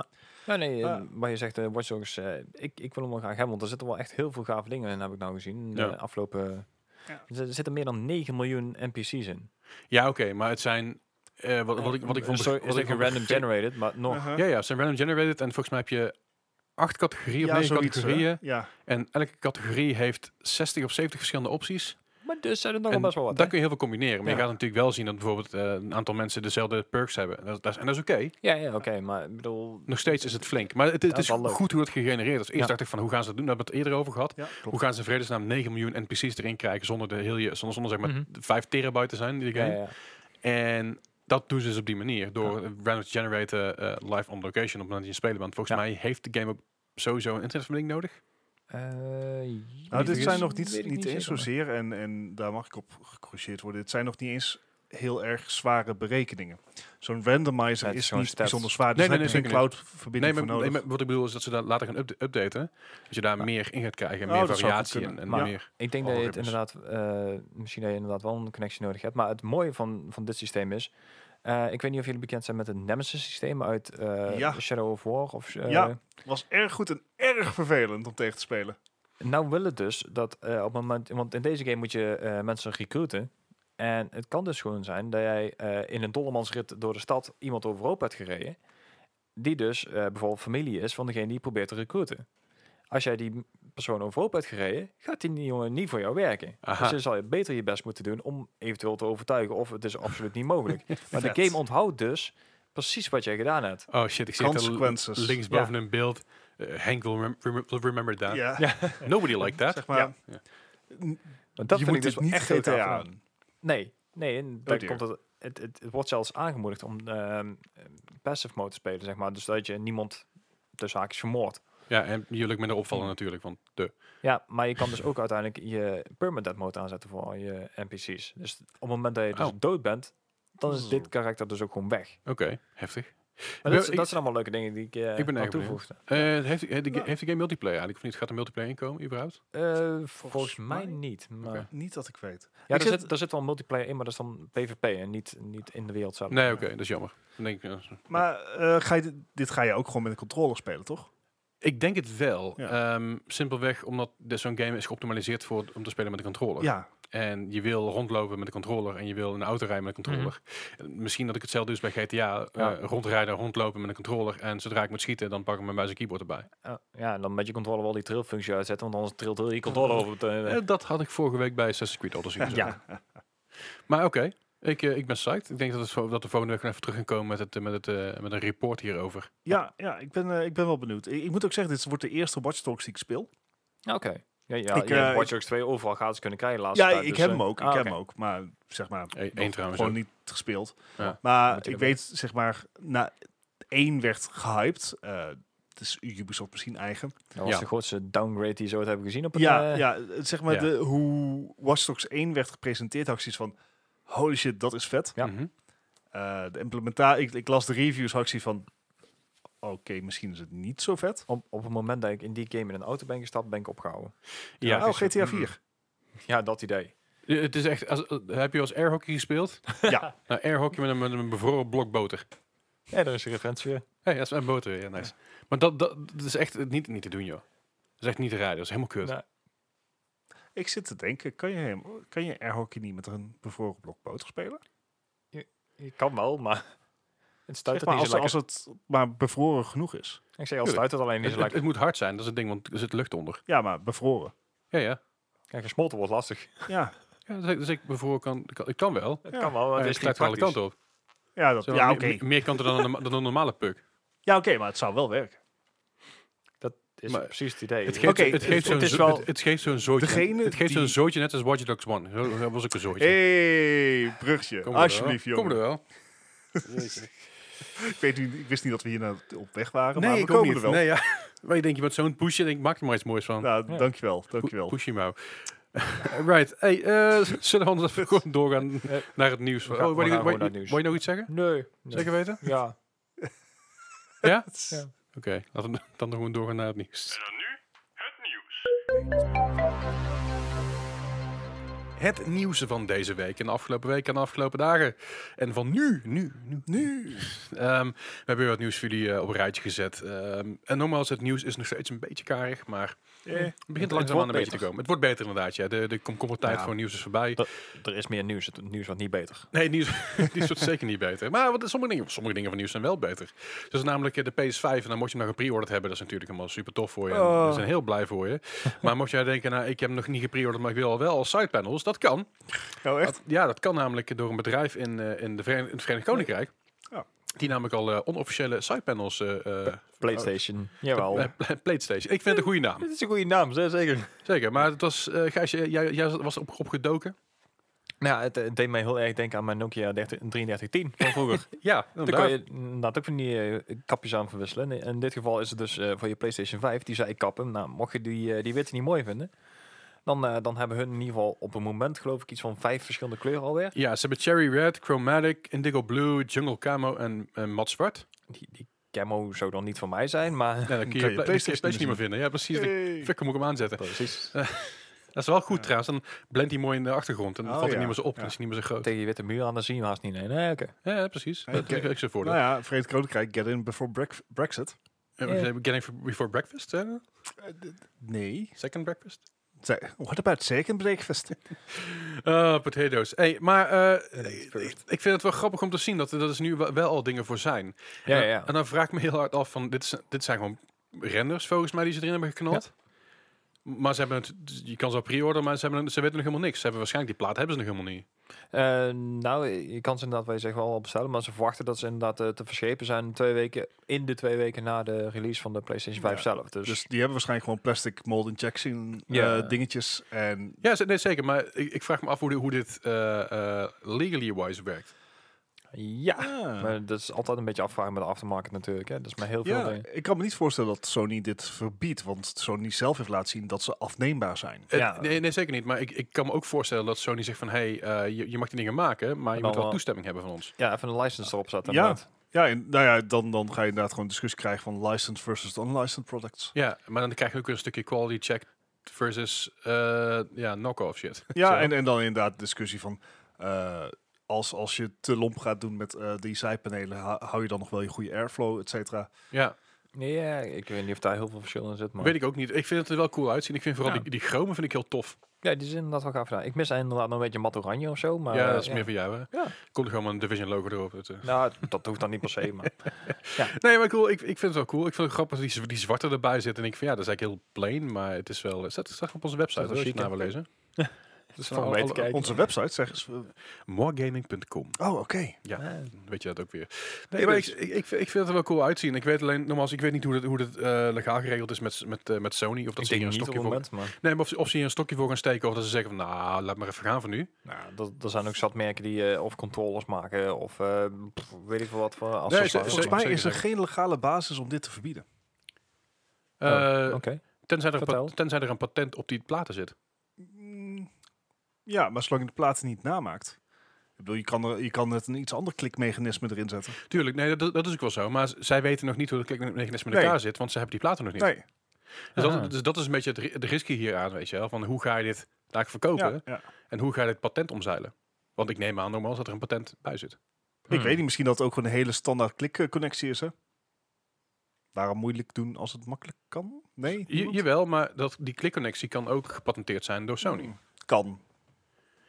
[SPEAKER 3] Ja, nee, eh,
[SPEAKER 2] Ah.
[SPEAKER 3] wat je zegt, eh Watch Dogs, eh, ik, ik wil hem wel graag hebben, want er zitten wel echt heel veel gave dingen in, heb ik nou gezien.
[SPEAKER 1] Ja.
[SPEAKER 3] De afgelopen...
[SPEAKER 2] Ja.
[SPEAKER 3] Er zitten meer dan 9 miljoen NPC's in.
[SPEAKER 1] Ja, oké. maar het zijn... eh, wat, wat ik, wat ik van...
[SPEAKER 3] Sorry, is
[SPEAKER 1] wat ik
[SPEAKER 3] even
[SPEAKER 1] van
[SPEAKER 3] random
[SPEAKER 1] begreep-
[SPEAKER 3] generated, maar nog.
[SPEAKER 2] Uh-huh.
[SPEAKER 1] Ja, ja. Het zijn random generated. En volgens mij heb je acht categorieën of
[SPEAKER 2] Ja,
[SPEAKER 1] negen
[SPEAKER 2] zoiets, hè?
[SPEAKER 1] categorieën.
[SPEAKER 2] Ja.
[SPEAKER 1] En elke categorie heeft 60 of 70 verschillende opties.
[SPEAKER 3] Maar dus zijn er nog
[SPEAKER 1] En
[SPEAKER 3] wel best wel wat.
[SPEAKER 1] daar
[SPEAKER 3] hè?
[SPEAKER 1] kun je heel veel combineren. Maar je
[SPEAKER 3] Ja.
[SPEAKER 1] gaat natuurlijk wel zien dat bijvoorbeeld eh, een aantal mensen dezelfde perks hebben. En dat, dat is, en dat is oké.
[SPEAKER 3] Ja, ja oké, maar ik bedoel...
[SPEAKER 1] Nog steeds is het flink. Maar het, het
[SPEAKER 3] Dat
[SPEAKER 1] is
[SPEAKER 3] is wel leuk.
[SPEAKER 1] goed hoe het gegenereerd is. Eerst
[SPEAKER 3] Ja.
[SPEAKER 1] dacht ik van hoe gaan ze dat doen? Daar hebben we het eerder over gehad.
[SPEAKER 2] Ja, klopt.
[SPEAKER 1] Hoe gaan ze in vredesnaam 9 miljoen NPC's erin krijgen zonder, de heel, je- zonder, zonder zeg maar
[SPEAKER 3] Mhm.
[SPEAKER 1] de 5 terabyte te zijn in die
[SPEAKER 3] Ja,
[SPEAKER 1] game?
[SPEAKER 3] ja.
[SPEAKER 1] En dat doen ze dus op die manier. Door random te generaten eh, live on location op het moment dat je spelen bent. Volgens
[SPEAKER 3] Ja.
[SPEAKER 1] mij heeft de game ook sowieso een internetverbinding nodig.
[SPEAKER 3] Eh,
[SPEAKER 2] Nou, dit
[SPEAKER 3] weet ik
[SPEAKER 2] zijn
[SPEAKER 3] niet.
[SPEAKER 2] nog niet,
[SPEAKER 3] Weet ik
[SPEAKER 2] niet eens
[SPEAKER 3] zeker, maar-
[SPEAKER 2] zozeer, en, en daar mag ik op gecorrigeerd worden, het zijn nog niet eens heel erg zware berekeningen. Zo'n randomizer
[SPEAKER 3] het is
[SPEAKER 2] is
[SPEAKER 3] gewoon
[SPEAKER 2] niet
[SPEAKER 3] stats.
[SPEAKER 2] bijzonder zwaar,
[SPEAKER 1] Nee,
[SPEAKER 2] dus daar
[SPEAKER 1] nee,
[SPEAKER 2] heb je geen
[SPEAKER 1] nee, zeker Nee
[SPEAKER 2] cloud-verbinding
[SPEAKER 1] maar,
[SPEAKER 2] voor nodig.
[SPEAKER 1] nee, maar wat ik bedoel is dat ze dat later gaan upda- updaten. Dat je daar meer in gaat krijgen. En
[SPEAKER 2] Oh,
[SPEAKER 1] meer
[SPEAKER 2] dat zou goed
[SPEAKER 1] variatie en,
[SPEAKER 2] kunnen.
[SPEAKER 1] en
[SPEAKER 2] Maar-
[SPEAKER 1] meer...
[SPEAKER 3] Ik denk dat je het
[SPEAKER 1] algoritmes.
[SPEAKER 3] inderdaad, eh, misschien dat je inderdaad wel een connectie nodig hebt. Maar het mooie van, van dit systeem is, eh, ik weet niet of jullie bekend zijn met het Nemesis systeem uit eh,
[SPEAKER 2] Ja.
[SPEAKER 3] Shadow of War. Of, eh,
[SPEAKER 2] Ja. was erg goed en erg vervelend om tegen te spelen.
[SPEAKER 3] Nou wil het dus dat eh, op het moment, want in deze game moet je eh, mensen recruiten. En het kan dus gewoon zijn dat jij eh, in een dollemansrit door de stad iemand overhoop hebt gereden. Die dus eh, bijvoorbeeld familie is van degene die je probeert te recruiten. Als jij die persoon overhoop hebt gereden, gaat die jongen niet voor jou werken.
[SPEAKER 1] Aha.
[SPEAKER 3] Dus dan zal je beter je best moeten doen om eventueel te overtuigen of het is absoluut niet mogelijk. maar
[SPEAKER 2] Vet.
[SPEAKER 3] de game onthoudt dus precies wat jij gedaan hebt.
[SPEAKER 1] Oh shit, ik zit er
[SPEAKER 2] Consequences.
[SPEAKER 1] links boven in beeld. Eh, Henk will, rem- rem- will remember that.
[SPEAKER 2] Ja,
[SPEAKER 3] Ja,
[SPEAKER 1] Nobody liked that.
[SPEAKER 2] zeg maar.
[SPEAKER 3] Ja.
[SPEAKER 1] Ja.
[SPEAKER 2] n-
[SPEAKER 3] maar dat
[SPEAKER 2] je
[SPEAKER 3] vind
[SPEAKER 2] moet
[SPEAKER 3] ik dus
[SPEAKER 2] dit niet
[SPEAKER 3] echt heel gaaf
[SPEAKER 2] GTA.
[SPEAKER 3] gedaan. Nee, nee, en daar
[SPEAKER 2] dear.
[SPEAKER 3] komt het, het, het, het wordt zelfs aangemoedigd om ehm, passive mode te spelen, zeg maar. Dus dat je niemand tussen haakjes vermoordt.
[SPEAKER 1] Ja, en jullie minder opvallen natuurlijk, want de...
[SPEAKER 3] Ja, maar je kan dus ook uiteindelijk je permanent mode aanzetten voor al je NPC's. Dus op het moment dat je dus
[SPEAKER 1] Oh.
[SPEAKER 3] dood bent, dan is
[SPEAKER 2] Oeh.
[SPEAKER 3] dit karakter dus ook gewoon weg.
[SPEAKER 1] Oké, heftig.
[SPEAKER 3] Maar
[SPEAKER 1] Ja,
[SPEAKER 3] dat, is-
[SPEAKER 1] ik-
[SPEAKER 3] dat zijn allemaal leuke dingen die ik, eh
[SPEAKER 1] Ik ben
[SPEAKER 3] aan
[SPEAKER 1] erg benieuwd.
[SPEAKER 3] toevoegde.
[SPEAKER 1] Eh, heeft, heeft, de, heeft de game multiplayer eigenlijk of niet? Gaat er multiplayer in komen überhaupt?
[SPEAKER 3] Eh,
[SPEAKER 2] Volgens
[SPEAKER 3] volgens mij
[SPEAKER 2] mij-
[SPEAKER 3] niet. Maar
[SPEAKER 1] Oké.
[SPEAKER 2] Niet dat ik weet.
[SPEAKER 3] Ja,
[SPEAKER 2] Ik
[SPEAKER 3] er
[SPEAKER 2] zit-
[SPEAKER 3] zit, er zit wel multiplayer in, maar dat is dan PvP en niet, niet in de wereld zelf.
[SPEAKER 1] Nee, oké, dat is jammer. Dan denk ik, eh,
[SPEAKER 2] Maar eh, ga je, dit- dit ga je ook gewoon met een controller spelen, toch?
[SPEAKER 1] ik denk het wel.
[SPEAKER 2] Ja.
[SPEAKER 1] Ehm, simpelweg omdat dit zo'n game is geoptimaliseerd voor, om te spelen met een controller.
[SPEAKER 2] Ja.
[SPEAKER 1] En je wil rondlopen met een controller en je wil in een auto rijden met een controller. En Misschien dat ik hetzelfde dus bij GTA. eh,
[SPEAKER 3] Ja.
[SPEAKER 1] rondrijden, rondlopen met een controller. En zodra ik moet schieten, dan pak ik mijn muis en keyboard erbij.
[SPEAKER 3] Ja, ja, en dan met je controller wel die trailfunctie uitzetten, want anders trilt heel je controller over. Het, eh,
[SPEAKER 1] Eh, dat had ik vorige week bij Assassin's Creed Odyssey gezien.
[SPEAKER 3] ja,
[SPEAKER 1] Maar oké, ik, eh, ik ben psyched. Ik denk dat, het, vo- dat we volgende week nog even terug gaan komen met, het, eh, met, het, eh, met een report hierover.
[SPEAKER 2] Ja, ja ik, ben, eh, ik ben wel benieuwd. Ik, ik moet ook zeggen, dit wordt de eerste Watch Dogs die ik speel.
[SPEAKER 3] Ja, oké. Ja, ja,
[SPEAKER 2] Ik,
[SPEAKER 3] je hebt
[SPEAKER 2] eh,
[SPEAKER 3] Watch Dogs 2 overal gratis kunnen krijgen de laatste
[SPEAKER 2] Ja,
[SPEAKER 3] tijd,
[SPEAKER 2] ik
[SPEAKER 3] dus,
[SPEAKER 2] heb
[SPEAKER 3] eh,
[SPEAKER 2] hem ook. Ik
[SPEAKER 3] ah,
[SPEAKER 2] heb
[SPEAKER 3] oké.
[SPEAKER 2] hem ook. Maar zeg maar,
[SPEAKER 1] Eén
[SPEAKER 2] nog
[SPEAKER 1] E-, trouwens
[SPEAKER 2] gewoon
[SPEAKER 1] ook.
[SPEAKER 2] niet gespeeld.
[SPEAKER 1] Ja.
[SPEAKER 2] Maar
[SPEAKER 1] Moet je
[SPEAKER 2] ik
[SPEAKER 1] dat
[SPEAKER 2] weet, zeg maar, na één werd gehyped. Eh het is Ubisoft misschien eigen.
[SPEAKER 3] Dat was
[SPEAKER 1] Ja.
[SPEAKER 3] de grootste downgrade die ze ooit hebben gezien op het...
[SPEAKER 2] Ja,
[SPEAKER 3] eh,
[SPEAKER 2] ja, het- zeg maar,
[SPEAKER 1] ja.
[SPEAKER 2] De, hoe Watch Dogs 1 werd gepresenteerd, had ik zoiets van... Holy shit, dat is vet.
[SPEAKER 3] Ja.
[SPEAKER 1] Mhm.
[SPEAKER 2] Eh, de implementatie, ik, ik las de reviews, had ik zoiets van... Oké, misschien is het niet zo vet.
[SPEAKER 3] Op, op het moment dat ik in die game in een auto ben gestapt, ben ik opgehouden.
[SPEAKER 1] Ja,
[SPEAKER 2] oh,
[SPEAKER 1] is het. mm.
[SPEAKER 2] GTA 4.
[SPEAKER 3] Ja, dat idee.
[SPEAKER 1] Eh, Het is echt, als, eh, heb je als airhockey gespeeld?
[SPEAKER 2] Ja.
[SPEAKER 1] Nou, airhockey met een, met een bevroren blok boter.
[SPEAKER 3] Ja, daar is een referentie weer.
[SPEAKER 1] Hé, dat is een boter weer, ja, nice. Maar dat, dat, dat is echt niet, niet te doen, joh. Dat is echt niet te rijden, dat is helemaal kut.
[SPEAKER 3] Nee.
[SPEAKER 2] Ik zit te denken, kan je, hem- kan je airhockey niet met een bevroren blok boter spelen?
[SPEAKER 3] Je kan wel, maar... Het stuit
[SPEAKER 2] Zeg
[SPEAKER 3] het
[SPEAKER 2] maar,
[SPEAKER 3] niet
[SPEAKER 2] als,
[SPEAKER 3] zo
[SPEAKER 2] als
[SPEAKER 3] lekker.
[SPEAKER 2] het maar bevroren genoeg is.
[SPEAKER 3] Ik zeg, als stuit het alleen niet
[SPEAKER 1] Het,
[SPEAKER 3] zo
[SPEAKER 1] het-
[SPEAKER 3] lekker.
[SPEAKER 1] het moet hard zijn, dat is het ding, want er zit lucht onder.
[SPEAKER 2] Ja, maar bevroren.
[SPEAKER 1] Ja, ja.
[SPEAKER 3] Kijk, gesmolten wordt lastig.
[SPEAKER 2] Ja,
[SPEAKER 1] ja dus, ik- dus ik bevroren kan, kan, ik kan wel.
[SPEAKER 3] Het
[SPEAKER 2] Ja.
[SPEAKER 3] kan wel, maar
[SPEAKER 1] Maar
[SPEAKER 3] het
[SPEAKER 1] ik
[SPEAKER 3] is niet
[SPEAKER 1] sluit wel de kant
[SPEAKER 3] praktisch.
[SPEAKER 1] op.
[SPEAKER 2] ja, dat,
[SPEAKER 1] Zo,
[SPEAKER 2] ja
[SPEAKER 1] meer-
[SPEAKER 2] oké.
[SPEAKER 1] meer, meer kanten dan een, dan een normale puck.
[SPEAKER 2] Ja, oké, maar het zou wel werken.
[SPEAKER 3] Het is
[SPEAKER 1] Maar-
[SPEAKER 3] precies het idee.
[SPEAKER 1] Het geeft,
[SPEAKER 2] Oké,
[SPEAKER 1] het
[SPEAKER 2] het-
[SPEAKER 1] geeft zo'n
[SPEAKER 3] het is
[SPEAKER 1] zo-
[SPEAKER 3] wel-
[SPEAKER 1] het- het geeft zo'n zootje.
[SPEAKER 2] Degene
[SPEAKER 1] het geeft zo'n
[SPEAKER 2] die-
[SPEAKER 1] zootje net als Watch Dogs 1. Zo, dat was ook een zootje.
[SPEAKER 2] hey, brugje.
[SPEAKER 1] Kom er wel.
[SPEAKER 2] Alsjeblieft, jongen.
[SPEAKER 1] Kom er wel.
[SPEAKER 2] Ik, weet, niet- ik wist niet dat we hier nou op weg waren, maar
[SPEAKER 1] Nee,
[SPEAKER 2] we
[SPEAKER 1] ik
[SPEAKER 2] komen
[SPEAKER 1] ook niet.
[SPEAKER 2] er wel.
[SPEAKER 1] Nee, ja. Maar je denkt, je wordt zo'n pushje. denk ik, maak er maar iets moois van.
[SPEAKER 2] Nou,
[SPEAKER 3] Ja.
[SPEAKER 2] dankjewel, dankjewel.
[SPEAKER 1] Pu- Push him out. right. Hey, eh, zullen we anders even gewoon doorgaan
[SPEAKER 3] Ja.
[SPEAKER 1] naar het nieuws?
[SPEAKER 3] We
[SPEAKER 1] Oh,
[SPEAKER 3] gaan- we
[SPEAKER 1] wou je-
[SPEAKER 3] gaan
[SPEAKER 1] wou
[SPEAKER 3] gewoon
[SPEAKER 1] je-
[SPEAKER 3] naar het nieuws.
[SPEAKER 1] wou je nog iets zeggen?
[SPEAKER 3] Nee. nee.
[SPEAKER 1] Zeker weten?
[SPEAKER 3] Ja.
[SPEAKER 1] Ja?
[SPEAKER 3] Ja.
[SPEAKER 1] Oké, laten we dan gewoon doorgaan naar het nieuws. Het nieuws van deze week en de afgelopen week en de afgelopen dagen. En van nu, nu, nu, nu. Ehm, we hebben weer wat nieuws voor jullie eh, op een rijtje gezet. Ehm, en nogmaals, het nieuws is nog steeds een beetje karig, maar het
[SPEAKER 2] Eh,
[SPEAKER 1] begint
[SPEAKER 3] wordt
[SPEAKER 1] langzaamaan een beetje te
[SPEAKER 3] beter.
[SPEAKER 1] komen. Het wordt beter inderdaad, ja. De, de komkommertijd
[SPEAKER 3] Ja.
[SPEAKER 1] voor nieuws is voorbij.
[SPEAKER 3] Dat- er is meer nieuws. Het nieuws wordt niet beter.
[SPEAKER 1] Nee, nieuws, nieuws wordt zeker niet beter. Maar wat, sommige, dingen, sommige dingen van nieuws zijn wel beter. Dus namelijk eh, de PS5, en dan moet je hem nog gepreorderd hebben. Dat is natuurlijk helemaal super tof voor je. en
[SPEAKER 2] Oh.
[SPEAKER 1] We zijn heel blij voor je. maar mocht jij denken, nou, ik heb hem nog niet gepreorderd, maar ik wil al wel als sidepanels. Dat kan.
[SPEAKER 2] nou echt?
[SPEAKER 1] Dat- ja, dat kan namelijk door een bedrijf in, eh, in, de Veren- in het Verenigd Koninkrijk.
[SPEAKER 2] Ja. Oh.
[SPEAKER 1] Die namelijk al eh, onofficiële sidepanels... eh eh
[SPEAKER 3] PlayStation. Jawel.
[SPEAKER 1] eh, PlayStation. Ik vind het een goede naam.
[SPEAKER 3] Dit is een goede naam, ze- zeker.
[SPEAKER 1] Zeker. Maar het was... eh Gijsje, jij, jij was op, opgedoken.
[SPEAKER 3] Nou, ja, het, eh, deed mij heel erg denken aan mijn Nokia 30, 3310 van vroeger.
[SPEAKER 1] Ja,
[SPEAKER 3] Daar kan
[SPEAKER 1] inderdaad.
[SPEAKER 3] je inderdaad ook van die eh, kapjes aan verwisselen. En in dit geval is het dus eh, voor je PlayStation 5, die zei ik kap hem. Nou, mocht je die, eh, die witte niet mooi vinden, dan, eh, dan hebben hun in ieder geval op een moment geloof ik iets van vijf verschillende kleuren alweer.
[SPEAKER 1] Ja, ze hebben Cherry Red, Chromatic, Indigo Blue, Jungle Camo en, en Mat Zwart.
[SPEAKER 3] Die, die camo zou dan niet van mij zijn, maar...
[SPEAKER 1] Ja, dan kun je,
[SPEAKER 2] je
[SPEAKER 1] pla-
[SPEAKER 2] PlayStation
[SPEAKER 1] PlayStation niet meer vinden. Ja, precies. Dan
[SPEAKER 2] Hey.
[SPEAKER 1] Fikker moet ik hem aanzetten.
[SPEAKER 3] Precies.
[SPEAKER 1] Dat is wel goed trouwens. Dan blendt hij mooi in de achtergrond. En dan
[SPEAKER 2] Oh,
[SPEAKER 1] valt
[SPEAKER 2] ja.
[SPEAKER 1] hij niet meer zo op. Dan
[SPEAKER 2] Ja.
[SPEAKER 1] is hij niet meer zo groot.
[SPEAKER 3] Tegen je witte muur aan, dan zie je hem haast niet. Nee, nee oké.
[SPEAKER 1] Ja, ja, precies.
[SPEAKER 2] Oké.
[SPEAKER 1] Dat is ook zo'n voordeel.
[SPEAKER 2] Nou ja, Verenigd Koninkrijk, get in before brec- Brexit.
[SPEAKER 1] Eh,
[SPEAKER 3] Ja.
[SPEAKER 1] Getting before breakfast? eh?
[SPEAKER 2] Nee.
[SPEAKER 1] second breakfast?
[SPEAKER 2] Ze- What about second breakfast?
[SPEAKER 1] Ah, potatoes. Hey, maar eh,
[SPEAKER 3] Potatoes
[SPEAKER 1] ik
[SPEAKER 3] first.
[SPEAKER 1] ik vind het wel grappig om te zien dat er dat is nu wel, wel al dingen voor zijn. en,
[SPEAKER 3] Ja, ja,
[SPEAKER 1] dan-
[SPEAKER 3] ja.
[SPEAKER 1] en dan vraag ik me heel hard af van, dit, is, dit zijn gewoon renders volgens mij die ze erin hebben geknald. Maar ze hebben het, je kan ze al pre-orderen, maar ze, hebben, ze weten nog helemaal niks. Ze hebben waarschijnlijk die plaat hebben ze nog helemaal niet.
[SPEAKER 3] Eh, nou, je kan ze inderdaad, wij zeggen wel al bestellen, maar ze verwachten dat ze inderdaad eh, te verschepen zijn twee weken, in de twee weken na de release van de PlayStation 5
[SPEAKER 2] Ja,
[SPEAKER 3] zelf. Dus,
[SPEAKER 2] Dus die hebben waarschijnlijk gewoon plastic mold injection eh,
[SPEAKER 3] Ja.
[SPEAKER 2] dingetjes. En
[SPEAKER 1] Ja, ze- nee, zeker. Maar ik, ik vraag me af hoe, dit- hoe dit eh, eh, legally wise werkt.
[SPEAKER 3] ja,
[SPEAKER 2] Ah.
[SPEAKER 3] maar dat is altijd een beetje afvragen met de aftermarket natuurlijk. Hè. Dat is maar heel veel
[SPEAKER 2] ja,
[SPEAKER 3] dingen.
[SPEAKER 2] ik kan me niet voorstellen dat Sony dit verbiedt, want Sony zelf heeft laten zien dat ze afneembaar zijn.
[SPEAKER 1] Eh,
[SPEAKER 3] Ja.
[SPEAKER 1] nee, nee, zeker niet. Maar ik, ik kan me ook voorstellen dat Sony zegt van... hey, eh, je, je mag die dingen maken, maar je
[SPEAKER 3] Dan
[SPEAKER 1] moet wel
[SPEAKER 3] wel. eh,
[SPEAKER 1] toestemming hebben van ons.
[SPEAKER 3] Ja, even een license erop zetten.
[SPEAKER 2] Ja.
[SPEAKER 3] inderdaad.
[SPEAKER 2] Ja, en, nou ja, dan, dan ga je inderdaad gewoon een discussie krijgen van licensed versus unlicensed products.
[SPEAKER 1] Ja, maar dan krijg je ook weer een stukje quality check versus eh, ja, knock-off shit.
[SPEAKER 2] Ja,
[SPEAKER 1] Zo.
[SPEAKER 2] en, en dan inderdaad de discussie van... eh, als, als je te lomp gaat doen met eh, die zijpanelen... hou- hou je dan nog wel je goede airflow, et cetera?
[SPEAKER 1] Ja,
[SPEAKER 3] Ja, ik weet niet of daar heel veel verschil in zit, maar...
[SPEAKER 1] weet ik ook niet. Ik vind het er wel cool uitzien. Ik vind vooral
[SPEAKER 3] Ja.
[SPEAKER 1] die, die chromen vind ik heel tof.
[SPEAKER 3] Ja, die is inderdaad wel gaaf gedaan. Ik mis inderdaad nog een beetje mat oranje of zo, maar...
[SPEAKER 1] ja,
[SPEAKER 3] eh,
[SPEAKER 1] dat is meer voor jou, hè?
[SPEAKER 3] Ja.
[SPEAKER 1] Komt gewoon maar een Division logo erop. Het, eh.
[SPEAKER 3] Nou, dat hoeft dan niet per se, maar...
[SPEAKER 1] Nee, maar cool. Ik, ik vind het wel cool. Ik vind het grappig dat die, z- die zwarte erbij zit. En ik vind, ja, dat is eigenlijk heel plain, maar het is wel... Het staat, het staat op onze website,
[SPEAKER 3] Dat is
[SPEAKER 1] hoor, als je het
[SPEAKER 3] wel
[SPEAKER 1] na wil lezen.
[SPEAKER 3] Dus
[SPEAKER 1] voor mij te kijken.
[SPEAKER 2] Onze website zeggen ze...
[SPEAKER 1] Moregaming.com.
[SPEAKER 2] Oh, oké.
[SPEAKER 1] Ja, dan weet je dat ook weer. Nee,
[SPEAKER 2] Ik
[SPEAKER 1] maar ik,
[SPEAKER 2] dus-
[SPEAKER 1] ik, ik, vind- ik vind het er wel cool uitzien. Ik weet alleen, nogmaals, ik weet niet hoe dat, hoe dat eh, legaal geregeld is met, met, eh, met Sony. Of dat
[SPEAKER 3] Ik
[SPEAKER 1] ze hier
[SPEAKER 3] denk
[SPEAKER 1] een
[SPEAKER 3] niet op
[SPEAKER 1] stokje
[SPEAKER 3] het
[SPEAKER 1] voor...
[SPEAKER 3] moment, maar...
[SPEAKER 1] Nee, maar of, ze- of ze hier een stokje voor gaan steken. Of dat ze zeggen van, nou, laat maar even gaan voor nu.
[SPEAKER 3] Nou, dat, er zijn ook zat merken die eh, of controllers maken, of eh, pff, weet ik veel wat voor accessoires.
[SPEAKER 1] ze-
[SPEAKER 2] Volgens
[SPEAKER 1] Zeker,
[SPEAKER 2] mij
[SPEAKER 1] zeker,
[SPEAKER 2] is er
[SPEAKER 1] zeker.
[SPEAKER 2] geen legale basis om dit te verbieden.
[SPEAKER 1] Eh,
[SPEAKER 3] Oké.
[SPEAKER 1] tenzij, er een
[SPEAKER 3] Oh, vertel.
[SPEAKER 1] pat- tenzij er een patent op die platen zit.
[SPEAKER 2] Mm, Ja, maar zolang je de platen niet namaakt... Ik bedoel, je kan, er, je kan het een iets ander klikmechanisme erin zetten.
[SPEAKER 1] Tuurlijk, nee, dat, dat is ook wel zo. Maar z- zij weten nog niet hoe het klikmechanisme in
[SPEAKER 2] Nee.
[SPEAKER 1] elkaar zit. Want ze hebben die platen nog niet.
[SPEAKER 2] Nee,
[SPEAKER 1] Dus,
[SPEAKER 3] Ah.
[SPEAKER 1] dat, dus dat is een beetje het, ri- de risico hier aan, weet je wel. Van hoe ga je dit daar verkopen?
[SPEAKER 2] ja, ja.
[SPEAKER 1] En hoe ga je dit patent omzeilen? Want ik neem aan, nogmaals, dat er een patent bij zit.
[SPEAKER 2] Ik
[SPEAKER 3] Hmm.
[SPEAKER 2] weet niet, misschien dat het ook gewoon een hele standaard klikconnectie is, hè? Waarom moeilijk doen als het makkelijk kan? Nee?
[SPEAKER 1] Je,
[SPEAKER 2] Niemand?
[SPEAKER 1] jawel, maar dat, die klikconnectie kan ook gepatenteerd zijn door Sony.
[SPEAKER 2] Hmm. Kan.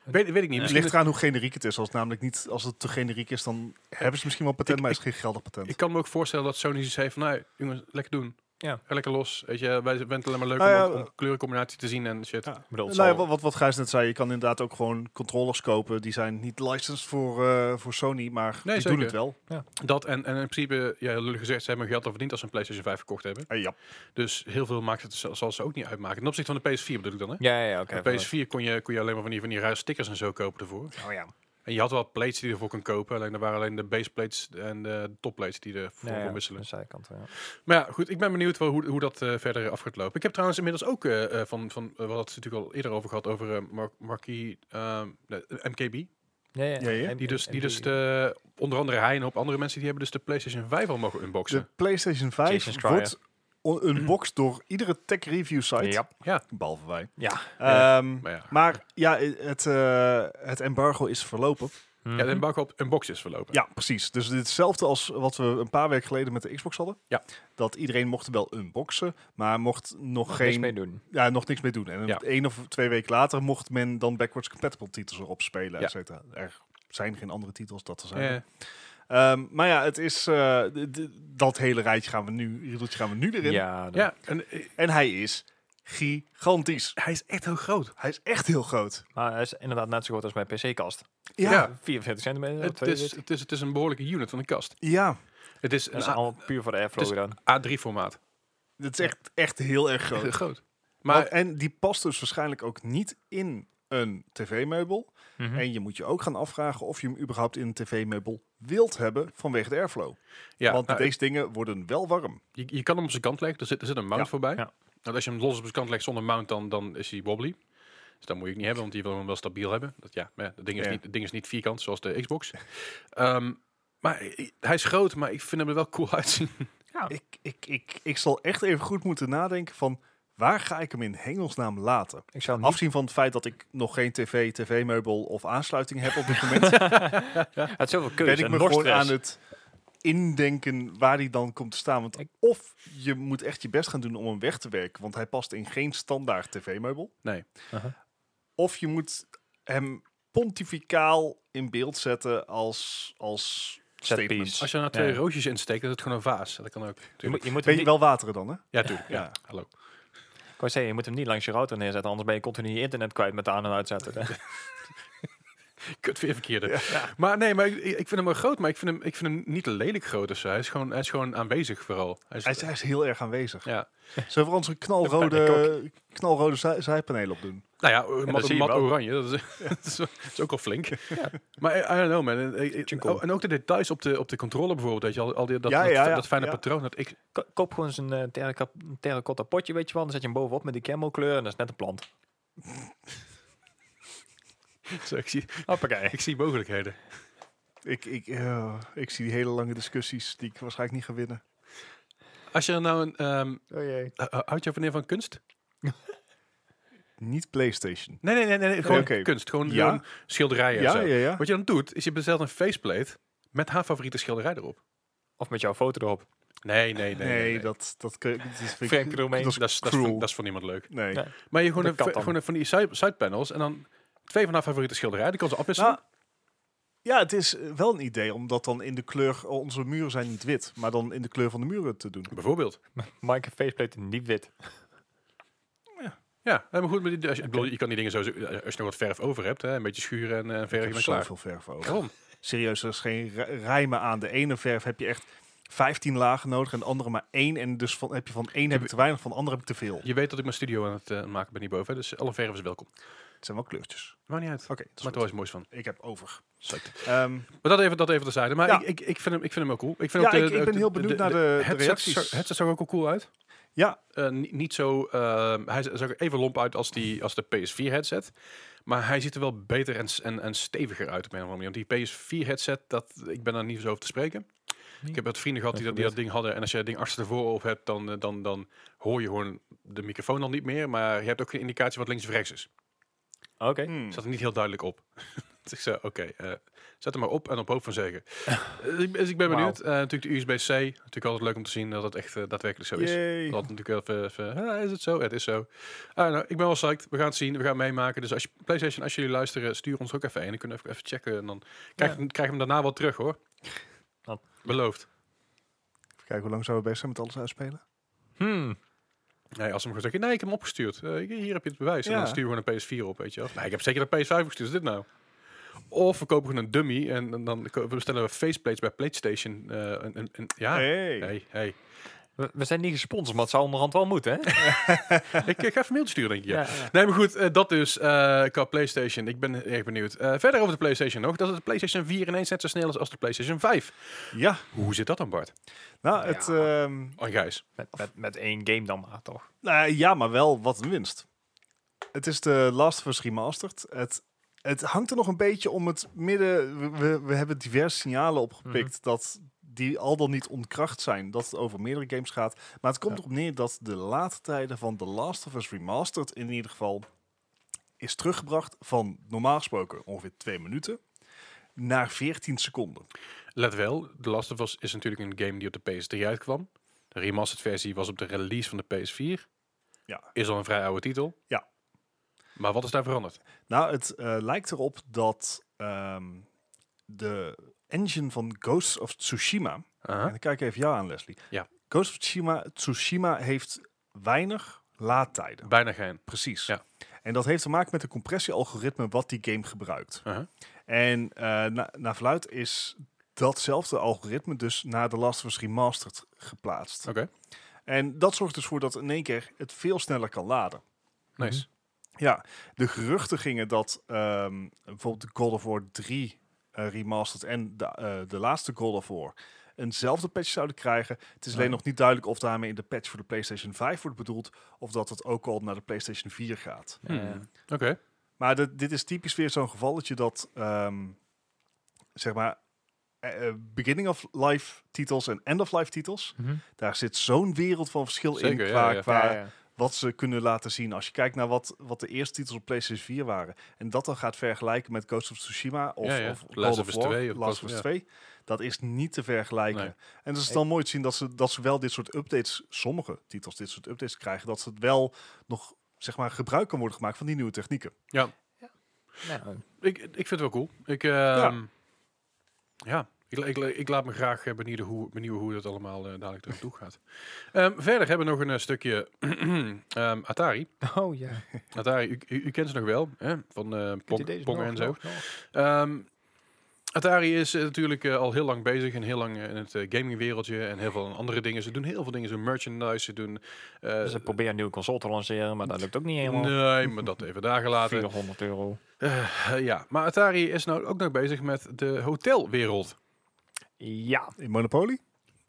[SPEAKER 1] Weet, weet ik niet.
[SPEAKER 2] Het
[SPEAKER 1] Misschien
[SPEAKER 2] ligt eraan hoe generiek het is. Als het namelijk niet, als het te generiek is, dan hebben ze misschien wel een patent,
[SPEAKER 1] Ik-
[SPEAKER 2] maar is geen geldig patent.
[SPEAKER 1] ik kan me ook voorstellen dat Sony zoiets heeft van, nou jongens, lekker doen.
[SPEAKER 3] Ja.
[SPEAKER 1] Ga Lekker los. Weet je, wij zijn het alleen maar leuk
[SPEAKER 2] Nou ja,
[SPEAKER 1] om, om kleurencombinatie te zien en shit.
[SPEAKER 2] Ja.
[SPEAKER 3] Ik bedoel, het
[SPEAKER 2] nou ja,
[SPEAKER 3] zal-
[SPEAKER 2] wat, wat, wat Gijs net zei, je kan inderdaad ook gewoon controllers kopen. Die zijn niet licensed voor, eh, voor Sony, maar die
[SPEAKER 1] zeker.
[SPEAKER 2] doen het wel.
[SPEAKER 1] Dat en, en in principe, ja, lullig gezegd, ze hebben hun geld al verdiend als ze een PlayStation 5 verkocht hebben.
[SPEAKER 2] Eh, ja.
[SPEAKER 1] Dus heel veel maakt het zal, zal ze ook niet uitmaken. Ten opzichte van de PS4 bedoel ik dan, hè?
[SPEAKER 3] Ja, ja, ja, oké.
[SPEAKER 1] Op PS4 kon je, kon je alleen maar van die, van die rare stickers en zo kopen ervoor.
[SPEAKER 2] Oh ja.
[SPEAKER 1] En je had wel plates die je ervoor kon kopen. Alleen er waren alleen de base plates en de top plates die ervoor
[SPEAKER 3] Nee,
[SPEAKER 1] kon
[SPEAKER 3] ja,
[SPEAKER 1] wisselen.
[SPEAKER 3] de zijkant, ja.
[SPEAKER 1] Maar ja, goed, ik ben benieuwd wel hoe, hoe dat eh, verder af gaat lopen. Ik heb trouwens inmiddels ook eh, eh, van, van eh, we hadden het natuurlijk al eerder over gehad, over eh, Mar- Marquis, ehm, nee, MKB.
[SPEAKER 3] Ja, ja.
[SPEAKER 2] Ja, ja.
[SPEAKER 3] En-
[SPEAKER 1] Die dus,
[SPEAKER 3] en
[SPEAKER 1] die dus de, onder andere hij en een hoop andere mensen, die hebben dus de PlayStation 5 al mogen
[SPEAKER 2] De
[SPEAKER 1] unboxen.
[SPEAKER 2] PlayStation 5
[SPEAKER 3] Jason Schreier.
[SPEAKER 2] wordt on- unboxed door iedere tech-review site,
[SPEAKER 3] Ja.
[SPEAKER 2] behalve wij.
[SPEAKER 3] Ja.
[SPEAKER 2] Ehm,
[SPEAKER 1] Maar ja,
[SPEAKER 2] Maar ja, het, eh, het embargo is verlopen.
[SPEAKER 3] Mhm.
[SPEAKER 1] ja de unbox op unbox is verlopen.
[SPEAKER 2] Ja, precies. Dus dit is hetzelfde als wat we een paar weken geleden met de Xbox hadden.
[SPEAKER 1] Ja.
[SPEAKER 2] Dat iedereen mocht wel unboxen, maar mocht nog,
[SPEAKER 3] Nog niks
[SPEAKER 2] geen,
[SPEAKER 3] mee doen.
[SPEAKER 2] Ja, nog niks mee doen. En
[SPEAKER 1] Ja.
[SPEAKER 2] één of twee weken later mocht men dan backwards compatible titels erop spelen,
[SPEAKER 1] Ja.
[SPEAKER 2] et cetera. Er zijn geen andere titels dat er zijn.
[SPEAKER 1] Eh,
[SPEAKER 2] Ehm, maar ja, het is eh, d- d- dat hele rijtje gaan we nu, riedeltje gaan we nu erin.
[SPEAKER 3] Ja, dat-
[SPEAKER 1] ja, en eh,
[SPEAKER 2] En hij is gigantisch.
[SPEAKER 1] hij is echt heel groot.
[SPEAKER 2] Hij is echt heel groot.
[SPEAKER 3] maar hij is inderdaad net zo groot als mijn PC-kast.
[SPEAKER 2] Ja, ja.
[SPEAKER 1] Ja.
[SPEAKER 3] 44 centimeter,
[SPEAKER 1] Het is, het, is, het is een behoorlijke unit van de kast. Het is
[SPEAKER 3] Dat
[SPEAKER 1] een
[SPEAKER 3] is
[SPEAKER 1] A-
[SPEAKER 3] allemaal puur voor de airflow
[SPEAKER 1] het
[SPEAKER 3] gedaan.
[SPEAKER 1] A3-formaat.
[SPEAKER 2] Het is echt, echt heel erg groot.
[SPEAKER 1] Groot.
[SPEAKER 2] Maar,
[SPEAKER 1] Maar
[SPEAKER 2] en die past dus waarschijnlijk ook niet in een tv-meubel. En je moet je ook gaan afvragen of je hem überhaupt in een tv-meubel wilt hebben vanwege de airflow.
[SPEAKER 1] ja,
[SPEAKER 2] Want
[SPEAKER 1] nou,
[SPEAKER 2] deze dingen worden wel warm.
[SPEAKER 1] Je, je kan hem op zijn kant leggen. Er zit, er zit een mount
[SPEAKER 2] Ja,
[SPEAKER 1] voorbij.
[SPEAKER 3] ja.
[SPEAKER 1] Nou, als je hem los op zijn kant legt zonder mount, dan, dan is hij wobbly. Dus dat moet je ook niet hebben, want die wil hem wel stabiel hebben. Dat, ja, maar ja, dat ding is,
[SPEAKER 2] Ja.
[SPEAKER 1] niet, dat ding is niet vierkant, zoals de Xbox. Ehm, maar i- hij is groot, maar ik vind hem er wel cool uitzien.
[SPEAKER 2] Ik, ik, ik, ik zal echt even goed moeten nadenken van waar ga ik hem in hemelsnaam laten?
[SPEAKER 3] Ik zou niet...
[SPEAKER 2] Afzien van het feit dat ik nog geen tv, tv-meubel of aansluiting heb op dit moment,
[SPEAKER 3] Het is zoveel keuze
[SPEAKER 2] ben ik
[SPEAKER 3] en
[SPEAKER 2] me
[SPEAKER 3] nog
[SPEAKER 2] gewoon
[SPEAKER 3] stress.
[SPEAKER 2] aan het indenken waar die dan komt te staan. Want
[SPEAKER 3] Ik-
[SPEAKER 2] of je moet echt je best gaan doen om hem weg te werken, want hij past in geen standaard tv-meubel.
[SPEAKER 1] Nee.
[SPEAKER 2] Of je moet hem pontificaal in beeld zetten als, als
[SPEAKER 3] Set
[SPEAKER 2] statement.
[SPEAKER 3] piece.
[SPEAKER 1] Als je er nou twee
[SPEAKER 3] Ja.
[SPEAKER 1] roosjes insteekt, dan is het gewoon een vaas. Dat kan ook.
[SPEAKER 3] Je
[SPEAKER 1] Tuurlijk.
[SPEAKER 3] moet, je moet
[SPEAKER 2] Weet
[SPEAKER 3] hem
[SPEAKER 2] je
[SPEAKER 3] niet-
[SPEAKER 2] wel wateren dan, hè?
[SPEAKER 1] Ja, tuurlijk. Ja.
[SPEAKER 2] Ja.
[SPEAKER 1] Hallo.
[SPEAKER 3] Ik wou zeggen, je moet hem niet langs je router neerzetten, anders ben je continu je internet kwijt met aan- en uitzetten. hè.
[SPEAKER 1] Kut, weer verkeerde. Maar nee, maar ik, ik vind hem wel groot, maar ik vind hem, ik vind hem niet lelijk groot of zo. Hij is gewoon, hij is gewoon aanwezig vooral. Hij is,
[SPEAKER 2] Hij is, hij is heel erg aanwezig.
[SPEAKER 1] ja.
[SPEAKER 2] Zullen we onze knalrode, knalrode zij- zijpanelen opdoen?
[SPEAKER 1] Nou ja, mat,
[SPEAKER 3] zie je
[SPEAKER 1] mat
[SPEAKER 3] wel.
[SPEAKER 1] oranje, dat is, dat is, dat is ook al flink. Maar I I don't know man. En- en- en-
[SPEAKER 3] Jingle.
[SPEAKER 1] oh, en ook de details op de, op de controller bijvoorbeeld, dat je al, al die, dat,
[SPEAKER 2] Ja,
[SPEAKER 1] dat-
[SPEAKER 2] ja,
[SPEAKER 1] dat,
[SPEAKER 2] ja.
[SPEAKER 1] fijne
[SPEAKER 2] Ja.
[SPEAKER 1] patroon. Dat ik,
[SPEAKER 3] Ko- Koop gewoon zo'n eh, terraco- terracotta potje, weet je wel. Dan zet je hem bovenop met die camelkleur en dat is net een plant.
[SPEAKER 1] zo, ik, zie,
[SPEAKER 3] Hoppakee.
[SPEAKER 1] ik zie mogelijkheden.
[SPEAKER 2] Ik, ik, eh, ik zie die hele lange discussies die ik waarschijnlijk niet ga winnen.
[SPEAKER 1] Als je nou een... ehm
[SPEAKER 3] Oh jee.
[SPEAKER 1] eh, eh, houdt je van van kunst?
[SPEAKER 2] Niet PlayStation.
[SPEAKER 1] Nee, nee, nee, nee, nee, gewoon
[SPEAKER 2] Oké.
[SPEAKER 1] kunst. Gewoon,
[SPEAKER 2] Ja.
[SPEAKER 1] gewoon schilderijen en
[SPEAKER 2] Ja,
[SPEAKER 1] zo.
[SPEAKER 2] ja, ja.
[SPEAKER 1] Wat je dan doet, is je bestelt een faceplate met haar favoriete schilderij erop.
[SPEAKER 3] Of met jouw foto erop.
[SPEAKER 1] Nee, nee, nee.
[SPEAKER 2] Nee,
[SPEAKER 1] nee, nee.
[SPEAKER 2] dat, dat kun je... Dat is- vind
[SPEAKER 3] Frank Romein.
[SPEAKER 2] dat is
[SPEAKER 1] Dat is, dat, is
[SPEAKER 2] cruel.
[SPEAKER 1] voor, dat is voor niemand leuk.
[SPEAKER 2] Nee.
[SPEAKER 3] Ja.
[SPEAKER 1] Maar je gewoon,
[SPEAKER 3] Dat
[SPEAKER 1] een,
[SPEAKER 3] kan
[SPEAKER 1] fa-
[SPEAKER 3] dan.
[SPEAKER 1] gewoon een- van die side, sidepanels en dan twee van haar favoriete schilderijen. Die kan ze afwisselen.
[SPEAKER 2] Nou, ja, het is eh, wel een idee om dat dan in de kleur... eh, Onze muren zijn niet wit, maar dan in de kleur van de muren te doen.
[SPEAKER 1] bijvoorbeeld.
[SPEAKER 3] Mike faceplate in diep wit.
[SPEAKER 1] Ja, nee, maar goed. Maar die, als je, ik bedoel, je kan die dingen zo... Als je nog wat verf over hebt, hè, een beetje schuren en eh verf
[SPEAKER 2] Ik
[SPEAKER 1] je
[SPEAKER 2] heb
[SPEAKER 1] bent klaar.
[SPEAKER 2] zoveel verf over.
[SPEAKER 1] Waarom?
[SPEAKER 2] Serieus, er is geen ri- rijmen aan. De ene verf heb je echt 15 lagen nodig en de andere maar één. En dus van, heb je van één heb ik te weinig, van de andere heb ik te veel.
[SPEAKER 1] Je weet dat ik mijn studio aan het eh, maken ben hierboven. hè, Dus alle verf is welkom.
[SPEAKER 2] Het zijn wel kleurtjes.
[SPEAKER 1] Maakt niet uit.
[SPEAKER 2] Oké, dat is
[SPEAKER 1] Maar
[SPEAKER 2] goed.
[SPEAKER 1] er is moois van.
[SPEAKER 2] ik heb over.
[SPEAKER 1] Psyched.
[SPEAKER 2] Ehm,
[SPEAKER 1] Maar dat even, dat even terzijde. Maar
[SPEAKER 2] Ja.
[SPEAKER 1] ik, ik, ik, vind hem, ik vind hem ook cool. Ik, vind
[SPEAKER 2] Ja,
[SPEAKER 1] ook de-
[SPEAKER 2] ik- ik
[SPEAKER 1] ook
[SPEAKER 2] ben
[SPEAKER 1] de-
[SPEAKER 2] heel benieuwd naar de- de
[SPEAKER 1] headset
[SPEAKER 2] reacties.
[SPEAKER 1] zag- headset zag er ook al cool uit.
[SPEAKER 2] ja,
[SPEAKER 1] Eh, niet, niet zo... eh, hij zag er even lomp uit als, die, als de PS4-headset. Maar hij ziet er wel beter en, s- en, en steviger uit op een of andere manier. Want die PS4-headset, dat ik ben daar niet zo over te spreken.
[SPEAKER 3] Nee.
[SPEAKER 1] Ik heb wat vrienden gehad die dat, die dat ding hadden. En als je dat ding achterstevoren op hebt, dan, eh, dan, dan hoor je gewoon de microfoon al niet meer. Maar je hebt ook geen indicatie wat links of rechts is.
[SPEAKER 3] Oké.
[SPEAKER 2] hmm.
[SPEAKER 1] Zat er niet heel duidelijk op. dus ik zei, oké, eh, zet hem maar op en op hoop van zeggen. Eh, ik- dus ik ben
[SPEAKER 3] Wauw.
[SPEAKER 1] benieuwd. Eh, natuurlijk de USB-C. Natuurlijk altijd leuk om te zien dat het echt eh, daadwerkelijk zo is.
[SPEAKER 2] Yay.
[SPEAKER 1] Dat natuurlijk wel even, even, "Ah, is het zo? Het is zo. Ah, nou, ik ben wel psyched. We gaan het zien. We gaan het meemaken. Dus als je, PlayStation, als jullie luisteren, stuur ons ook even een. Dan kunnen we even- even checken. En dan krijg,
[SPEAKER 3] Ja.
[SPEAKER 1] je krijg je hem daarna wel terug, hoor.
[SPEAKER 3] Dat-
[SPEAKER 1] Beloofd.
[SPEAKER 2] Even kijken hoe lang zouden we bezig zijn met alles uitspelen.
[SPEAKER 3] Hmm.
[SPEAKER 1] Nee, als ze hem gewoon zeggen, nee, ik heb hem opgestuurd. Eh, hier heb je het bewijs. En
[SPEAKER 2] Ja.
[SPEAKER 1] dan stuur je gewoon een PS4 op, weet je wel. Nee, ik heb zeker een PS5 gestuurd. Is dit nou? Of we kopen gewoon een dummy en, en dan ko- bestellen we faceplates bij PlayStation. eh en, en, en- ja, hey,
[SPEAKER 2] Hey.
[SPEAKER 1] hey.
[SPEAKER 3] We, we zijn niet gesponsord, maar het zou onderhand wel moeten, hè?
[SPEAKER 1] ik, ik ga even een mailtje sturen, denk ik. Ja.
[SPEAKER 3] ja.
[SPEAKER 1] Nee, maar goed, eh, dat dus eh, qua PlayStation. Ik ben erg benieuwd. Eh, verder over de PlayStation nog, dat de PlayStation 4 ineens net zo snel is als de PlayStation 5.
[SPEAKER 2] Ja,
[SPEAKER 1] Hoe zit dat dan, Bart?
[SPEAKER 2] nou, het, ehm,
[SPEAKER 1] Oh, Gijs.
[SPEAKER 3] Met, met, met één game dan maar, toch?
[SPEAKER 2] nou ja, maar wel wat een winst. Het is de Last of Us Remastered. Het, het hangt er nog een beetje om het midden. We, we, we hebben diverse signalen opgepikt dat die al dan niet ontkracht zijn. Dat het over meerdere games gaat. Maar het komt erop neer dat de late tijden van The Last of Us Remastered in ieder geval is teruggebracht van normaal gesproken ongeveer twee minuten naar 14 seconden.
[SPEAKER 1] Let wel, The Last of Us is natuurlijk een game die op de PS3 uitkwam. De remastered versie was op de release van de PS4.
[SPEAKER 2] Ja.
[SPEAKER 1] Is al een vrij oude titel.
[SPEAKER 2] Ja.
[SPEAKER 1] Maar wat is daar veranderd?
[SPEAKER 2] Nou, het eh, lijkt erop dat ehm, de engine van Ghost of Tsushima. En dan kijk ik even jou aan, Leslie.
[SPEAKER 1] Ja.
[SPEAKER 2] Ghost of Tsushima, Tsushima heeft weinig laadtijden.
[SPEAKER 1] Bijna geen.
[SPEAKER 2] Precies.
[SPEAKER 1] Ja.
[SPEAKER 2] En dat heeft te maken met de compressie-algoritme wat die game gebruikt.
[SPEAKER 1] Uh-huh.
[SPEAKER 2] En eh na, naar verluid is datzelfde algoritme dus naar The Last of Us Remastered geplaatst.
[SPEAKER 1] Oké,
[SPEAKER 2] En dat zorgt dus voor dat in één keer het veel sneller kan laden.
[SPEAKER 1] nice.
[SPEAKER 2] Ja, de geruchten gingen dat ehm, bijvoorbeeld de God of War 3 eh, remastered en de, eh, de laatste God of War eenzelfde patch zouden krijgen. Het is alleen
[SPEAKER 1] Ja.
[SPEAKER 2] nog niet duidelijk of daarmee de patch voor de PlayStation 5 wordt bedoeld of dat het ook al naar de PlayStation 4 gaat.
[SPEAKER 3] Eh,
[SPEAKER 1] Hmm. Oké,
[SPEAKER 2] Maar dit- dit is typisch weer zo'n gevalletje dat, ehm, zeg maar, eh, eh, beginning of life titels en end of life titels,
[SPEAKER 3] mhm.
[SPEAKER 2] daar zit zo'n wereld van verschil
[SPEAKER 1] Zeker,
[SPEAKER 2] in
[SPEAKER 1] ja,
[SPEAKER 2] qua,
[SPEAKER 1] ja.
[SPEAKER 2] qua
[SPEAKER 3] Ja, ja.
[SPEAKER 2] wat ze kunnen laten zien. Als je kijkt naar wat, wat de eerste titels op PlayStation 4 waren. En dat dan gaat vergelijken met Ghost of Tsushima of,
[SPEAKER 1] Ja, ja.
[SPEAKER 2] of
[SPEAKER 1] Last of
[SPEAKER 2] Last of
[SPEAKER 1] Us
[SPEAKER 2] War,
[SPEAKER 1] 2 of
[SPEAKER 2] Last
[SPEAKER 1] Ghost
[SPEAKER 2] of Us
[SPEAKER 1] of-
[SPEAKER 2] 2. Dat is niet te vergelijken.
[SPEAKER 1] Nee.
[SPEAKER 2] En het is dan mooi te zien dat ze, dat ze wel dit soort updates, sommige titels dit soort updates krijgen, dat ze het wel nog zeg maar gebruik kan worden gemaakt van die nieuwe technieken.
[SPEAKER 1] ja.
[SPEAKER 3] Nou,
[SPEAKER 1] Ik, ik vind het wel cool. Ik, ehm, ja. Ik, ik, ik laat me graag eh, benieuwen hoe, benieuwen hoe dat allemaal eh, dadelijk er aan toe gaat. Ehm, verder hebben we nog een eh, stukje ehm, Atari.
[SPEAKER 3] Oh ja.
[SPEAKER 1] Atari, u, u, u kent ze nog wel, hè? van eh,
[SPEAKER 3] Kunt u
[SPEAKER 1] Pong,
[SPEAKER 3] deze
[SPEAKER 1] Pong
[SPEAKER 3] nog,
[SPEAKER 1] en zo.
[SPEAKER 3] nog, nog?
[SPEAKER 1] Ehm, Atari is eh, natuurlijk eh, al heel lang bezig en heel lang eh, in het eh, gamingwereldje en heel veel andere dingen. Ze doen heel veel dingen, ze doen merchandise, ze doen... eh,
[SPEAKER 3] Ze proberen Dus een nieuwe console te lanceren, maar dat lukt ook niet helemaal.
[SPEAKER 1] nee, maar dat even daar gelaten.
[SPEAKER 3] 400 euro.
[SPEAKER 1] Eh, ja, maar Atari is nou ook nog bezig met de hotelwereld.
[SPEAKER 3] Ja. Mm,
[SPEAKER 2] In Monopoly?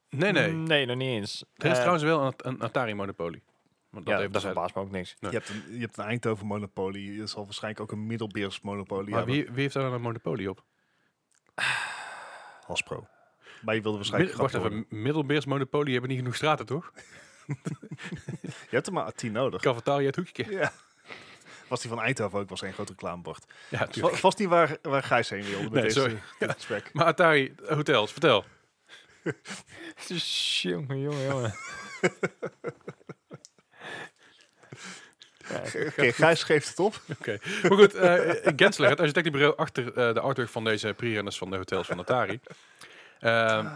[SPEAKER 1] Nee, nee.
[SPEAKER 3] Nee, nog niet eens.
[SPEAKER 1] Er is
[SPEAKER 3] Eh,
[SPEAKER 1] trouwens wel een, een Atari-monopolie. Want
[SPEAKER 3] ja,
[SPEAKER 1] dat dus
[SPEAKER 3] dat
[SPEAKER 1] even terzijde.
[SPEAKER 3] verbaast me ook niks.
[SPEAKER 1] Nee.
[SPEAKER 2] Je, hebt een, je hebt een Eindhoven Monopoly. Je zal waarschijnlijk ook een Middelbeers Monopoly
[SPEAKER 1] Maar
[SPEAKER 2] hebben.
[SPEAKER 1] wie, wie heeft daar dan een monopolie op?
[SPEAKER 2] Hasbro. Maar je wilde
[SPEAKER 1] Mid-
[SPEAKER 2] waarschijnlijk...
[SPEAKER 1] wacht
[SPEAKER 2] grappig
[SPEAKER 1] even, Middelbeers monopolie hebben niet genoeg straten, toch?
[SPEAKER 2] worden. Je hebt er maar 10 nodig.
[SPEAKER 1] Cavataria het hoekje.
[SPEAKER 2] Ja. Was die van Eindhoven ook, was één groot reclamebord.
[SPEAKER 1] Ja,
[SPEAKER 2] Va-
[SPEAKER 1] tuurlijk.
[SPEAKER 2] Vast niet waar, waar Gijs heen wilde met
[SPEAKER 1] Nee,
[SPEAKER 2] deze,
[SPEAKER 1] sorry.
[SPEAKER 2] dit gesprek.
[SPEAKER 1] Maar Atari, hotels, vertel.
[SPEAKER 3] Jongen, jongen, jongen. Ja,
[SPEAKER 2] Oké, Gijs geeft het op.
[SPEAKER 1] Oké. Maar goed, eh Gensler, het architectenbureau achter eh, de artwork van deze pre-runners van de hotels van Atari. Ehm,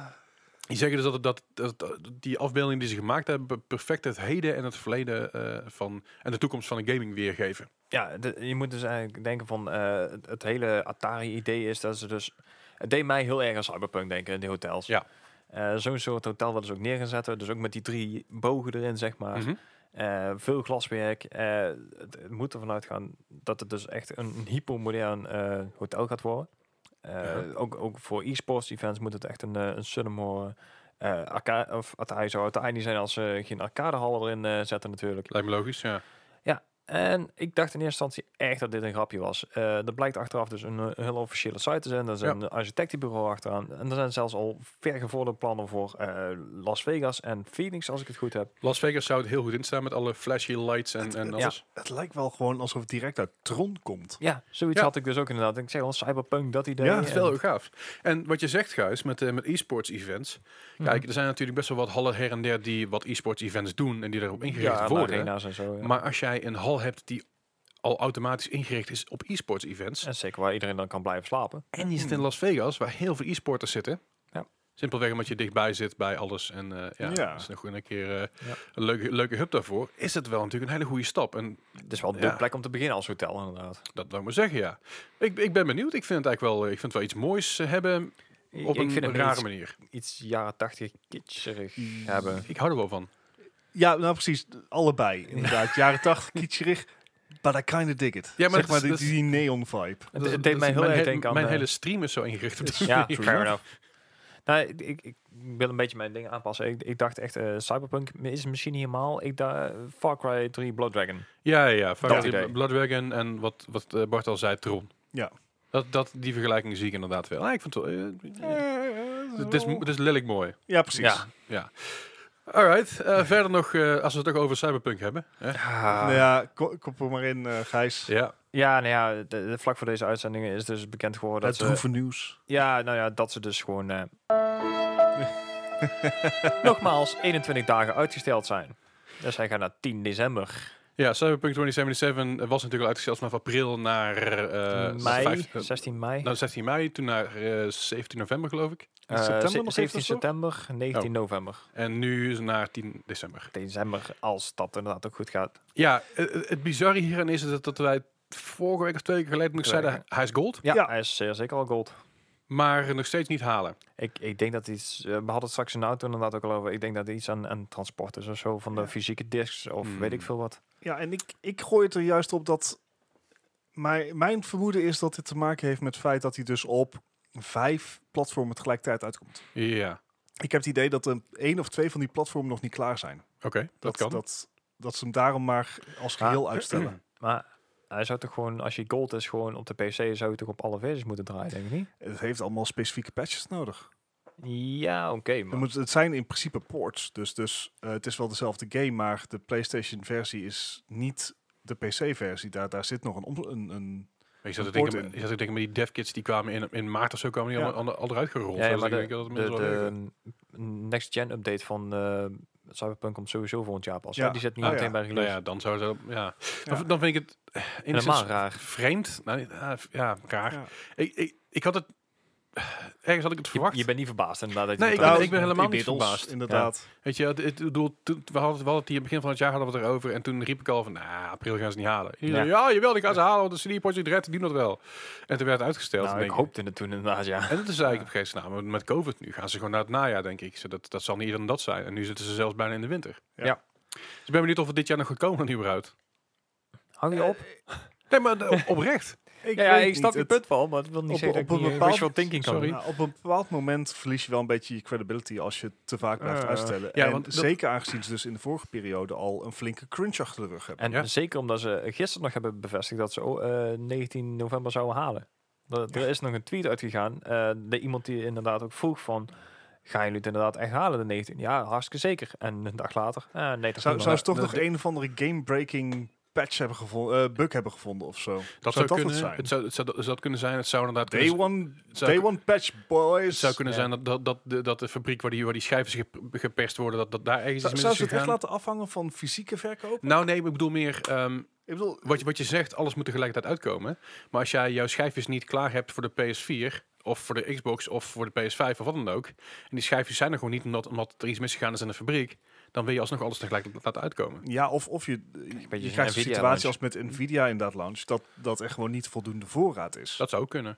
[SPEAKER 1] die zeggen dus dat, het- dat, dat- dat die afbeeldingen die ze gemaakt hebben perfect het heden en het verleden eh, van, en de toekomst van de gaming weergeven.
[SPEAKER 3] Ja, de- je moet dus eigenlijk denken van eh, het, het hele Atari-idee is dat ze dus... Het deed mij heel erg aan Cyberpunk denken, die hotels.
[SPEAKER 1] Ja.
[SPEAKER 3] Eh, Zo'n soort hotel dat ze ook neergezet hebben. Dus ook met die drie bogen erin, zeg maar.
[SPEAKER 1] Mhm.
[SPEAKER 3] Eh, veel glaswerk. Eh, het, het moet ervan uitgaan dat het dus echt een, een hypermodern eh, hotel gaat worden. Eh,
[SPEAKER 1] Ja.
[SPEAKER 3] ook, ook voor e-sports events moet het echt een, eh, een Sunnamore... eh arcade, of Atari zou Atari niet zijn als ze geen arcadehallen erin eh, zetten natuurlijk.
[SPEAKER 1] Lijkt me logisch, ja.
[SPEAKER 3] En ik dacht in eerste instantie echt dat dit een grapje was. Eh dat blijkt achteraf dus een, eh, een heel officiële site te zijn. Daar is
[SPEAKER 1] Ja.
[SPEAKER 3] een architectenbureau achteraan. En er zijn zelfs al vergevorderde plannen voor eh, Las Vegas en Phoenix, als ik het goed heb.
[SPEAKER 1] Las Vegas zou het heel goed instaan met alle flashy lights en, en
[SPEAKER 2] Ja.
[SPEAKER 1] alles.
[SPEAKER 2] Het lijkt wel gewoon alsof het direct uit Tron komt.
[SPEAKER 3] Ja, zoiets
[SPEAKER 1] Ja.
[SPEAKER 3] had ik dus ook inderdaad. Ik zeg al, cyberpunk, dat idee.
[SPEAKER 2] Ja,
[SPEAKER 1] Dat is wel heel gaaf. En wat je zegt, Gijs, met, eh, met e-sports events.
[SPEAKER 3] Mhm.
[SPEAKER 1] Kijk, er zijn natuurlijk best wel wat hallen her en der die wat e-sports events doen en die daarop ingericht
[SPEAKER 3] ja,
[SPEAKER 1] worden.
[SPEAKER 3] arena's en zo. Ja.
[SPEAKER 1] Maar als jij een hal hebt die al automatisch ingericht is op e-sports events.
[SPEAKER 3] en zeker waar iedereen dan kan blijven slapen.
[SPEAKER 1] En die zit in Las Vegas, waar heel veel e-sporters zitten.
[SPEAKER 3] Ja.
[SPEAKER 1] Simpelweg omdat je dichtbij zit bij alles. En eh, ja,
[SPEAKER 2] Ja.
[SPEAKER 1] dat is nog een keer eh,
[SPEAKER 3] Ja.
[SPEAKER 1] een leuke, leuke hub daarvoor. Is het wel natuurlijk een hele goede stap. En
[SPEAKER 3] Het is wel de
[SPEAKER 1] Ja.
[SPEAKER 3] plek om te beginnen als hotel, inderdaad.
[SPEAKER 1] dat wil ik maar zeggen, ja. Ik, ik ben benieuwd. Ik vind het eigenlijk wel, ik vind het wel iets moois eh, hebben op een
[SPEAKER 3] het
[SPEAKER 1] rare
[SPEAKER 3] iets,
[SPEAKER 1] manier.
[SPEAKER 3] iets jaren tachtig kitscherig hebben.
[SPEAKER 1] Ik hou er wel van.
[SPEAKER 2] Ja, nou precies. Allebei, inderdaad. Jaren 80, kitscherig. But I kinda dig it.
[SPEAKER 1] Ja, maar dat
[SPEAKER 2] zeg maar
[SPEAKER 1] is-
[SPEAKER 2] die,
[SPEAKER 1] dat is-
[SPEAKER 2] die neon vibe.
[SPEAKER 3] Het,
[SPEAKER 1] Dat-
[SPEAKER 3] het
[SPEAKER 1] dat
[SPEAKER 3] deed
[SPEAKER 1] is-
[SPEAKER 3] mij heel
[SPEAKER 1] mijn
[SPEAKER 3] erg
[SPEAKER 1] he-
[SPEAKER 3] denken aan...
[SPEAKER 1] Mijn
[SPEAKER 3] eh,
[SPEAKER 1] hele stream is zo ingericht op die
[SPEAKER 3] Ja,
[SPEAKER 1] manier.
[SPEAKER 3] fair enough. Nou, ik, ik, ik wil een beetje mijn dingen aanpassen. Ik, ik dacht echt, eh, Cyberpunk is misschien niet helemaal. Ik dacht, eh, Far Cry 3 Blood Dragon.
[SPEAKER 1] Ja, ja, ja. Far Cry
[SPEAKER 3] idee.
[SPEAKER 1] Blood Dragon en wat, wat eh, Bart al zei, Tron.
[SPEAKER 2] Ja.
[SPEAKER 1] Dat, dat, die vergelijking zie ik inderdaad wel. Ah, ik vind het wel... eh, eh, het, is, het is lelijk mooi.
[SPEAKER 2] Ja, precies.
[SPEAKER 3] Ja.
[SPEAKER 1] Ja. Alright. eh, verder nog, eh, als we het toch over Cyberpunk hebben. Hè?
[SPEAKER 2] Nou
[SPEAKER 3] Ja,
[SPEAKER 2] ja, ko- kom er maar in, eh, Gijs.
[SPEAKER 1] Ja.
[SPEAKER 3] nou ja de, de- vlak voor deze uitzendingen is dus bekend geworden
[SPEAKER 2] het
[SPEAKER 3] dat ze...
[SPEAKER 2] droeve
[SPEAKER 1] eh,
[SPEAKER 2] nieuws.
[SPEAKER 3] Ja, nou ja, dat ze dus gewoon... eh, nogmaals, 21 dagen uitgesteld zijn. Dus hij gaat naar 10 december.
[SPEAKER 1] ja, Cyberpunk 2077 was natuurlijk al uitgesteld vanaf april naar... eh,
[SPEAKER 3] mei,
[SPEAKER 1] vijf- eh,
[SPEAKER 3] 16 mei.
[SPEAKER 1] nou, 16 mei, toen naar eh, 17 november, geloof ik.
[SPEAKER 3] Eh,
[SPEAKER 2] september
[SPEAKER 3] ze-
[SPEAKER 2] nog even
[SPEAKER 3] 17
[SPEAKER 2] of zo?
[SPEAKER 3] september, 19 november.
[SPEAKER 1] En nu is het naar 10 december.
[SPEAKER 3] December, als dat inderdaad ook goed gaat.
[SPEAKER 1] Ja, eh, eh, het bizarre hierin is dat, dat wij vorige week of twee weken geleden nog zeiden, hij is gold,
[SPEAKER 3] Ja,
[SPEAKER 2] Ja.
[SPEAKER 3] hij is zeer zeker al gold.
[SPEAKER 1] maar nog steeds niet halen.
[SPEAKER 3] Ik, ik denk dat iets, eh, we hadden het straks in de auto inderdaad ook al over. Ik denk dat iets aan, aan transport is of zo, van de
[SPEAKER 2] Ja.
[SPEAKER 3] fysieke discs of
[SPEAKER 1] Hmm.
[SPEAKER 3] weet ik veel wat.
[SPEAKER 2] Ja, en ik, ik gooi het er juist op dat... Mijn, mijn vermoeden is dat dit te maken heeft met het feit dat hij dus op vijf platformen tegelijkertijd uitkomt.
[SPEAKER 1] Ja,
[SPEAKER 2] Ik heb het idee dat er één of twee van die platformen nog niet klaar zijn.
[SPEAKER 1] oké, dat, kan.
[SPEAKER 2] Dat, dat ze hem daarom maar als geheel uitstellen.
[SPEAKER 3] Maar hij zou toch gewoon, als je gold is, gewoon op de PC, zou je toch op alle versies moeten draaien, denk ik niet?
[SPEAKER 2] Het heeft allemaal specifieke patches nodig.
[SPEAKER 3] Ja, oké,
[SPEAKER 2] Het,
[SPEAKER 3] maar...
[SPEAKER 2] moet, het zijn in principe ports, dus, dus eh, het is wel dezelfde game, maar de PlayStation-versie is niet de PC-versie. Daar, daar zit nog een... om- een, een
[SPEAKER 1] Ik zat te
[SPEAKER 2] Support
[SPEAKER 1] denken,
[SPEAKER 2] in.
[SPEAKER 1] ik zat te denken met die devkits die kwamen in, in maart of zo, kwamen die
[SPEAKER 2] Ja.
[SPEAKER 1] allemaal al, al eruit gerold.
[SPEAKER 3] Ja, ja,
[SPEAKER 1] Dus
[SPEAKER 3] maar
[SPEAKER 1] ik
[SPEAKER 3] de,
[SPEAKER 1] denk dat het mensen
[SPEAKER 3] de,
[SPEAKER 1] wel regelen.
[SPEAKER 3] de next-gen update van eh, Cyberpunk komt sowieso volgend jaar pas. hè?
[SPEAKER 2] Ja.
[SPEAKER 3] Die zit niet
[SPEAKER 2] Ah, ja.
[SPEAKER 3] meteen bij
[SPEAKER 1] Nou
[SPEAKER 3] release.
[SPEAKER 1] ja, dan zou dat, ja. Dan,
[SPEAKER 2] Ja.
[SPEAKER 1] dan vind ik het eh, enigszins
[SPEAKER 3] Helemaal raar.
[SPEAKER 1] vreemd. Nou, ja, ja, raar.
[SPEAKER 2] ja.
[SPEAKER 1] Ik, ik, ik had het ergens had ik het
[SPEAKER 3] Je,
[SPEAKER 1] verwacht.
[SPEAKER 3] je bent niet verbaasd inderdaad. Dat je
[SPEAKER 1] Nee,
[SPEAKER 3] dat
[SPEAKER 1] ik ben-
[SPEAKER 3] uit-
[SPEAKER 1] ik ben helemaal
[SPEAKER 2] die
[SPEAKER 1] niet
[SPEAKER 2] Beatles,
[SPEAKER 1] verbaasd.
[SPEAKER 2] Inderdaad.
[SPEAKER 1] Weet je, het, het, ik bedoel, toen- we, hadden, we hadden het hier begin van het jaar hadden we het erover. En toen riep ik al van, nou, april gaan ze niet halen. Ja,
[SPEAKER 3] Ja.
[SPEAKER 1] zei, ja jawel, die gaan ze halen, want de CD-potje redt, die doen dat wel. En toen werd het uitgesteld.
[SPEAKER 3] Nou,
[SPEAKER 1] En
[SPEAKER 3] ik
[SPEAKER 1] denk-
[SPEAKER 3] hoopte het toen inderdaad, ja.
[SPEAKER 1] En dat is eigenlijk op een gegeven moment, nou, met COVID nu gaan ze gewoon naar het najaar, denk ik. Ze- Dat, dat zal niet eerder dan dat zijn. En nu zitten ze zelfs bijna in de winter.
[SPEAKER 2] Ja.
[SPEAKER 3] Ja.
[SPEAKER 1] Dus ik ben benieuwd of het dit jaar nog gaat komen, überhaupt.
[SPEAKER 3] Hang
[SPEAKER 1] Eh,
[SPEAKER 3] je op?
[SPEAKER 1] Nee, maar eh, op- oprecht.
[SPEAKER 2] Ik
[SPEAKER 3] ja, ja,
[SPEAKER 2] weet
[SPEAKER 3] ik snap
[SPEAKER 2] niet,
[SPEAKER 3] je
[SPEAKER 2] het-
[SPEAKER 3] punt wel, maar dat wil niet
[SPEAKER 2] op-
[SPEAKER 3] zeggen
[SPEAKER 2] op
[SPEAKER 3] dat
[SPEAKER 2] een
[SPEAKER 3] ik niet, eh,
[SPEAKER 2] bepaald-
[SPEAKER 3] wishful thinking kan
[SPEAKER 1] Sorry.
[SPEAKER 3] doen.
[SPEAKER 2] Nou, op een bepaald moment verlies je wel een beetje je credibility als je het te vaak blijft
[SPEAKER 3] Eh,
[SPEAKER 2] uitstellen.
[SPEAKER 1] ja,
[SPEAKER 2] en
[SPEAKER 1] want dat-
[SPEAKER 2] zeker aangezien ze dus in de vorige periode al een flinke crunch achter de rug hebben.
[SPEAKER 3] En
[SPEAKER 1] Ja.
[SPEAKER 3] zeker omdat ze gisteren nog hebben bevestigd dat ze oh, eh, 19 november zouden halen. Er, er is nog een tweet uitgegaan. eh de iemand die inderdaad ook vroeg van... Gaan jullie het inderdaad echt halen, de 19? Ja, hartstikke zeker. En een dag later... eh, nee, dat
[SPEAKER 2] Zou,
[SPEAKER 3] doen we
[SPEAKER 2] zou ze
[SPEAKER 3] wel.
[SPEAKER 2] toch nog een of andere game-breaking patch hebben gevonden, eh, bug hebben gevonden of zo?
[SPEAKER 3] Dus
[SPEAKER 1] Dat zou,
[SPEAKER 2] dat het
[SPEAKER 1] kunnen
[SPEAKER 2] zijn?
[SPEAKER 1] Het zou, het zou, het zou kunnen zijn. Het zou inderdaad
[SPEAKER 2] Day
[SPEAKER 1] kunnen,
[SPEAKER 2] one,
[SPEAKER 1] zou
[SPEAKER 2] day one patch, boys.
[SPEAKER 1] het zou kunnen
[SPEAKER 3] Ja.
[SPEAKER 1] zijn dat, dat, dat, de, dat de fabriek waar die, waar die schijven zich gep- geperst worden, dat, dat daar ergens
[SPEAKER 2] Zou,
[SPEAKER 1] iets
[SPEAKER 2] zou
[SPEAKER 1] mis
[SPEAKER 2] ze
[SPEAKER 1] is
[SPEAKER 2] het echt
[SPEAKER 1] gegaan.
[SPEAKER 2] laten afhangen van fysieke verkoop?
[SPEAKER 1] Nou nee, ik bedoel meer, ehm,
[SPEAKER 2] Ik bedoel,
[SPEAKER 1] wat, je, wat je zegt, alles moet tegelijkertijd uitkomen. Maar als jij jouw schijfjes niet klaar hebt voor de PS4, of voor de Xbox, of voor de PS5, of wat dan ook. En die schijfjes zijn er gewoon niet, omdat, omdat er iets misgegaan is in de fabriek. Dan wil je alsnog alles tegelijkertijd laten uitkomen.
[SPEAKER 2] ja, of, of je, je
[SPEAKER 3] beetje
[SPEAKER 2] krijgt
[SPEAKER 3] zo'n
[SPEAKER 2] een
[SPEAKER 3] Nvidia
[SPEAKER 2] situatie
[SPEAKER 3] launch.
[SPEAKER 2] als met Nvidia in dat launch, dat, dat echt gewoon niet voldoende voorraad is.
[SPEAKER 1] Dat zou ook kunnen.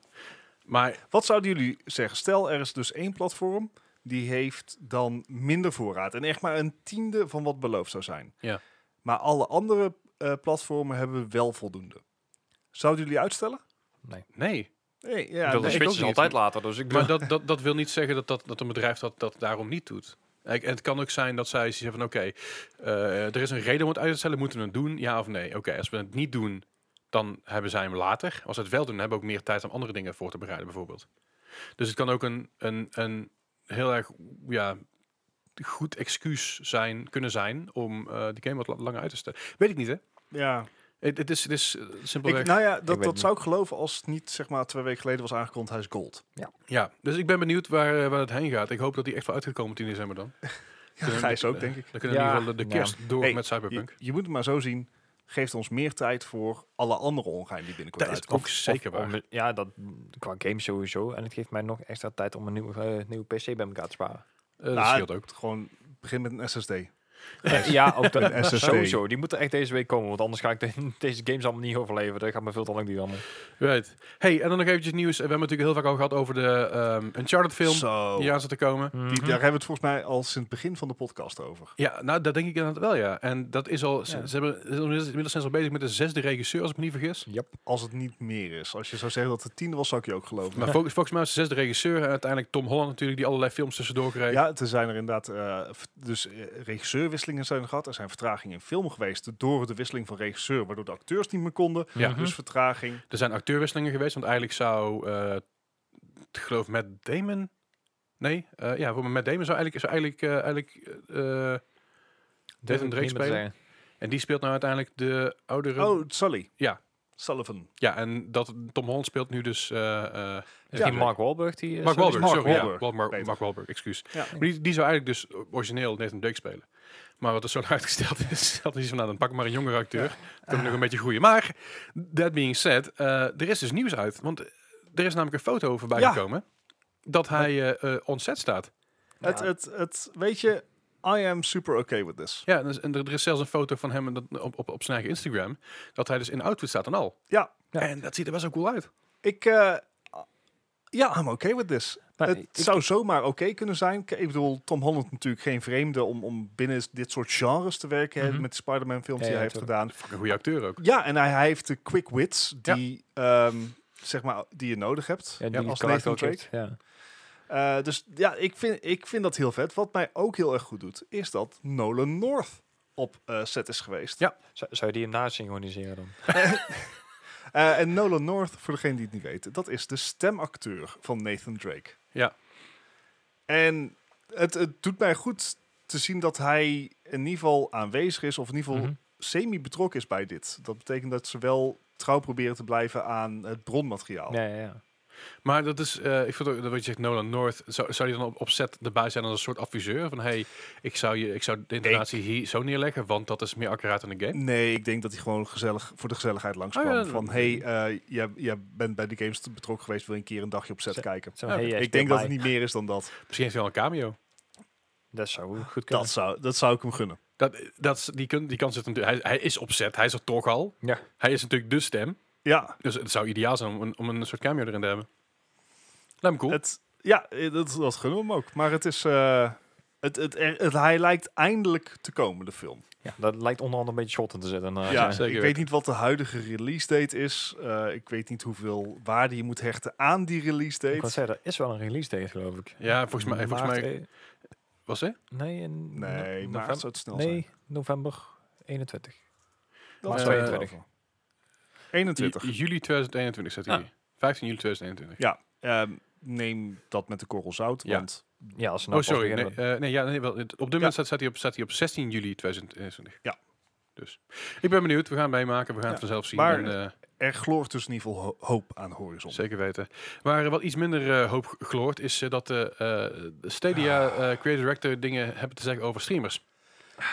[SPEAKER 1] Maar
[SPEAKER 2] Wat zouden jullie zeggen? Stel, er is dus één platform die heeft dan minder voorraad en echt maar een tiende van wat beloofd zou zijn.
[SPEAKER 1] Ja.
[SPEAKER 2] Maar alle andere eh, platformen hebben wel voldoende. Zouden jullie uitstellen?
[SPEAKER 1] nee,
[SPEAKER 2] Nee,
[SPEAKER 3] Ik
[SPEAKER 2] ja, nee,
[SPEAKER 3] bedoel, de
[SPEAKER 2] ik
[SPEAKER 3] Switch
[SPEAKER 2] ook
[SPEAKER 3] is
[SPEAKER 2] niet.
[SPEAKER 3] altijd later, dus ik bedoel...
[SPEAKER 1] Maar dat, dat, dat wil niet zeggen dat, dat, dat een bedrijf dat, dat daarom niet doet. Kijk, En het kan ook zijn dat zij zeggen van oké, eh, er is een reden om het uit te stellen, moeten we het doen, ja of nee? Oké, als we het niet doen, dan hebben zij hem later. Als we het wel doen, hebben we ook meer tijd om andere dingen voor te bereiden bijvoorbeeld. Dus het kan ook een, een, een heel erg ja, goed excuus zijn, kunnen zijn om eh die game wat la- langer uit te stellen. Weet ik niet hè?
[SPEAKER 2] Ja.
[SPEAKER 1] Het, het is, het is eh, simpelweg...
[SPEAKER 2] Ik, nou ja,
[SPEAKER 3] weet
[SPEAKER 2] dat,
[SPEAKER 3] het
[SPEAKER 2] dat
[SPEAKER 3] niet.
[SPEAKER 2] zou ik geloven als het niet zeg maar twee weken geleden was aangekondigd, hij is gold.
[SPEAKER 1] Ja, dus ik ben benieuwd waar, eh, waar het heen gaat. Ik hoop dat die echt wel uitgekomen 10 december dan.
[SPEAKER 2] Ja, Gijs ook, denk ik.
[SPEAKER 1] eh, Dan kunnen we
[SPEAKER 3] Ja,
[SPEAKER 1] in ieder geval de, de
[SPEAKER 3] ja.
[SPEAKER 1] kerst door
[SPEAKER 2] Hey,
[SPEAKER 1] met
[SPEAKER 2] Je,
[SPEAKER 1] Cyberpunk.
[SPEAKER 2] je moet het maar zo zien, geeft ons meer tijd voor alle andere ongein die binnenkort
[SPEAKER 1] Dat is
[SPEAKER 2] uitkomt.
[SPEAKER 1] ook zeker
[SPEAKER 3] Of
[SPEAKER 1] waar.
[SPEAKER 3] om- ja, dat qua game sowieso. En het geeft mij nog extra tijd om een nieuwe, eh, nieuwe PC bij elkaar te sparen.
[SPEAKER 1] Eh, dat
[SPEAKER 2] Nou,
[SPEAKER 1] scheelt ook.
[SPEAKER 2] Gewoon begin met een SSD.
[SPEAKER 3] Eh, ja, ook dat,
[SPEAKER 2] Een SSD.
[SPEAKER 3] sowieso. Die moeten echt deze week komen, want anders ga ik de- deze games allemaal niet overleven. Dat gaat me veel te lang duren allemaal.
[SPEAKER 1] Right. Hey, en dan nog eventjes nieuws. Eh, We hebben het natuurlijk heel vaak al gehad over de ehm, Uncharted film
[SPEAKER 2] Zo.
[SPEAKER 1] die aan zit te komen.
[SPEAKER 3] Mhm.
[SPEAKER 2] Die, daar hebben we het volgens mij al sinds het begin van de podcast over.
[SPEAKER 1] Ja, nou, dat denk ik inderdaad wel, ja. En dat is al... Ze,
[SPEAKER 3] Ja.
[SPEAKER 1] ze hebben, inmiddels inmiddels zijn ze al bezig met de zesde regisseur, als ik me niet vergis.
[SPEAKER 3] Yep.
[SPEAKER 2] Als het niet meer is. Als je zou zeggen dat het tiende was, zou ik je ook geloven.
[SPEAKER 1] Maar volgens, volgens mij is de zesde regisseur en uiteindelijk Tom Holland natuurlijk, die allerlei films tussendoor kreeg.
[SPEAKER 2] Ja, er zijn er inderdaad eh, v- dus eh, regisseurwisselingen zijn er gehad. Er zijn vertragingen in film geweest door de wisseling van regisseur, waardoor de acteurs niet meer konden.
[SPEAKER 1] Ja.
[SPEAKER 3] Mhm.
[SPEAKER 2] Dus vertraging.
[SPEAKER 1] Er zijn acteurwisselingen geweest, want eigenlijk zou, eh, ik geloof Matt Damon... Nee, eh ja, voor Matt Damon zou eigenlijk... Zou eigenlijk, eh, eigenlijk eh,
[SPEAKER 3] Durf
[SPEAKER 1] een Drake
[SPEAKER 3] ik niet meer te
[SPEAKER 1] spelen?
[SPEAKER 3] zeggen.
[SPEAKER 1] en die speelt nou uiteindelijk de oudere...
[SPEAKER 2] Oh, Sully.
[SPEAKER 1] Ja.
[SPEAKER 2] Sullivan.
[SPEAKER 1] Ja, en dat Tom Holland speelt nu dus. eh, eh,
[SPEAKER 3] Is
[SPEAKER 1] ja,
[SPEAKER 3] die Mark Wahlberg die... eh,
[SPEAKER 1] Mark
[SPEAKER 3] zo is?
[SPEAKER 1] Wahlberg,
[SPEAKER 2] Mark
[SPEAKER 1] sorry, ja,
[SPEAKER 2] Wahlberg,
[SPEAKER 1] Mark- Mark,
[SPEAKER 2] beter.
[SPEAKER 1] Mark Wahlberg, excuus.
[SPEAKER 2] Ja.
[SPEAKER 1] Maar die, die zou eigenlijk dus origineel Nathan Drake spelen. Maar wat er zo uitgesteld is, dat is van nou, dan pak ik maar een jongere acteur. Dan kan ik nog een beetje groeien. Maar, that being said, eh, er is dus nieuws uit. Want er is namelijk een foto voorbij
[SPEAKER 2] Ja.
[SPEAKER 1] gekomen dat hij eh, eh, on set staat.
[SPEAKER 3] Ja.
[SPEAKER 2] Het, het, het, weet je, I am super okay with this.
[SPEAKER 1] Ja, en, er is- en er is zelfs een foto van hem en dat- op, op, op zijn eigen Instagram, dat hij dus in outfit staat en al.
[SPEAKER 2] Ja.
[SPEAKER 3] Ja.
[SPEAKER 1] En dat ziet er best wel cool uit.
[SPEAKER 2] Ik, eh, ja, I'm okay with this.
[SPEAKER 3] Maar
[SPEAKER 2] het
[SPEAKER 3] Nou, ik-
[SPEAKER 2] zou zomaar oké kunnen zijn. K- Ik bedoel, Tom Holland natuurlijk geen vreemde om, om binnen dit soort genres te werken. hè,
[SPEAKER 3] Mhm.
[SPEAKER 2] Met de Spider-Man films die
[SPEAKER 3] Ja, ja,
[SPEAKER 2] hij heeft
[SPEAKER 3] tuurlijk.
[SPEAKER 2] gedaan.
[SPEAKER 1] Een goede acteur ook.
[SPEAKER 2] Ja, en hij, hij heeft de quick wits
[SPEAKER 1] Ja.
[SPEAKER 2] die, ehm, zeg maar, die je nodig hebt.
[SPEAKER 3] Ja, die
[SPEAKER 2] als
[SPEAKER 3] karakter
[SPEAKER 2] Nathan
[SPEAKER 3] ook
[SPEAKER 2] Drake.
[SPEAKER 3] heeft, Ja.
[SPEAKER 2] Eh, dus ja, ik vind, ik vind dat heel vet. Wat mij ook heel erg goed doet, is dat Nolan North op eh, set is geweest.
[SPEAKER 1] Ja.
[SPEAKER 3] Zou, zou je die hem synchroniseren dan?
[SPEAKER 2] Eh, en Nolan North, voor degene die het niet weten, dat is de stemacteur van Nathan Drake.
[SPEAKER 1] Ja.
[SPEAKER 2] En het, het doet mij goed te zien dat hij in ieder geval aanwezig is, of in ieder geval
[SPEAKER 3] Mhm.
[SPEAKER 2] semi-betrokken is bij dit. Dat betekent dat ze wel trouw proberen te blijven aan het bronmateriaal.
[SPEAKER 3] Ja, ja, ja.
[SPEAKER 1] Maar dat is, eh, ik vind ook, dat wat je zegt, Nolan North, zou, zou die dan op, op set erbij zijn als een soort adviseur? Van, hey, ik zou, je, ik zou de intonatie hier zo neerleggen, want dat is meer accuraat in de game.
[SPEAKER 2] Nee, ik denk dat hij gewoon gezellig voor de gezelligheid langskwam.
[SPEAKER 1] Oh ja, dat-
[SPEAKER 2] van, hé, hey, eh, jij, jij bent bij de games betrokken geweest, wil je een keer een dagje op set
[SPEAKER 3] Zo-
[SPEAKER 2] kijken?
[SPEAKER 3] Zo,
[SPEAKER 1] Ja,
[SPEAKER 3] hey, jij
[SPEAKER 2] ik
[SPEAKER 3] speelt
[SPEAKER 2] denk dat
[SPEAKER 3] mij.
[SPEAKER 2] het niet meer is dan dat.
[SPEAKER 1] Misschien heeft hij wel een cameo.
[SPEAKER 3] Dat zou goed kunnen.
[SPEAKER 2] Dat zou, dat zou ik hem gunnen.
[SPEAKER 1] Dat, dat, is- die, kun, die kans zit natuurlijk, hij, hij is op set, hij is er toch al.
[SPEAKER 3] Ja.
[SPEAKER 1] Hij is natuurlijk de stem,
[SPEAKER 2] Ja,
[SPEAKER 1] dus het zou ideaal zijn om, een- om een soort cameo erin te hebben. Lijkt me cool.
[SPEAKER 2] het, ja eh, dat, dat gunnen we hem ook. Maar het is... eh, het, het, er- het- hij lijkt eindelijk te komen, de film.
[SPEAKER 3] Ja, dat lijkt onderhand een beetje schotten te zitten.
[SPEAKER 2] ja,
[SPEAKER 3] eh, zijn.
[SPEAKER 1] zeker
[SPEAKER 2] ik weet
[SPEAKER 1] weten.
[SPEAKER 2] niet wat de huidige release date is. Eh, ik weet niet hoeveel waarde je moet hechten aan die release
[SPEAKER 3] Ik wou
[SPEAKER 2] date.
[SPEAKER 3] zeggen, er is wel een release date, geloof ik.
[SPEAKER 1] ja, volgens mij, volgens
[SPEAKER 3] Maart,
[SPEAKER 1] mij
[SPEAKER 3] eh,
[SPEAKER 1] was hij?
[SPEAKER 3] Nee,
[SPEAKER 2] Nee,
[SPEAKER 3] in no-
[SPEAKER 2] maar het
[SPEAKER 3] november-
[SPEAKER 2] zou het snel zijn.
[SPEAKER 3] nee, november 21.
[SPEAKER 2] Dat
[SPEAKER 1] eh,
[SPEAKER 2] zou ik
[SPEAKER 3] 22.
[SPEAKER 2] geloven. 21.
[SPEAKER 1] Ju- Juli 2021 zit hij
[SPEAKER 3] Ah.
[SPEAKER 1] hier. 15 juli 2021.
[SPEAKER 2] Ehm, neem dat met de korrel zout,
[SPEAKER 1] Ja.
[SPEAKER 2] want
[SPEAKER 3] Ja, als ze
[SPEAKER 1] oh,
[SPEAKER 3] nou pas
[SPEAKER 1] sorry. Nee,
[SPEAKER 3] beginnen.
[SPEAKER 1] eh, nee, ja, nee, wel, het- op dit
[SPEAKER 2] Ja.
[SPEAKER 1] moment staat, staat, hij op, staat hij op 16 juli 2021.
[SPEAKER 2] Ja.
[SPEAKER 1] Dus ik ben benieuwd. We gaan het meemaken. We gaan het
[SPEAKER 2] Ja,
[SPEAKER 1] vanzelf zien.
[SPEAKER 2] maar-
[SPEAKER 1] en, eh,
[SPEAKER 2] er gloort dus in ieder geval ho- hoop aan de horizon.
[SPEAKER 1] zeker weten. Waar eh, wat iets minder eh, hoop g- gloort is eh, dat de eh, de Stadia
[SPEAKER 2] Ah.
[SPEAKER 1] eh Creative Director dingen hebben te zeggen over streamers.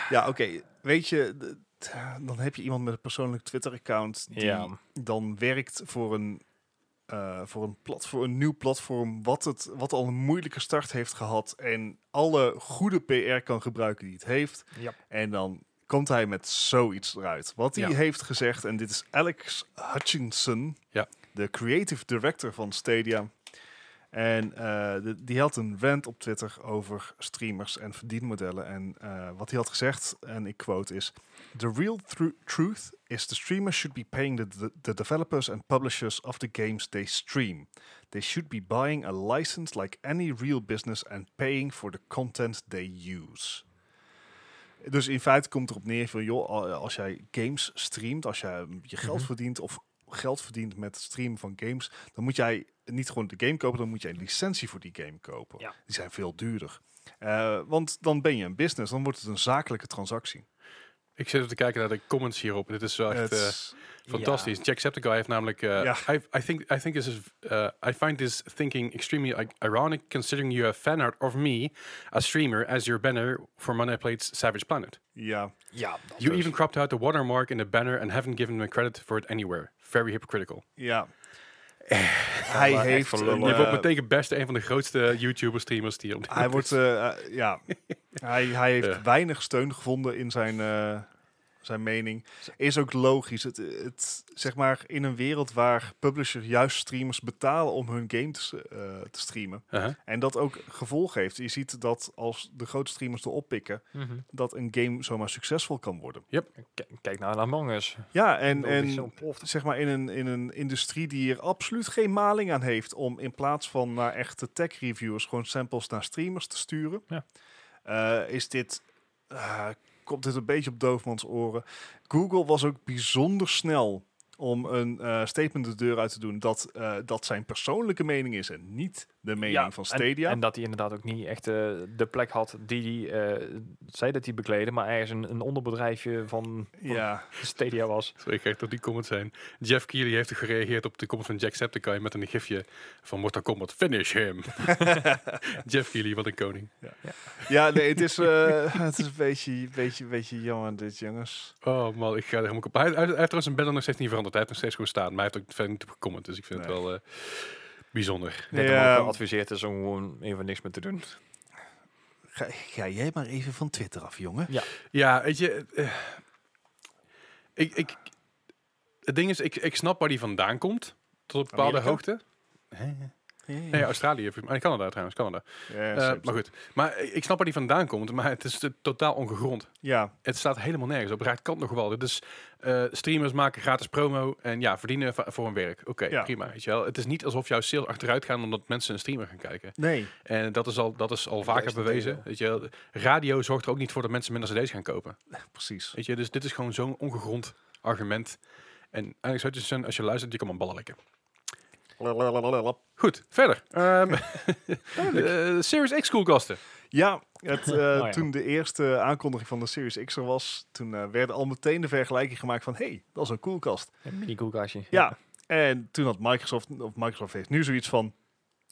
[SPEAKER 2] Ja, oké. Weet je, d- t- dan heb je iemand met een persoonlijk Twitter-account die
[SPEAKER 3] Ja.
[SPEAKER 2] dan werkt voor een, eh, voor, een plat, voor een nieuw platform wat, het, wat al een moeilijke start heeft gehad en alle goede PR kan gebruiken die het heeft.
[SPEAKER 3] Ja.
[SPEAKER 2] En dan komt hij met zoiets eruit. Wat hij
[SPEAKER 1] Ja.
[SPEAKER 2] heeft gezegd, en dit is Alex Hutchinson,
[SPEAKER 1] Ja.
[SPEAKER 2] de creative director van Stadia. En eh, de- die had een rant op Twitter over streamers en verdienmodellen. En eh, wat hij had gezegd, en ik quote is... The real thru- truth is the streamers should be paying the, the, the developers and publishers of the games they stream. They should be buying a license like any real business and paying for the content they use. Dus in feite komt erop neer van, joh, al- als jij games streamt, als jij je geld
[SPEAKER 3] Mhm.
[SPEAKER 2] verdient of geld verdient met het streamen van games, dan moet jij niet gewoon de game kopen, dan moet jij een licentie voor die game kopen.
[SPEAKER 3] Ja.
[SPEAKER 2] Die zijn veel duurder. Eh, want dan ben je een business, dan wordt het een zakelijke transactie.
[SPEAKER 1] Ik zit even te kijken naar de comments hierop. Dit is wel echt
[SPEAKER 2] Het-
[SPEAKER 1] eh, fantastisch. Jacksepticeye heeft namelijk... eh,
[SPEAKER 2] Ja.
[SPEAKER 1] I, I, think, I, think this is, eh, I find this thinking extremely i- ironic considering you have fan art of me, a streamer, as your banner for Monday Plate's Savage Planet.
[SPEAKER 2] ja,
[SPEAKER 3] Ja,
[SPEAKER 1] You even cropped out the watermark in the banner and haven't given me credit for it anywhere. Very hypocritical.
[SPEAKER 2] ja. hij
[SPEAKER 3] maar echt
[SPEAKER 2] heeft
[SPEAKER 3] van
[SPEAKER 2] een,
[SPEAKER 3] lullen.
[SPEAKER 1] je wordt
[SPEAKER 2] eh,
[SPEAKER 1] meteen gebest een van de grootste YouTuber-streamers die op dit
[SPEAKER 2] hij
[SPEAKER 1] moment
[SPEAKER 2] wordt,
[SPEAKER 1] is.
[SPEAKER 2] eh, eh, ja, hij, hij heeft
[SPEAKER 1] Ja.
[SPEAKER 2] weinig steun gevonden in zijn, eh, zijn mening. Is ook logisch. Het, het, zeg maar, in een wereld waar publishers juist streamers betalen om hun game te, s- eh, te streamen.
[SPEAKER 1] Uh-huh.
[SPEAKER 2] En dat ook gevolg heeft. Je ziet dat als de grote streamers erop pikken, dat een game zomaar succesvol kan worden.
[SPEAKER 3] Mhm. Kijk nou naar Among Us.
[SPEAKER 2] Ja, en,
[SPEAKER 3] Dat is
[SPEAKER 2] en
[SPEAKER 3] zo ontploft.
[SPEAKER 2] zeg maar in een, in een industrie die er absoluut geen maling aan heeft om in plaats van naar echte tech reviewers gewoon samples naar streamers te sturen,
[SPEAKER 3] Ja.
[SPEAKER 2] eh, is dit, eh, komt dit een beetje op doofmans oren. Google was ook bijzonder snel om een eh, statement de deur uit te doen dat eh, dat zijn persoonlijke mening is en niet de mening
[SPEAKER 3] Ja,
[SPEAKER 2] van
[SPEAKER 3] en-
[SPEAKER 2] Stadia.
[SPEAKER 3] En dat hij inderdaad ook niet echt eh, de plek had die hij eh, zei dat hij bekleedde, maar ergens een, een onderbedrijfje van, van
[SPEAKER 2] ja,
[SPEAKER 3] Stadia was.
[SPEAKER 1] Zo, ik krijg dat die comments zijn. Jeff Keighley heeft gereageerd op de comment van Jacksepticeye met een gifje van Mortal Kombat. Finish him! Jeff Keighley, wat een koning.
[SPEAKER 2] ja nee, het is, eh, het is een beetje, beetje, beetje jammer dit, jongens.
[SPEAKER 1] Oh man, ik ga er helemaal op. Hij, hij, hij heeft trouwens zijn banner nog steeds niet veranderd. Hij heeft nog steeds gewoon staan, maar hij heeft ook verder niet op gecomment. Dus ik vind het
[SPEAKER 2] Nee.
[SPEAKER 1] wel eh, bijzonder.
[SPEAKER 3] Dat
[SPEAKER 2] Ja, ehm,
[SPEAKER 3] hem ook geadviseerd is om gewoon even niks meer te doen.
[SPEAKER 2] Ga, ga jij maar even van Twitter af, jongen.
[SPEAKER 1] Ja, weet je. eh, ik, ik, het ding is, ik, ik snap waar die vandaan komt. Tot een bepaalde
[SPEAKER 2] Amerika?
[SPEAKER 1] hoogte. Nee, Australië. volgens mij. Canada trouwens, Canada.
[SPEAKER 2] Ja,
[SPEAKER 1] Eh,
[SPEAKER 2] same,
[SPEAKER 1] maar goed. Maar ik ik snap waar die vandaan komt. Maar het is eh, totaal ongegrond.
[SPEAKER 2] Ja,
[SPEAKER 1] Het staat helemaal nergens op. Raakt kant nog wel. Dit is eh, streamers maken gratis promo. En ja, verdienen va- voor hun werk. Oké,
[SPEAKER 2] Ja.
[SPEAKER 1] prima. Weet je wel. Het is niet alsof jouw sales achteruit gaan omdat mensen een streamer gaan kijken.
[SPEAKER 2] nee.
[SPEAKER 1] En dat is al, dat is al vaker
[SPEAKER 3] juist het
[SPEAKER 1] bewezen.
[SPEAKER 3] tegendeel.
[SPEAKER 1] Weet je wel. Radio zorgt er ook niet voor dat mensen minder cd's gaan kopen.
[SPEAKER 2] Precies.
[SPEAKER 1] Weet je, dus dit is gewoon zo'n ongegrond argument. En Alex Hutchinson, dus als je luistert, je kan mijn ballen lekken. Goed, verder. Ehm eh, Series X koelkasten.
[SPEAKER 2] Ja, het, eh,
[SPEAKER 3] Nou ja.
[SPEAKER 2] toen de eerste aankondiging van de Series X er was, toen eh, werden al meteen de vergelijking gemaakt van, hey, dat is een koelkast.
[SPEAKER 3] Een mini koelkastje.
[SPEAKER 2] Ja, En toen had Microsoft, of Microsoft heeft nu zoiets van,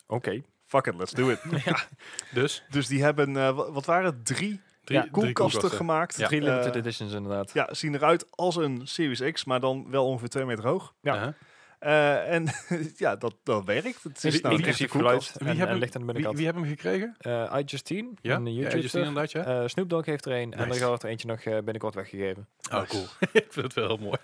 [SPEAKER 3] Oké.
[SPEAKER 2] fuck it, let's do it.
[SPEAKER 1] Dus
[SPEAKER 2] dus die hebben, eh, wa- wat waren het, drie,
[SPEAKER 1] drie,
[SPEAKER 3] Ja,
[SPEAKER 1] drie
[SPEAKER 2] koelkasten
[SPEAKER 1] koelkasten.
[SPEAKER 2] gemaakt.
[SPEAKER 1] Ja.
[SPEAKER 3] Drie limited
[SPEAKER 2] Eh,
[SPEAKER 3] editions inderdaad.
[SPEAKER 2] ja, zien eruit als een Series X, maar dan wel ongeveer twee meter hoog.
[SPEAKER 3] Ja.
[SPEAKER 1] Uh-huh.
[SPEAKER 2] Eh, en ja, dat, dat werkt. Het is
[SPEAKER 1] Wie- wie-
[SPEAKER 2] nou echt
[SPEAKER 3] Inclusief
[SPEAKER 2] een koelkast.
[SPEAKER 3] geluid
[SPEAKER 1] Wie
[SPEAKER 3] en,
[SPEAKER 1] hebben-
[SPEAKER 3] en licht aan
[SPEAKER 1] Wie,
[SPEAKER 3] de binnenkant.
[SPEAKER 1] wie hebben hem gekregen?
[SPEAKER 3] Eh, I Justine,
[SPEAKER 1] Ja,
[SPEAKER 3] een
[SPEAKER 1] ja,
[SPEAKER 3] YouTuber.
[SPEAKER 1] Justine inderdaad, ja.
[SPEAKER 3] Eh, Snoop Dogg heeft er een en er
[SPEAKER 1] Nice.
[SPEAKER 3] gaat er eentje nog eh, binnenkort weggegeven.
[SPEAKER 1] Oh, cool. ik vind het wel heel mooi.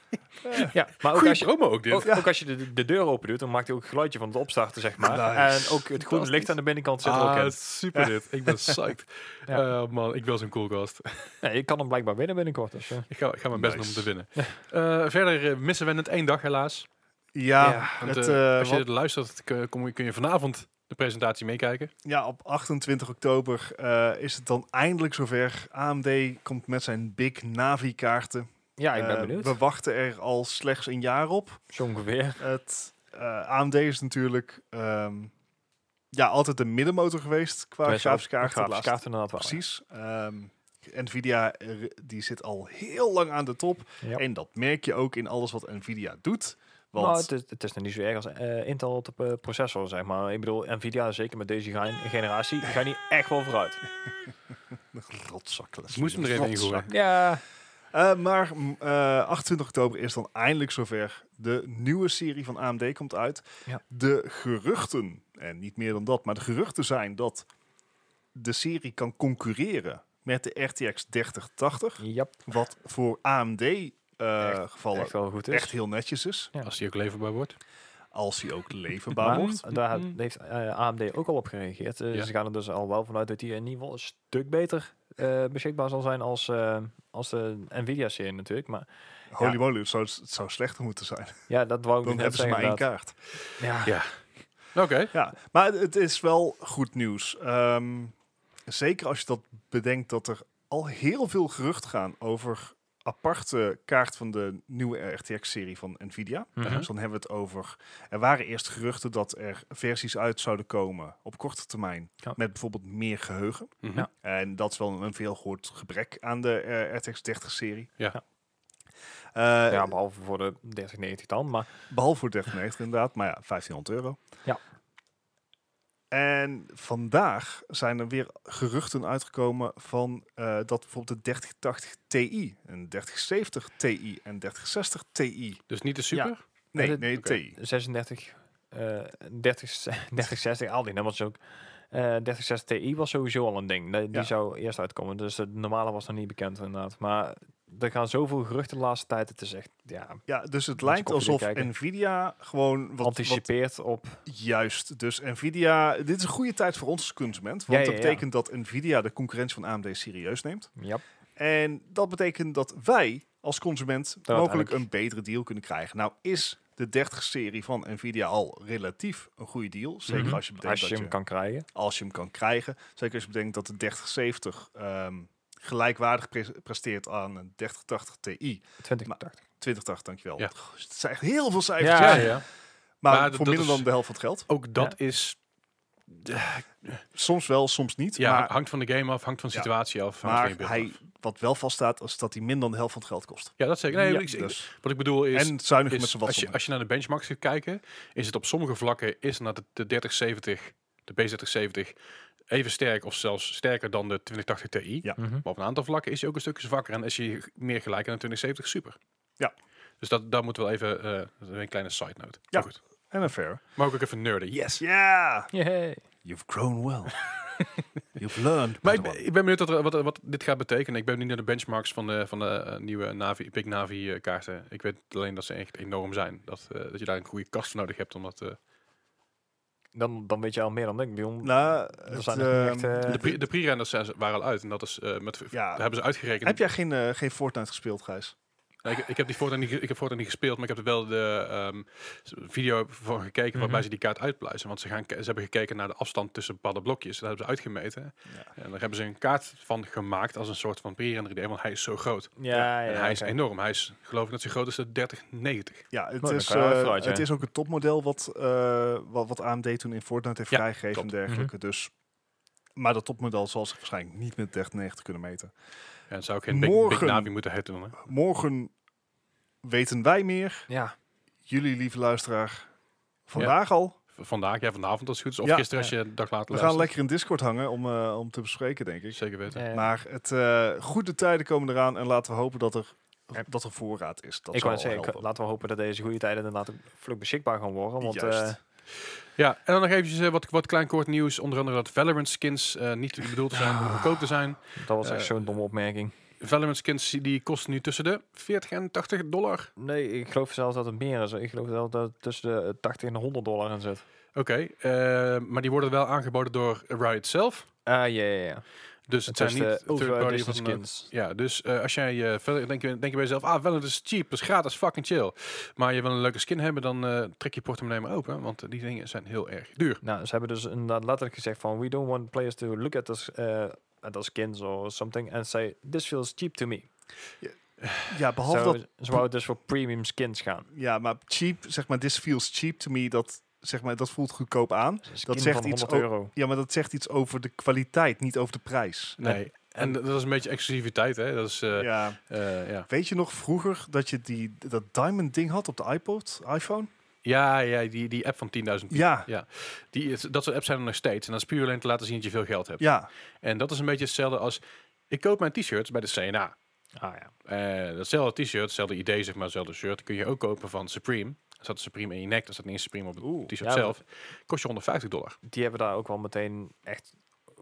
[SPEAKER 3] Ja, maar ook
[SPEAKER 1] Goeie
[SPEAKER 3] als je,
[SPEAKER 1] promo ook dit.
[SPEAKER 3] ook, ook als je de, de deur open doet, dan maakt hij ook het geluidje van het opstarten, zeg maar.
[SPEAKER 2] Nice.
[SPEAKER 3] En ook het groene licht aan de binnenkant zit er ook
[SPEAKER 1] ah,
[SPEAKER 3] in.
[SPEAKER 1] super dit. Ik ben psyched.
[SPEAKER 3] Ja.
[SPEAKER 1] Eh, man, ik wil zo'n koelkast.
[SPEAKER 3] Nee, je kan hem blijkbaar winnen binnenkort. Dus, eh.
[SPEAKER 1] Ik ga, ik ga mijn best doen om
[SPEAKER 2] Nice.
[SPEAKER 1] te winnen. Eh, verder eh, missen we net één dag helaas.
[SPEAKER 2] Ja,
[SPEAKER 3] Ja,
[SPEAKER 1] Want,
[SPEAKER 2] het,
[SPEAKER 1] eh,
[SPEAKER 2] eh,
[SPEAKER 1] als je
[SPEAKER 2] wat-
[SPEAKER 1] dit luistert, kun, kom- kun je vanavond de presentatie meekijken.
[SPEAKER 2] ja, op 28 oktober eh, is het dan eindelijk zover. AMD komt met zijn Big Navi kaarten.
[SPEAKER 3] Ja, ik ben
[SPEAKER 2] Eh,
[SPEAKER 3] benieuwd.
[SPEAKER 2] we wachten er al slechts een jaar op.
[SPEAKER 3] Zo ongeveer.
[SPEAKER 2] Het, eh, AMD is natuurlijk ehm, ja, altijd de middenmotor geweest qua
[SPEAKER 3] Tenminste,
[SPEAKER 2] grafische kaarten.
[SPEAKER 3] grafische
[SPEAKER 2] Laatst-
[SPEAKER 3] kaarten inderdaad wel.
[SPEAKER 2] Precies. Ehm, Nvidia eh, die zit al heel lang aan de top.
[SPEAKER 3] Ja.
[SPEAKER 2] En dat merk je ook in alles wat Nvidia doet. Want
[SPEAKER 3] Nou, het, is- het is nog niet zo erg als eh, Intel op de eh, processor, zeg maar. Ik bedoel, Nvidia, zeker met deze ge- generatie, ga je niet echt wel vooruit.
[SPEAKER 2] Rotzakken.
[SPEAKER 1] Ik Dus moest hem er even in gooien.
[SPEAKER 3] Ja,
[SPEAKER 2] Eh, maar mm, eh, 28 oktober is dan eindelijk zover. De nieuwe serie van AMD komt uit.
[SPEAKER 3] Ja.
[SPEAKER 2] De geruchten, en niet meer dan dat, maar de geruchten zijn dat de serie kan concurreren met de RTX 3080.
[SPEAKER 3] ja
[SPEAKER 2] Wat voor AMD eh, gevallen
[SPEAKER 3] echt
[SPEAKER 2] echt,
[SPEAKER 3] wel goed is.
[SPEAKER 2] heel netjes is.
[SPEAKER 3] Ja.
[SPEAKER 1] Als die ook leverbaar wordt.
[SPEAKER 2] Als hij ook leverbaar
[SPEAKER 3] Maar
[SPEAKER 2] wordt.
[SPEAKER 3] daar
[SPEAKER 1] Mhm.
[SPEAKER 3] heeft eh, AMD ook al op gereageerd. Eh,
[SPEAKER 1] Ja.
[SPEAKER 3] Ze gaan er dus al wel vanuit dat die in ieder geval een stuk beter eh, beschikbaar zal zijn als, eh, als de Nvidia-serie natuurlijk. Maar
[SPEAKER 2] Holy moly, het zou, het zou slechter moeten zijn.
[SPEAKER 3] ja, dat wou ik
[SPEAKER 2] Dan
[SPEAKER 3] net
[SPEAKER 2] hebben ze maar
[SPEAKER 3] zeggen.
[SPEAKER 2] één kaart.
[SPEAKER 3] inderdaad. Ja.
[SPEAKER 1] Ja. Oké.
[SPEAKER 2] Ja, maar het- het is wel goed nieuws. Ehm, zeker als je dat bedenkt dat er al heel veel geruchten gaan over aparte kaart van de nieuwe RTX-serie van Nvidia.
[SPEAKER 3] Mhm.
[SPEAKER 2] Dus dan hebben we het over... Er waren eerst geruchten dat er versies uit zouden komen op korte termijn.
[SPEAKER 3] Ja.
[SPEAKER 2] Met bijvoorbeeld meer geheugen.
[SPEAKER 1] Mhm.
[SPEAKER 3] Ja.
[SPEAKER 2] En dat is wel een veel gehoord gebrek aan de eh, RTX 30-serie.
[SPEAKER 1] Ja.
[SPEAKER 3] Ja.
[SPEAKER 2] Eh,
[SPEAKER 3] ja, behalve voor de 3090 dan. Maar
[SPEAKER 2] Behalve voor 3090 inderdaad, maar ja, 1500 euro.
[SPEAKER 3] Ja.
[SPEAKER 2] En vandaag zijn er weer geruchten uitgekomen van eh, dat bijvoorbeeld de 3080 Ti, en 3070 Ti en 3060 Ti.
[SPEAKER 1] Dus niet de super.
[SPEAKER 2] Nee,
[SPEAKER 3] dit-
[SPEAKER 2] nee,
[SPEAKER 1] oké.
[SPEAKER 2] Ti.
[SPEAKER 3] 36, eh 30, 3060, al die nummers ook. Eh 3060 Ti was sowieso al een ding. Die, die
[SPEAKER 2] Ja.
[SPEAKER 3] zou eerst uitkomen. Dus de normale was nog niet bekend inderdaad. Maar er gaan zoveel geruchten de laatste tijd. Het is echt, ja,
[SPEAKER 2] Ja, dus het
[SPEAKER 3] je
[SPEAKER 2] lijkt
[SPEAKER 3] koffie
[SPEAKER 2] alsof
[SPEAKER 3] kijken.
[SPEAKER 2] Nvidia gewoon wat, wat
[SPEAKER 3] anticipeert op...
[SPEAKER 2] Juist, dus Nvidia, dit is een goede tijd voor ons als consument, want
[SPEAKER 3] Ja, ja,
[SPEAKER 2] dat
[SPEAKER 3] ja.
[SPEAKER 2] betekent dat Nvidia de concurrentie van AMD serieus neemt.
[SPEAKER 3] Ja,
[SPEAKER 2] En dat betekent dat wij als consument
[SPEAKER 3] Dat
[SPEAKER 2] mogelijk een
[SPEAKER 3] uiteindelijk-
[SPEAKER 2] betere deal kunnen krijgen. Nou is de 30-serie van Nvidia al relatief een goede deal. Zeker
[SPEAKER 3] Mhm.
[SPEAKER 2] als, je bedenkt
[SPEAKER 3] als je
[SPEAKER 2] dat
[SPEAKER 3] hem kan krijgen.
[SPEAKER 2] als je hem kan krijgen. Zeker als je bedenkt dat de 3070 ehm gelijkwaardig pres- presteert aan een 3080 Ti.
[SPEAKER 3] 2080.
[SPEAKER 2] 2080, dankjewel.
[SPEAKER 1] Ja.
[SPEAKER 2] Goh, Het zijn echt heel veel cijfers.
[SPEAKER 3] Ja,
[SPEAKER 1] Ja,
[SPEAKER 3] ja.
[SPEAKER 1] ja.
[SPEAKER 2] Maar,
[SPEAKER 1] Maar dat-
[SPEAKER 2] voor
[SPEAKER 1] dat
[SPEAKER 2] minder
[SPEAKER 1] is-
[SPEAKER 2] dan de helft van het geld.
[SPEAKER 1] Ook dat is...
[SPEAKER 2] Soms wel, soms niet.
[SPEAKER 1] Ja,
[SPEAKER 2] maar
[SPEAKER 1] hangt van de game af, hangt van de
[SPEAKER 2] Ja.
[SPEAKER 1] situatie af. Hangt van je
[SPEAKER 2] maar
[SPEAKER 1] beeld
[SPEAKER 2] hij,
[SPEAKER 1] af.
[SPEAKER 2] wat wel vaststaat, is dat hij minder dan de helft van het geld kost.
[SPEAKER 1] Ja, dat zeker. Nee,
[SPEAKER 3] Ja,
[SPEAKER 1] ik- ik-
[SPEAKER 2] Dus,
[SPEAKER 1] Wat ik bedoel is...
[SPEAKER 2] en zuinig
[SPEAKER 1] is
[SPEAKER 2] met z'n
[SPEAKER 1] als,
[SPEAKER 2] wat.
[SPEAKER 1] je, als je naar de benchmarks gaat kijken, is het op sommige vlakken is naar de, de 3070, de B3070, even sterk of zelfs sterker dan de 2080 Ti.
[SPEAKER 2] Ja.
[SPEAKER 3] Mhm.
[SPEAKER 1] Maar op een aantal vlakken is hij ook een stukje zwakker en is hij meer gelijk aan de 2070 Super.
[SPEAKER 2] Ja.
[SPEAKER 1] Dus dat, daar moeten we wel even, eh, dat is een kleine side note.
[SPEAKER 2] Ja.
[SPEAKER 1] Maar goed.
[SPEAKER 2] En een fair.
[SPEAKER 1] Mag ik ook even nerden? Yes!
[SPEAKER 2] Ja!
[SPEAKER 3] Yay.
[SPEAKER 2] You've grown well. You've learned.
[SPEAKER 1] Maar ik,
[SPEAKER 2] Padawan.
[SPEAKER 1] ben- ik ben benieuwd wat, er- wat, wat dit gaat betekenen. Ik ben niet naar de benchmarks van de, van de eh, nieuwe Navi, Big Navi eh, kaarten. Ik weet alleen dat ze echt enorm zijn. Dat, eh, dat je daar een goede kast voor nodig hebt om dat... eh,
[SPEAKER 3] Dan, dan weet je al meer dan ik. Ik bedoel,
[SPEAKER 2] nou,
[SPEAKER 3] er
[SPEAKER 2] het,
[SPEAKER 3] zijn nog niet echt...
[SPEAKER 2] ehm,
[SPEAKER 3] eh,
[SPEAKER 1] De, pre- de pre-renders zijn, waren al uit en dat is eh, met
[SPEAKER 2] Ja.
[SPEAKER 1] daar hebben ze uitgerekend.
[SPEAKER 2] heb jij geen, eh, geen Fortnite gespeeld, Gijs?
[SPEAKER 1] Nou, ik, ik heb die Fortnite niet, ge- ik heb Fortnite niet gespeeld, maar ik heb er wel de ehm, s- video van gekeken waarbij
[SPEAKER 3] Mhm.
[SPEAKER 1] ze die kaart uitpluizen. Want ze, gaan, ke- ze hebben gekeken naar de afstand tussen bepaalde blokjes. Dat hebben ze uitgemeten.
[SPEAKER 2] Ja.
[SPEAKER 1] En daar hebben ze een kaart van gemaakt als een soort van pre-render idee, want hij is zo groot.
[SPEAKER 3] ja, ja,
[SPEAKER 1] en hij is
[SPEAKER 3] oké.
[SPEAKER 1] enorm. Hij is geloof ik dat zijn groot is de 3090.
[SPEAKER 2] Ja, het,
[SPEAKER 3] dan
[SPEAKER 2] is,
[SPEAKER 3] kan je wel
[SPEAKER 2] eh,
[SPEAKER 3] vooruit,
[SPEAKER 2] het
[SPEAKER 3] ja.
[SPEAKER 2] is ook het topmodel wat, eh, wat, wat AMD toen in Fortnite heeft
[SPEAKER 1] Ja,
[SPEAKER 2] vrijgegeven en
[SPEAKER 1] klopt.
[SPEAKER 3] Mhm.
[SPEAKER 2] dergelijke. Dus, maar dat topmodel zal zich waarschijnlijk niet met 3090 kunnen meten.
[SPEAKER 1] En zou ook geen Big, big
[SPEAKER 2] Morgen.
[SPEAKER 1] Navi moeten heten dan. hè?
[SPEAKER 2] Morgen weten wij meer.
[SPEAKER 3] Ja,
[SPEAKER 2] jullie, lieve luisteraar, vandaag al.
[SPEAKER 1] Vandaag, ja, vanavond als het goed is. Of
[SPEAKER 2] Ja.
[SPEAKER 1] gisteren als je een dag later
[SPEAKER 2] We gaan
[SPEAKER 1] luistert.
[SPEAKER 2] lekker in Discord hangen om, eh, om te bespreken, denk ik.
[SPEAKER 1] Zeker weten.
[SPEAKER 3] Eh,
[SPEAKER 2] Maar het, eh, goede tijden komen eraan en laten we hopen dat er,
[SPEAKER 3] Ja.
[SPEAKER 2] dat er voorraad is. Dat zou
[SPEAKER 3] ik wou
[SPEAKER 2] al
[SPEAKER 3] zeggen, ik-
[SPEAKER 2] helpen.
[SPEAKER 3] laten we hopen dat deze goede tijden inderdaad ook vlug beschikbaar gaan worden. Want
[SPEAKER 2] Juist.
[SPEAKER 3] eh,
[SPEAKER 1] Ja, en dan nog eventjes eh, wat, wat klein kort nieuws. Onder andere dat Valorant skins eh, niet bedoeld te zijn om goedkoop te zijn.
[SPEAKER 3] dat was echt
[SPEAKER 1] Eh,
[SPEAKER 3] zo'n domme opmerking.
[SPEAKER 1] Valorant skins die kosten nu tussen de 40 en 80 dollar.
[SPEAKER 3] Nee, ik geloof zelfs dat het meer is. Ik geloof zelfs dat het tussen de eh, 80 en de 100 dollar in zit.
[SPEAKER 1] Oké, eh, maar die worden wel aangeboden door Riot zelf.
[SPEAKER 3] Ah, ja, ja, ja.
[SPEAKER 1] Dus het,
[SPEAKER 3] Het
[SPEAKER 1] zijn
[SPEAKER 3] is de
[SPEAKER 1] niet
[SPEAKER 3] Ultra
[SPEAKER 1] third-party
[SPEAKER 3] Edition
[SPEAKER 1] of wat dan ook.
[SPEAKER 3] skins.
[SPEAKER 1] Ja, dus eh, als jij eh, Valorant- denk, je, denk je bij jezelf, ah, Valorant is cheap, is gratis, fucking chill. Maar je wil een leuke skin hebben, dan eh, trek je portemonnee maar open, want eh, die dingen zijn heel erg duur.
[SPEAKER 3] Nou, ze hebben dus inderdaad letterlijk gezegd van... We don't want players to look at us... eh at the skins or something and say this feels cheap to me.
[SPEAKER 2] Ja, behalve
[SPEAKER 3] Zo-
[SPEAKER 2] dat
[SPEAKER 3] ze wou dus voor premium skins gaan.
[SPEAKER 2] Ja, maar cheap, zeg maar, this feels cheap to me, dat, zeg maar, dat voelt goedkoop aan.
[SPEAKER 3] Skin
[SPEAKER 2] zegt
[SPEAKER 3] van
[SPEAKER 2] iets
[SPEAKER 3] 100
[SPEAKER 2] o-
[SPEAKER 3] euro.
[SPEAKER 2] Ja, maar dat zegt iets over de kwaliteit, niet over de prijs.
[SPEAKER 1] Nee.
[SPEAKER 3] Nee.
[SPEAKER 1] En dat is een beetje exclusiviteit, hè? Dat is, eh,
[SPEAKER 2] ja.
[SPEAKER 1] eh, ja.
[SPEAKER 2] Weet je nog vroeger dat je die, dat diamond ding had op de iPod, iPhone?
[SPEAKER 1] Ja, ja die, die app van 10.000 piek.
[SPEAKER 2] Ja,
[SPEAKER 1] Die, is- dat soort apps zijn er nog steeds. En dat is puur alleen te laten zien dat je veel geld hebt.
[SPEAKER 2] ja.
[SPEAKER 1] En dat is een beetje hetzelfde als... Ik koop mijn t-shirts bij de CNA.
[SPEAKER 3] Ah ja.
[SPEAKER 1] Eh, datzelfde t-shirt, hetzelfde idee, zeg maar, hetzelfde shirt... kun je ook kopen van Supreme. Er zat Supreme in je nek, er zat niet eens Supreme op het
[SPEAKER 2] Oeh.
[SPEAKER 1] t-shirt
[SPEAKER 3] Ja,
[SPEAKER 1] zelf. Kost je 150 dollar.
[SPEAKER 3] Die hebben daar ook wel meteen echt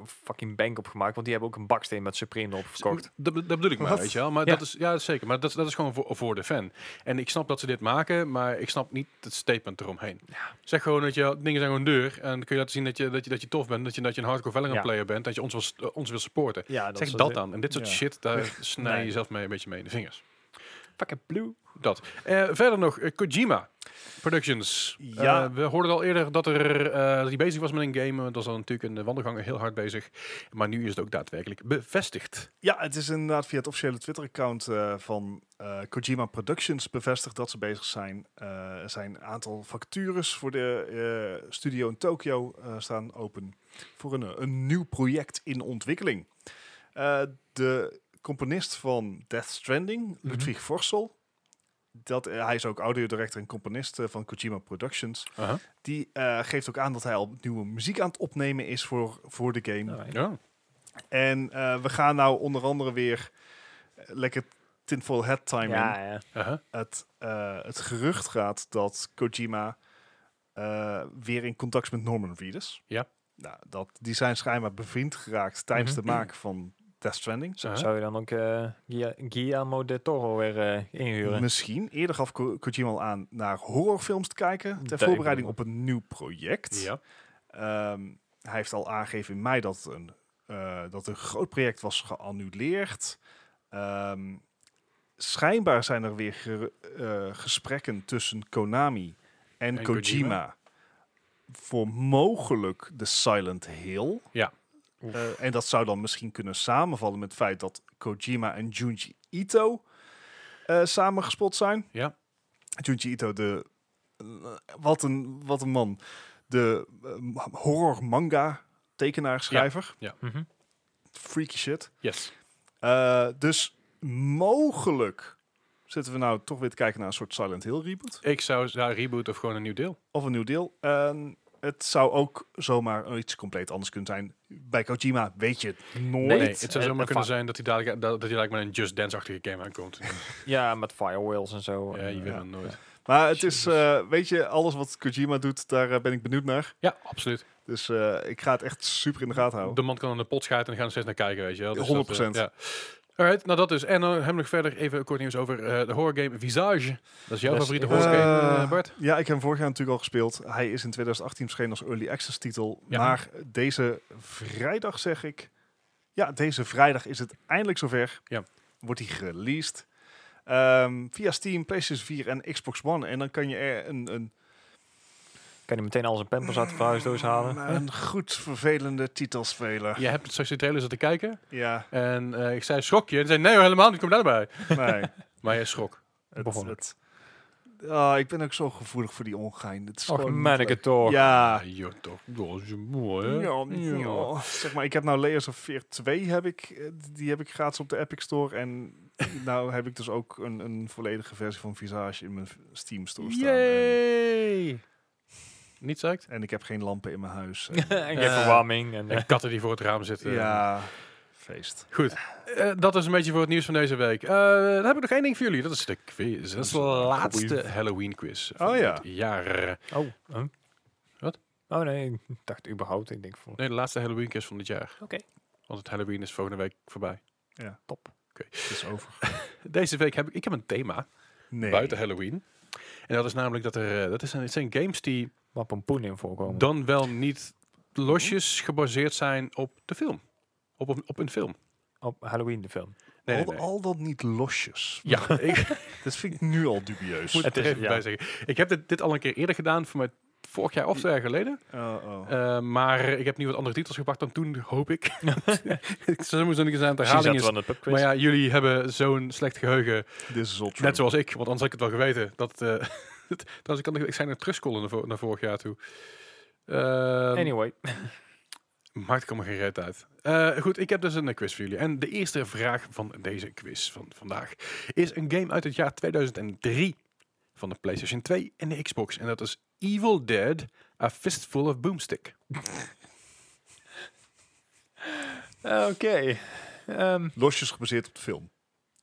[SPEAKER 3] fucking bank op gemaakt. Want die hebben ook een baksteen met Supreme op verkocht.
[SPEAKER 1] Dat, dat bedoel ik maar,
[SPEAKER 2] Wat?
[SPEAKER 1] weet je wel. Maar
[SPEAKER 3] Ja.
[SPEAKER 1] dat is, ja, zeker. Maar dat, is- dat is gewoon voor, voor de fan. En ik snap dat ze dit maken, maar ik snap niet het statement eromheen. Zeg gewoon dat je dingen zijn gewoon duur. En dan kun je laten zien dat je, dat je, dat je tof bent. Dat je, dat je een hardcore Valorant
[SPEAKER 3] Ja.
[SPEAKER 1] player bent. Dat je ons wil, s- eh, ons wil supporten.
[SPEAKER 3] Ja,
[SPEAKER 1] zeg
[SPEAKER 3] is-
[SPEAKER 1] dat dan. En dit soort
[SPEAKER 2] Ja.
[SPEAKER 1] shit, daar snij je
[SPEAKER 3] Nee.
[SPEAKER 1] jezelf mee een beetje mee in de vingers.
[SPEAKER 3] Fucking blue.
[SPEAKER 1] Dat. Eh, verder nog, eh, Kojima Productions.
[SPEAKER 2] Ja.
[SPEAKER 1] Eh, we hoorden al eerder dat, er, eh, dat hij bezig was met een game. Dat was dan natuurlijk in de wandelgangen heel hard bezig. Maar nu is het ook daadwerkelijk bevestigd.
[SPEAKER 2] Ja, het is inderdaad via het officiële Twitter-account eh, van eh, Kojima Productions bevestigd dat ze bezig zijn. Eh, er zijn een aantal vacatures voor de eh, studio in Tokio eh, staan open voor een, eh, een nieuw project in ontwikkeling. Eh, de componist van Death Stranding, Ludwig Vorsel, dat, eh, hij is ook audiodirector en componist eh, van Kojima Productions,
[SPEAKER 1] Aha.
[SPEAKER 2] die eh, geeft ook aan dat hij al nieuwe muziek aan het opnemen is voor, voor de game.
[SPEAKER 1] Ja.
[SPEAKER 2] En eh, we gaan nou onder andere weer eh, lekker tinfoil hat time in.
[SPEAKER 3] Ja, ja.
[SPEAKER 1] Aha.
[SPEAKER 2] Het, eh, het gerucht gaat dat Kojima eh, weer in contact is met Norman Reedus.
[SPEAKER 1] Ja.
[SPEAKER 2] Nou, dat, die zijn schijnbaar bevriend geraakt tijdens
[SPEAKER 1] Mhm.
[SPEAKER 2] de maken van Death Stranding.
[SPEAKER 1] Aha.
[SPEAKER 3] Zou je dan ook eh, Guilla- Guillermo de Toro weer eh, inhuren?
[SPEAKER 2] Misschien. Eerder gaf Ko- Kojima al aan naar horrorfilms te kijken. Ter
[SPEAKER 3] Duidelijk.
[SPEAKER 2] voorbereiding op een nieuw project.
[SPEAKER 1] Ja.
[SPEAKER 2] Ehm, hij heeft al aangegeven in mei dat een, eh, dat een groot project was geannuleerd. Ehm, schijnbaar zijn er weer ge- eh, gesprekken tussen Konami en,
[SPEAKER 1] En
[SPEAKER 2] Kojima,
[SPEAKER 1] Kojima.
[SPEAKER 2] voor mogelijk de Silent Hill.
[SPEAKER 1] Ja.
[SPEAKER 3] Oef.
[SPEAKER 2] Eh, en dat zou dan misschien kunnen samenvallen met het feit dat Kojima en Junji Ito eh samen gespot zijn.
[SPEAKER 1] Ja.
[SPEAKER 2] Junji Ito, de, eh, wat, een, wat een man. De eh, horror manga tekenaar, schrijver.
[SPEAKER 3] Mhm.
[SPEAKER 2] Freaky shit.
[SPEAKER 1] Yes.
[SPEAKER 2] Eh, dus mogelijk zitten we nou toch weer te kijken naar een soort Silent Hill reboot.
[SPEAKER 1] Ik zou ja, reboot of gewoon een nieuw deel.
[SPEAKER 2] Of een nieuw deel. En het zou ook zomaar iets compleet anders kunnen zijn. Bij Kojima weet je het nooit.
[SPEAKER 1] Nee,
[SPEAKER 3] Nee,
[SPEAKER 1] het zou
[SPEAKER 3] eh,
[SPEAKER 1] zomaar
[SPEAKER 3] eh,
[SPEAKER 1] kunnen
[SPEAKER 3] va-
[SPEAKER 1] zijn dat hij dadelijk, dat, dat hij dadelijk met een Just Dance-achtige game aankomt.
[SPEAKER 3] Ja, met firewalls en eh, zo.
[SPEAKER 1] ja, je weet
[SPEAKER 2] ja.
[SPEAKER 1] het nooit.
[SPEAKER 2] Maar het is, eh, weet je, alles wat Kojima doet, daar eh, ben ik benieuwd naar.
[SPEAKER 1] Ja, absoluut.
[SPEAKER 2] Dus eh, ik ga het echt super in de gaten houden.
[SPEAKER 1] De man kan aan de pot schijten en gaan er steeds naar kijken, weet je wel. Dus
[SPEAKER 2] 100%.
[SPEAKER 1] Dat, eh, ja. Alright, nou dat dus. En dan hebben we nog verder even kort nieuws over eh, de horrorgame Visage. Dat is jouw
[SPEAKER 3] Yes,
[SPEAKER 1] favoriete
[SPEAKER 3] ik-
[SPEAKER 1] horrorgame,
[SPEAKER 2] Eh,
[SPEAKER 1] eh, Bart.
[SPEAKER 2] Ja, ik heb hem vorig jaar natuurlijk al gespeeld. Hij is in 2018 verschenen als Early Access titel.
[SPEAKER 1] Ja.
[SPEAKER 2] Maar deze vrijdag zeg ik... Ja, deze vrijdag is het eindelijk zover.
[SPEAKER 1] Ja.
[SPEAKER 2] Wordt hij released. Ehm, via Steam, PlayStation 4 en Xbox One. En dan kan je er een, een,
[SPEAKER 3] Kan je meteen al zijn pampers uit de verhuisdoos halen.
[SPEAKER 2] een goed vervelende titel spelen.
[SPEAKER 1] Je hebt straks de trailer zitten kijken.
[SPEAKER 2] Ja,
[SPEAKER 1] En eh, ik zei, schrok je? En zei, nee hoor, helemaal niet, kom daarbij.
[SPEAKER 2] nee.
[SPEAKER 1] Maar je schrok.
[SPEAKER 2] het,
[SPEAKER 3] Behoorlijk.
[SPEAKER 2] het, ah, ik ben ook zo gevoelig voor die ongein. Het is
[SPEAKER 3] Och,
[SPEAKER 2] gewoon niet
[SPEAKER 3] man, ik
[SPEAKER 2] leuk.
[SPEAKER 3] het toch.
[SPEAKER 2] Ja.
[SPEAKER 1] Ah, joh, toch. Dat is mooi, hè?
[SPEAKER 2] Ja,
[SPEAKER 1] Ja.
[SPEAKER 2] ja. Zeg maar, ik heb nou Layers of Fear 2, heb ik, eh, die heb ik gratis op de Epic Store. En nou heb ik dus ook een, een volledige versie van Visage in mijn Steam Store staan. En,
[SPEAKER 1] Yay! Niet zakt?
[SPEAKER 2] en ik heb geen lampen in mijn huis. En,
[SPEAKER 1] Eh,
[SPEAKER 3] en geen verwarming. En, eh,
[SPEAKER 1] En katten die voor het raam zitten.
[SPEAKER 2] ja, feest.
[SPEAKER 1] Goed, eh, dat is een beetje voor het nieuws van deze week. Eh, dan heb ik nog één ding voor jullie. Dat is de quiz. Dat is de laatste Halloween quiz van
[SPEAKER 2] Oh ja.
[SPEAKER 1] dit jaar.
[SPEAKER 3] oh, huh?
[SPEAKER 1] Wat?
[SPEAKER 3] Oh nee, ik dacht überhaupt. Ik denk van,
[SPEAKER 1] Nee, de laatste Halloween quiz van dit jaar.
[SPEAKER 3] Oké.
[SPEAKER 1] Want het Halloween is volgende week voorbij.
[SPEAKER 3] top.
[SPEAKER 2] Het is over.
[SPEAKER 1] Deze week heb ik, ik heb een thema
[SPEAKER 2] Nee.
[SPEAKER 1] buiten Halloween. En dat is namelijk dat er, eh, dat is zijn, het zijn games die
[SPEAKER 3] Waar pompoen in voorkomen.
[SPEAKER 1] dan wel niet losjes gebaseerd zijn op de film. Op, op, op een film.
[SPEAKER 3] Op Halloween de film.
[SPEAKER 1] Nee, nee,
[SPEAKER 2] al,
[SPEAKER 1] nee.
[SPEAKER 2] al dan niet losjes.
[SPEAKER 1] Ja, ik,
[SPEAKER 2] Dat vind ik nu al dubieus.
[SPEAKER 1] moet
[SPEAKER 3] Het
[SPEAKER 1] het
[SPEAKER 3] is-
[SPEAKER 1] er even
[SPEAKER 3] ja.
[SPEAKER 1] bij zeggen. Ik heb dit, dit al een keer eerder gedaan, voor mij vorig jaar of twee jaar geleden.
[SPEAKER 2] Oh, oh.
[SPEAKER 1] Eh, maar ik heb nu wat andere titels gepakt dan toen, hoop ik. ik zou moeten eens aan het
[SPEAKER 3] Misschien
[SPEAKER 1] herhaling
[SPEAKER 3] zaten we
[SPEAKER 1] is.
[SPEAKER 3] aan de pubquiz.
[SPEAKER 1] Maar ja, jullie hebben zo'n slecht geheugen,
[SPEAKER 2] This is all true.
[SPEAKER 1] net zoals ik, want anders had ik het wel geweten. Dat, eh het- trouwens, ik, kan, nog- ik zijn er terugscrollen naar, vo- naar vorig jaar toe. Ehm,
[SPEAKER 3] Anyway,
[SPEAKER 1] Maakt allemaal geen reet uit. Eh, goed, ik heb dus een eh, quiz voor jullie. En de eerste vraag van deze quiz van vandaag is een game uit het jaar 2003 van de PlayStation 2 en de Xbox. En dat is Evil Dead, A Fistful of Boomstick.
[SPEAKER 3] Eh, oké. Ehm,
[SPEAKER 2] Losjes gebaseerd op de film.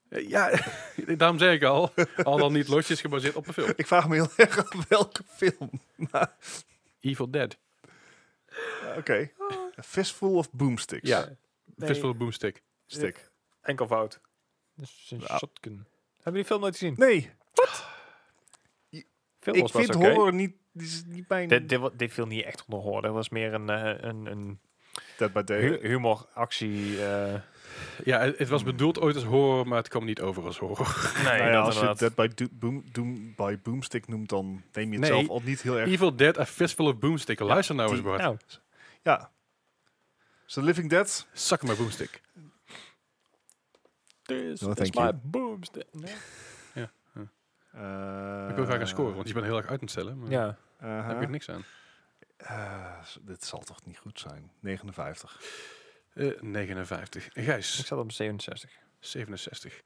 [SPEAKER 1] Eh, ja, daarom zeg ik al, al dan niet losjes gebaseerd op een film.
[SPEAKER 2] Ik vraag me heel erg af welke film. Maar,
[SPEAKER 1] Evil Dead,
[SPEAKER 2] Oké. A Fistful of Boomsticks.
[SPEAKER 1] Ah. ja,
[SPEAKER 3] nee,
[SPEAKER 1] Fistful of Boomstick.
[SPEAKER 2] Stick.
[SPEAKER 3] enkel fout. Dat is een
[SPEAKER 2] Ja.
[SPEAKER 3] shotgun. Hebben jullie die film nooit gezien?
[SPEAKER 2] Nee,
[SPEAKER 3] Film
[SPEAKER 2] ik
[SPEAKER 3] was best
[SPEAKER 2] vind
[SPEAKER 3] oké.
[SPEAKER 2] horror niet, die is niet mijn...
[SPEAKER 3] Dit, dit, wa- dit viel niet echt onder horror. Dat was meer een, eh, een, een
[SPEAKER 2] Dead by
[SPEAKER 3] hu-
[SPEAKER 2] Day.
[SPEAKER 3] humor, actie. eh,
[SPEAKER 1] Ja, het, het was bedoeld ooit als horror, maar het kwam niet over als horror.
[SPEAKER 3] nee,
[SPEAKER 2] Nou ja,
[SPEAKER 3] dat
[SPEAKER 2] als je
[SPEAKER 3] inderdaad.
[SPEAKER 2] Dead by, Do- Boom, Doom by Boomstick noemt, dan neem je het
[SPEAKER 1] Nee.
[SPEAKER 2] zelf al niet heel erg...
[SPEAKER 1] Evil Dead, A Fistful of Boomstick. Luister nou eens,
[SPEAKER 2] die-
[SPEAKER 1] Bart.
[SPEAKER 3] Nou,
[SPEAKER 2] Ja. So Living Dead.
[SPEAKER 1] Zak maar Boomstick.
[SPEAKER 3] this
[SPEAKER 2] No,
[SPEAKER 3] is
[SPEAKER 2] thank
[SPEAKER 3] my
[SPEAKER 2] you.
[SPEAKER 3] boobs. Nee.
[SPEAKER 2] Eh,
[SPEAKER 1] Ik wil graag een score, want je bent heel erg uit aan het stellen. Maar
[SPEAKER 3] Eh, Ja.
[SPEAKER 1] daar heb ik niks aan.
[SPEAKER 2] Eh, s- dit zal toch niet goed zijn? 59.
[SPEAKER 1] Eh, 59.
[SPEAKER 3] Ik
[SPEAKER 1] Gijs,
[SPEAKER 3] zat op 67.
[SPEAKER 1] 67. En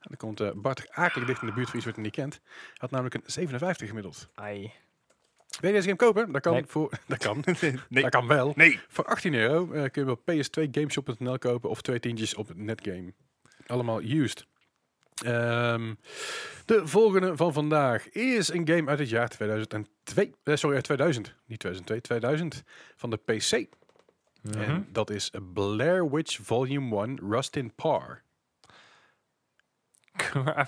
[SPEAKER 1] dan komt eh, Bart er akelig dicht in de buurt van iets wat hij niet kent. Hij had namelijk een 57 gemiddeld.
[SPEAKER 3] Ai.
[SPEAKER 1] Wil je deze game kopen? Dat kan,
[SPEAKER 3] Nee.
[SPEAKER 1] voor, dat kan.
[SPEAKER 2] Nee.
[SPEAKER 1] dat kan wel.
[SPEAKER 2] Nee.
[SPEAKER 1] Voor 18 euro eh, kun je bij ps2gameshop.nl kopen of twee tientjes op Netgame. Allemaal used. Ehm, de volgende van vandaag is een game uit het jaar 2002. Eh, sorry, uit 2000. Niet 2002, 2000. Van de PC.
[SPEAKER 3] Mhm.
[SPEAKER 1] En dat is Blair Witch Volume 1 Rust in Par.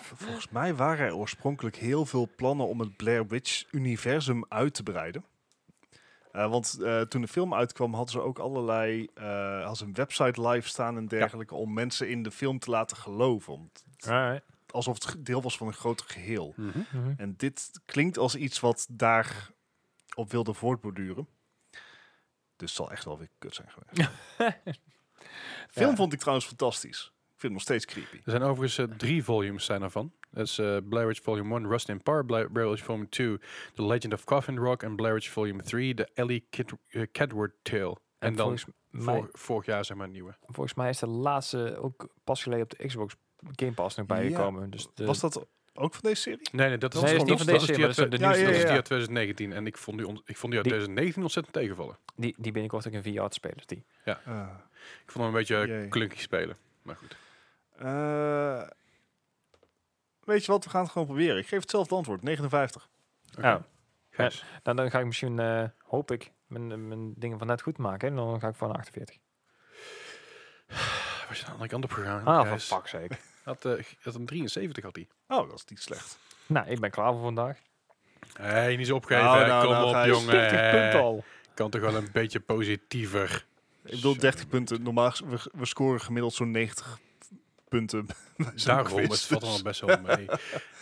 [SPEAKER 2] Volgens mij waren er oorspronkelijk heel veel plannen om het Blair Witch-universum uit te breiden. Eh, want eh, toen de film uitkwam, hadden ze ook allerlei. eh hadden ze een website live staan en dergelijke. om mensen in de film te laten geloven. Om-
[SPEAKER 3] Alright.
[SPEAKER 2] Alsof het ge- deel was van een groter geheel.
[SPEAKER 3] Mhm.
[SPEAKER 2] En dit klinkt als iets wat daar op wilde voortborduren. Dus het zal echt wel weer kut zijn geweest. Film
[SPEAKER 3] Ja.
[SPEAKER 2] vond ik trouwens fantastisch. Ik vind hem nog steeds creepy.
[SPEAKER 1] Er zijn overigens eh, drie volumes zijn ervan. Dat is eh, Blair Witch Volume 1 Rust in Par, Bla- Blair Witch Volume 2 The Legend of Coffin Rock en Blair Witch Volume 3 The Ellie Kid eh, Kedward Tale. En, dan
[SPEAKER 3] volgens, mij,
[SPEAKER 1] Vor- vorig jaar zeg maar een nieuwe.
[SPEAKER 3] volgens mij is de laatste ook pas geleden op de Xbox Game Pass nog
[SPEAKER 2] Ja.
[SPEAKER 3] bijgekomen. Dus de,
[SPEAKER 2] Was dat ook van deze serie?
[SPEAKER 1] Nee, nee, dat
[SPEAKER 3] Nee,
[SPEAKER 1] was
[SPEAKER 3] is
[SPEAKER 1] gewoon-
[SPEAKER 3] niet van
[SPEAKER 1] dat is
[SPEAKER 3] deze
[SPEAKER 1] die uit
[SPEAKER 3] serie, maar dat is
[SPEAKER 1] twe-
[SPEAKER 2] de
[SPEAKER 1] ja,
[SPEAKER 2] nieuwste.
[SPEAKER 1] ja, ja, ja. Dat is die
[SPEAKER 2] Ja.
[SPEAKER 1] uit 2019. En ik vond die, on- ik vond die uit
[SPEAKER 3] Die-
[SPEAKER 1] 2019 ontzettend tegenvallen.
[SPEAKER 3] die, die binnenkort ook een VR te spelen. is Die.
[SPEAKER 1] Ah.
[SPEAKER 2] Eh,
[SPEAKER 1] Ik vond hem een beetje
[SPEAKER 2] Jee.
[SPEAKER 1] eh, klunky spelen. Maar goed.
[SPEAKER 2] Eh, weet je wat, we gaan het gewoon proberen. Ik geef hetzelfde antwoord, 59.
[SPEAKER 1] Oké.
[SPEAKER 3] Oh.
[SPEAKER 1] Gijs. Ah,
[SPEAKER 3] Dan, dan ga ik misschien, eh, hoop ik, mijn, eh, mijn dingen van net goed maken. En dan ga ik voor een 48.
[SPEAKER 1] Was je aan de andere kant op gegaan?
[SPEAKER 3] Ah, van
[SPEAKER 1] Gijs?
[SPEAKER 3] fuck zeker.
[SPEAKER 1] Had, eh, g- had een 73 had hij.
[SPEAKER 2] Oh, dat is niet slecht.
[SPEAKER 3] nou, ik ben klaar voor vandaag.
[SPEAKER 1] Hé, niet zo opgeven.
[SPEAKER 2] Nou,
[SPEAKER 1] hè.
[SPEAKER 2] nou,
[SPEAKER 1] Kom
[SPEAKER 2] nou,
[SPEAKER 1] op,
[SPEAKER 2] Gijs.
[SPEAKER 1] jongen.
[SPEAKER 3] 40 punten
[SPEAKER 1] hè.
[SPEAKER 3] al.
[SPEAKER 1] Kan toch wel een beetje positiever.
[SPEAKER 2] Ik bedoel,
[SPEAKER 1] Zo.
[SPEAKER 2] 30 punten. Normaal, ges- we, we scoren gemiddeld zo'n 90 punten. bij zo'n
[SPEAKER 1] Daarom,
[SPEAKER 2] quiz,
[SPEAKER 1] het valt
[SPEAKER 2] dus-
[SPEAKER 1] allemaal best wel mee.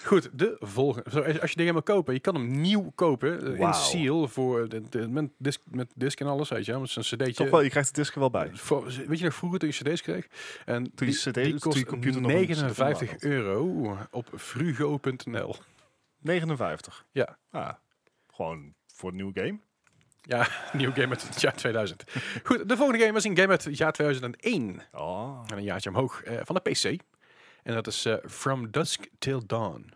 [SPEAKER 1] Goed, de volgende. Zo, als als je dingen wil kopen, je kan hem nieuw kopen. eh,
[SPEAKER 2] Wauw.
[SPEAKER 1] In seal voor de, de- met, disc, met disc en alles, weet je. wel, Met zo'n cd'tje.
[SPEAKER 2] Toch wel, je krijgt de disc er wel bij.
[SPEAKER 1] Voor- weet je nog vroeger toen je cd's kreeg? En
[SPEAKER 2] Toen je cd toen je computer nog een
[SPEAKER 1] 59
[SPEAKER 2] CD-ROM had.
[SPEAKER 1] euro op frugo.nl.
[SPEAKER 2] 59.
[SPEAKER 1] Ja.
[SPEAKER 2] Ah, gewoon voor een nieuwe game.
[SPEAKER 1] Ja, nieuw game uit het jaar 2000. Goed, de volgende game was een game uit het jaar 2001.
[SPEAKER 2] Oh.
[SPEAKER 1] En een jaartje omhoog eh, van de PC. En dat is eh, From Dusk Till Dawn.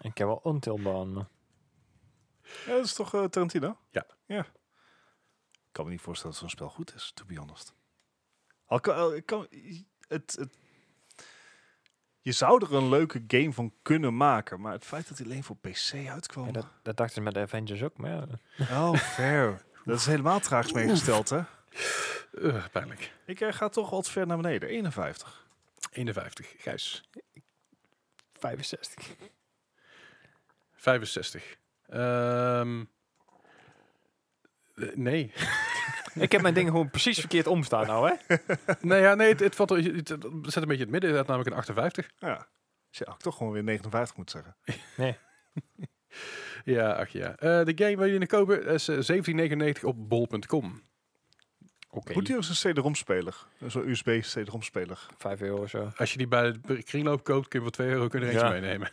[SPEAKER 3] Ik heb wel ontelbaan.
[SPEAKER 2] Ja, dat is toch eh, Tarantino?
[SPEAKER 1] Ja.
[SPEAKER 2] ja. Ik kan me niet voorstellen dat zo'n spel goed is, to be honest. Al kan, al- ik kan, het, het, je zou er een leuke game van kunnen maken, maar het feit dat hij alleen voor PC uitkwam...
[SPEAKER 3] Ja, dat, dat dachten ze met de Avengers ook, maar ja.
[SPEAKER 2] Oh, fair. dat is helemaal traags meegesteld, hè?
[SPEAKER 1] Eh, pijnlijk.
[SPEAKER 2] Ik eh, ga toch wat ver naar beneden, 51.
[SPEAKER 1] 51, Gijs.
[SPEAKER 3] 65.
[SPEAKER 1] 65. Ehm, eh, nee.
[SPEAKER 3] ik heb mijn ding gewoon precies verkeerd omstaan nou, hè?
[SPEAKER 1] nee, ja, nee het, het, valt, er- het, het zet een beetje in het midden. Het had namelijk een 58.
[SPEAKER 2] Ja. Dus ja, had ik toch gewoon weer 59 moet zeggen.
[SPEAKER 1] Ja, ach ja. Eh, de game waar jullie in kopen is eh, 1799 op bol.com.
[SPEAKER 3] Oké,
[SPEAKER 2] Moet hij ook een CD-ROM-speler? Zo'n USB-CD-ROM-speler.
[SPEAKER 3] 5 euro of zo.
[SPEAKER 1] Als je die bij de kringloop koopt, kun je voor 2 euro kun je er eentje
[SPEAKER 3] Ja.
[SPEAKER 1] meenemen.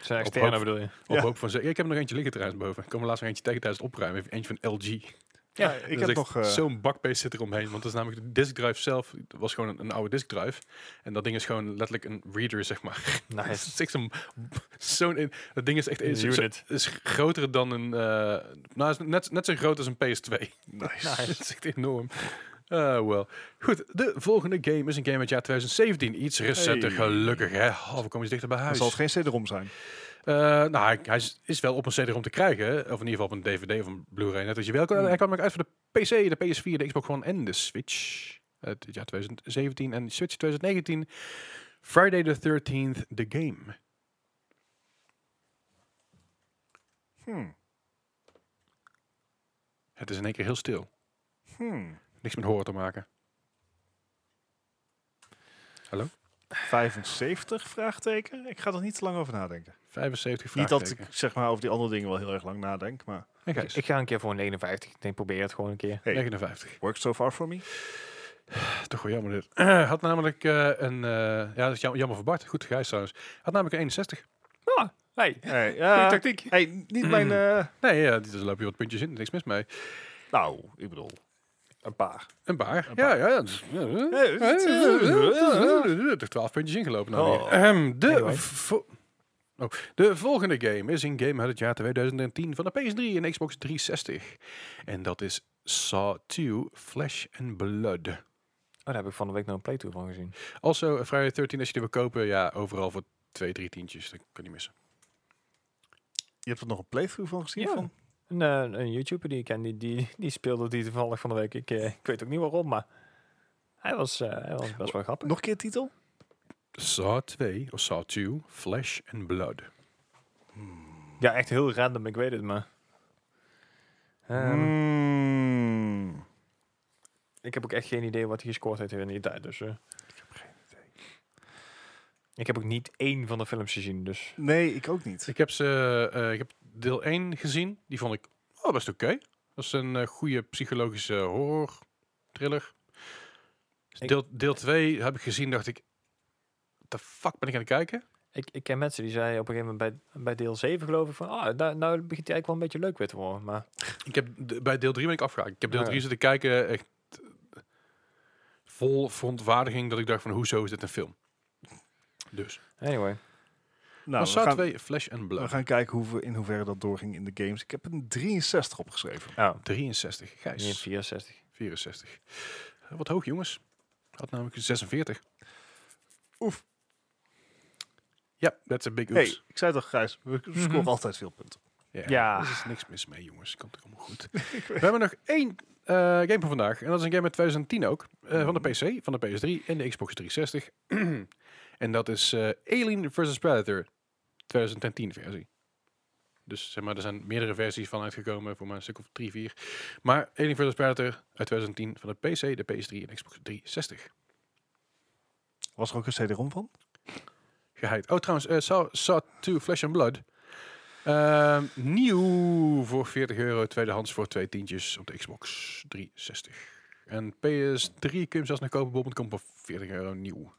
[SPEAKER 3] Zijn
[SPEAKER 1] Op
[SPEAKER 3] externe
[SPEAKER 1] hoofd.
[SPEAKER 3] bedoel je?
[SPEAKER 1] Op
[SPEAKER 2] Ja.
[SPEAKER 1] hoop van ze. Ik heb er nog eentje liggen trouwens boven. Ik kom er laatst nog eentje tegen tijdens het opruimen. Eentje van LG.
[SPEAKER 2] Ja, ik
[SPEAKER 1] Dat
[SPEAKER 2] heb
[SPEAKER 1] is
[SPEAKER 2] nog...
[SPEAKER 1] echt
[SPEAKER 2] eh,
[SPEAKER 1] Zo'n bakbeest zit eromheen. Want dat is namelijk de disk drive zelf. Dat was gewoon een, een oude disk drive. En dat ding is gewoon letterlijk een reader, zeg maar. Het
[SPEAKER 3] Nice.
[SPEAKER 1] is echt zo'n... zo'n in- dat ding is echt...
[SPEAKER 3] Een
[SPEAKER 1] Is, is-
[SPEAKER 3] unit.
[SPEAKER 1] is groter dan een... eh, nou, is net, net zo groot als een PS2.
[SPEAKER 2] nice.
[SPEAKER 1] dat is echt enorm. Ah, wel. Goed, de volgende game is een game uit jaar 2017. Iets recenter,
[SPEAKER 2] Hey.
[SPEAKER 1] gelukkig hè. Oh, we komen eens dichter bij
[SPEAKER 2] Dan
[SPEAKER 1] huis.
[SPEAKER 2] zal het geen CD-ROM zijn.
[SPEAKER 1] Eh, nou, hij, hij is- is wel op een CD om te krijgen. hè. Of in ieder geval op een DVD of een Blu-ray. Net als je wel kan. Hij kwam ook uit voor de PC, de PS4, de Xbox One en de Switch. Uit Het jaar 2017 en Switch 2019. Friday the 13th, the game.
[SPEAKER 2] Hmm.
[SPEAKER 1] Het is in één keer heel stil.
[SPEAKER 2] Hmm.
[SPEAKER 1] Niks met horen te maken.
[SPEAKER 2] 75 vraagteken? Ik ga er niet te lang over nadenken.
[SPEAKER 1] 75
[SPEAKER 2] Niet dat
[SPEAKER 1] vraagteken.
[SPEAKER 2] ik zeg maar over die andere dingen wel heel erg lang nadenk, maar
[SPEAKER 1] En
[SPEAKER 3] Ik,
[SPEAKER 1] Gijs,
[SPEAKER 3] ik ga een keer voor een 59. Ik denk, probeer het gewoon een keer.
[SPEAKER 2] hey,
[SPEAKER 1] 59.
[SPEAKER 2] works so far for me.
[SPEAKER 1] Toch wel jammer dit. Had namelijk eh, een... eh, ja, dat is jam- jammer voor Bart. Goed, Gijs trouwens. Had namelijk een 61.
[SPEAKER 3] Ah, hey.
[SPEAKER 2] Hey,
[SPEAKER 3] Goeie
[SPEAKER 2] ja,
[SPEAKER 3] tactiek.
[SPEAKER 2] hey niet mijn. eh,
[SPEAKER 1] Nee, ja, dus loop je wat puntjes in. Niks mis mee.
[SPEAKER 2] nou, ik bedoel, een paar.
[SPEAKER 1] Een paar.
[SPEAKER 2] Een
[SPEAKER 1] Ja,
[SPEAKER 2] paar.
[SPEAKER 1] ja, Oh, ja. Er twaalf puntjes ingelopen. Nou
[SPEAKER 3] Oh.
[SPEAKER 1] weer. Ehem, de,
[SPEAKER 3] Anyway.
[SPEAKER 1] vo- oh, de volgende game is een game uit het jaar 2010 van de PS3 en Xbox 360. En dat is Saw 2 Flesh and Blood.
[SPEAKER 3] Oh, daar heb ik van de week nog een playthrough van gezien.
[SPEAKER 1] Also, eh, Friday 13 als je die wil kopen, ja, overal voor twee, drie tientjes. Dat kan je niet missen.
[SPEAKER 2] Je hebt er nog een playthrough van gezien?
[SPEAKER 3] Ja.
[SPEAKER 2] Van?
[SPEAKER 3] Een, eh, een YouTuber die ik ken, die, die, die speelde die toevallig van de week. Ik, eh, ik weet ook niet waarom, maar hij was, eh, hij was best wel grappig.
[SPEAKER 2] Nog een keer titel?
[SPEAKER 1] Saw 2, of Saw 2, Flesh and Blood.
[SPEAKER 3] Ja, echt heel random, ik weet het, maar... Ehm,
[SPEAKER 2] Hmm.
[SPEAKER 3] Ik heb ook echt geen idee wat hij gescoord heeft in die tijd, dus... eh. ik heb ook niet één van de films gezien, dus...
[SPEAKER 2] Nee, ik ook niet.
[SPEAKER 1] Ik heb, ze, eh, ik heb deel 1 gezien. Die vond ik oh, best oké. Dat is een eh, goede psychologische horror thriller. Dus
[SPEAKER 3] Ik-
[SPEAKER 1] Deel, deel 2 heb ik gezien, dacht ik. The fuck ben ik aan het kijken?
[SPEAKER 3] Ik, ik ken mensen die zeiden op een gegeven moment bij, bij deel 7, geloof ik, van... Ah, nou, nou begint hij eigenlijk wel een beetje leuk weer te worden, maar...
[SPEAKER 1] Ik heb de- bij deel 3 ben ik afgehaakt. Ik heb deel
[SPEAKER 3] Oh, ja.
[SPEAKER 1] 3 zitten kijken echt eh, vol verontwaardiging dat ik dacht van hoezo is dit een film? Dus.
[SPEAKER 3] Anyway.
[SPEAKER 2] Nou, we
[SPEAKER 1] Saw
[SPEAKER 2] gaan,
[SPEAKER 1] 2, Flash and
[SPEAKER 2] we
[SPEAKER 1] Blood.
[SPEAKER 2] gaan kijken hoe we, in hoeverre dat doorging in de games. Ik heb een 63 opgeschreven.
[SPEAKER 3] Oh,
[SPEAKER 1] 63,
[SPEAKER 3] niet
[SPEAKER 1] Gijs.
[SPEAKER 3] 64.
[SPEAKER 1] 64. Eh, Wat hoog jongens. Had namelijk 46.
[SPEAKER 2] Oef.
[SPEAKER 1] Ja, that's a big oops.
[SPEAKER 2] Hey, ik zei toch, Gijs, we scoren
[SPEAKER 3] Mhm.
[SPEAKER 2] altijd veel punten.
[SPEAKER 3] Ja.
[SPEAKER 1] Er is niks mis mee, jongens. Komt toch allemaal goed. We hebben nog één eh, game van vandaag. En dat is een game uit 2010 ook. eh, van de PC, van de PS3 en de Xbox 360. en dat is eh, Alien vs. Predator 2010 versie. Dus zeg maar, er zijn meerdere versies van uitgekomen. Voor mij een stuk of drie, vier. Maar Alien vs. Predator uit 2010 van de PC, de PS3 en Xbox 360.
[SPEAKER 2] Was er ook een CD-ROM van?
[SPEAKER 1] Geheid. Oh, trouwens, eh, Saw, Saw 2 Flesh and Blood. Ehm, nieuw voor 40 euro, tweedehands voor twee tientjes op de Xbox 360. En PS3 kun je hem zelfs nog kopen, bijvoorbeeld komt voor 40 euro nieuw.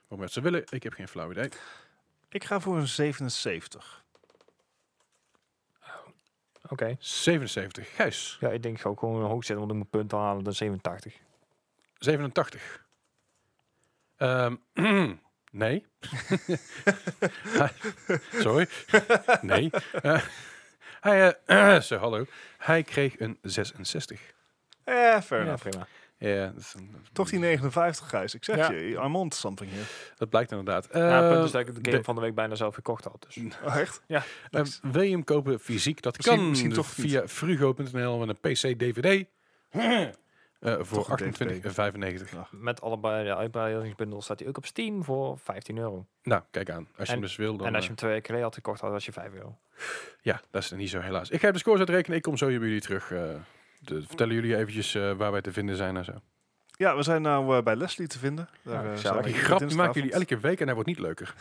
[SPEAKER 1] Waarom dat ze willen, ik heb geen flauw idee.
[SPEAKER 2] Ik ga voor een 77.
[SPEAKER 3] Oké.
[SPEAKER 1] 77. Gijs,
[SPEAKER 3] Ja, ik denk ik ga ook gewoon hoog zetten, want ik moet punten halen. Dan 87.
[SPEAKER 1] 87. Ehm, nee. Sorry. Nee. Eh, hij, eh, zo, hallo. Hij kreeg een 66.
[SPEAKER 2] Eh, fair
[SPEAKER 3] Ja,
[SPEAKER 2] enough.
[SPEAKER 3] prima.
[SPEAKER 1] Ja, dat, is een-
[SPEAKER 2] Toch die 59, Gijs. Ik zeg
[SPEAKER 3] Ja.
[SPEAKER 2] je, I'm on to something here.
[SPEAKER 1] dat blijkt inderdaad.
[SPEAKER 3] ja, het
[SPEAKER 1] Eh,
[SPEAKER 3] punt is dat ik de game
[SPEAKER 1] de-
[SPEAKER 3] van de week bijna zelf gekocht had. Dus.
[SPEAKER 2] Oh, echt?
[SPEAKER 1] Eh, wil je hem kopen fysiek? Dat
[SPEAKER 2] Misschien-
[SPEAKER 1] kan
[SPEAKER 2] misschien toch niet.
[SPEAKER 1] via frugo.nl met een PC-DVD. eh, voor
[SPEAKER 2] Toch een
[SPEAKER 1] 28,95.
[SPEAKER 3] Met allebei de uitbreidingsbundels staat hij ook op Steam voor 15 euro.
[SPEAKER 1] Nou, kijk aan. Als je
[SPEAKER 3] En-
[SPEAKER 1] hem dus wil, dan...
[SPEAKER 3] en als je
[SPEAKER 1] eh,
[SPEAKER 3] hem twee weken geleden had gekocht, had was je 5 euro.
[SPEAKER 1] ja, dat is niet zo helaas. Ik ga de scores uitrekenen. Ik kom zo bij jullie terug. eh, de- vertellen jullie eventjes eh, waar wij te vinden zijn en zo.
[SPEAKER 2] Ja, we zijn nou eh, bij Leslie te vinden. Daar,
[SPEAKER 3] Ja,
[SPEAKER 2] eh,
[SPEAKER 3] gezellig.
[SPEAKER 2] zijn we
[SPEAKER 1] Die
[SPEAKER 2] iedere
[SPEAKER 1] grap die
[SPEAKER 2] dinsdagavond.
[SPEAKER 1] maken jullie elke week en hij wordt niet leuker.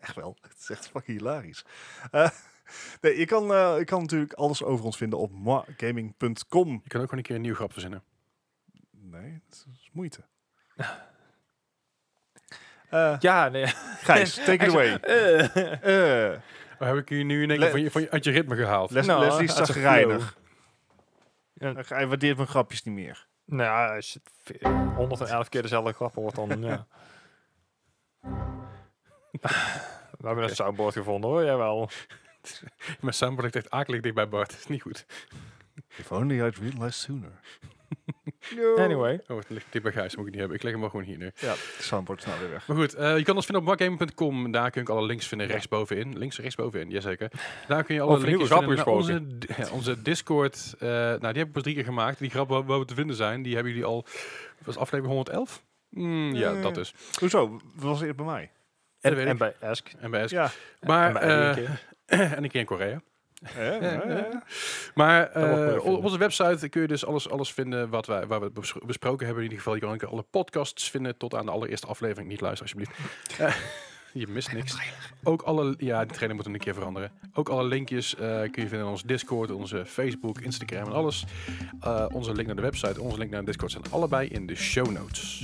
[SPEAKER 2] Echt wel. Het is echt fucking hilarisch. Eh, nee, je kan, eh, je kan natuurlijk alles over ons vinden op moagaming.com.
[SPEAKER 1] Je kan ook gewoon een keer een nieuw grap verzinnen.
[SPEAKER 2] Nee, dat is moeite. Eh,
[SPEAKER 3] Ja, nee.
[SPEAKER 2] Gijs, take it away.
[SPEAKER 3] Eh.
[SPEAKER 2] Eh,
[SPEAKER 1] Oh, heb ik je nu in één keer
[SPEAKER 2] Le-
[SPEAKER 1] van je, van je, uit je ritme gehaald?
[SPEAKER 2] Les,
[SPEAKER 3] Nou,
[SPEAKER 2] Leslie is
[SPEAKER 3] uit de
[SPEAKER 2] zagrijnig.
[SPEAKER 3] Ja.
[SPEAKER 2] Hij waardeert mijn grapjes niet meer.
[SPEAKER 3] nou ja, als je het 111 keer dezelfde grap hoort, dan ja. We hebben een soundboard gevonden hoor, jawel.
[SPEAKER 1] Mijn soundboard ligt echt akelig dicht bij Bart. Dat is niet goed.
[SPEAKER 2] If only I'd realized sooner.
[SPEAKER 3] Anyway.
[SPEAKER 1] Oh, het ligt dicht bij Gijs. Moet ik niet hebben. Ik leg hem maar gewoon hier neer.
[SPEAKER 2] Ja, de soundboard is nou weer weg.
[SPEAKER 1] Maar goed, eh, je kan ons vinden op wakgaming.com. Daar kun je ook alle links vinden rechtsbovenin. Links rechtsbovenin, jazeker. Daar kun je alle
[SPEAKER 3] Over
[SPEAKER 1] linkjes
[SPEAKER 3] nieuwe
[SPEAKER 1] vinden naar
[SPEAKER 3] grappen
[SPEAKER 1] onze, ja, onze Discord. eh, nou, die heb ik pas drie keer gemaakt. Die grappen waar, waar we te vinden zijn, die hebben jullie al... Was aflevering 111? Mm, ja,
[SPEAKER 2] Eh.
[SPEAKER 1] dat is.
[SPEAKER 2] Hoezo? Dat was eerder bij mij.
[SPEAKER 1] dat weet
[SPEAKER 3] En, en
[SPEAKER 1] ik.
[SPEAKER 3] bij Ask.
[SPEAKER 1] MBS.
[SPEAKER 2] Ja.
[SPEAKER 3] en
[SPEAKER 1] Maar,
[SPEAKER 3] bij Ellie een
[SPEAKER 1] eh,
[SPEAKER 3] keer.
[SPEAKER 1] en een keer in Korea.
[SPEAKER 2] Eh,
[SPEAKER 1] eh,
[SPEAKER 2] eh.
[SPEAKER 1] Maar
[SPEAKER 3] Dat wordt
[SPEAKER 1] eh,
[SPEAKER 3] moeilijk
[SPEAKER 1] op
[SPEAKER 3] vinden.
[SPEAKER 1] onze website kun je dus alles, alles vinden wat wij, waar we het bes- besproken hebben. In ieder geval, je kan ook alle podcasts vinden tot aan de allereerste aflevering. Niet luisteren, alsjeblieft. Eh, je mist niks. Ook alle, ja, die trainer moet hem een keer veranderen. Ook alle linkjes eh, kun je vinden in ons Discord, onze Facebook, Instagram en alles. Eh, onze link naar de website, onze link naar de Discord zijn allebei in de show notes.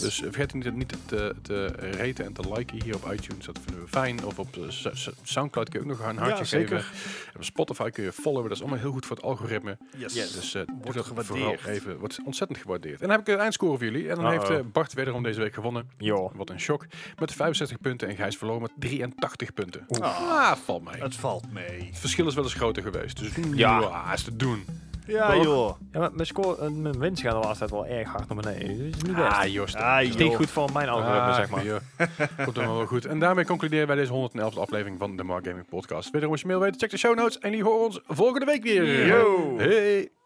[SPEAKER 1] Dus eh, vergeet niet, niet te, te raten en te liken hier op iTunes. Dat vinden we fijn. Of op eh, S- S- Soundcloud kun je ook nog een hartje
[SPEAKER 2] Ja, zeker.
[SPEAKER 1] geven. En op Spotify kun je followen. Dat is allemaal heel goed voor het algoritme.
[SPEAKER 2] Yes.
[SPEAKER 1] Dus eh doe
[SPEAKER 2] Wordt
[SPEAKER 1] dat vooral
[SPEAKER 2] gewaardeerd.
[SPEAKER 1] even. Wordt ontzettend gewaardeerd. En dan heb ik een eindscore voor jullie. En dan
[SPEAKER 3] Uh-oh.
[SPEAKER 1] heeft eh, Bart wederom deze week gewonnen.
[SPEAKER 3] Joh.
[SPEAKER 1] Wat een shock. Met 65 punten en Gijs verloren met 83 punten.
[SPEAKER 2] Ah,
[SPEAKER 1] Ah, valt mee.
[SPEAKER 2] het valt mee.
[SPEAKER 1] Het verschil is wel eens groter geweest. Dus ja,
[SPEAKER 3] Ja.
[SPEAKER 1] is te doen.
[SPEAKER 2] Ja,
[SPEAKER 3] Toch?
[SPEAKER 2] joh.
[SPEAKER 3] Ja, maar mijn, score, eh, mijn winst gaat de laatste tijd wel erg hard naar beneden. Dus is niet best.
[SPEAKER 1] Ah, Joost. Ah,
[SPEAKER 2] Ah,
[SPEAKER 3] is niet
[SPEAKER 2] joh.
[SPEAKER 3] goed voor mijn algoritme, zeg maar.
[SPEAKER 1] Komt helemaal wel goed. En daarmee concluderen wij deze 111e aflevering van de Mark Gaming Podcast. Wederom als je mail weet, check de show notes. En die horen ons volgende week weer.
[SPEAKER 2] Yo.
[SPEAKER 1] Hey.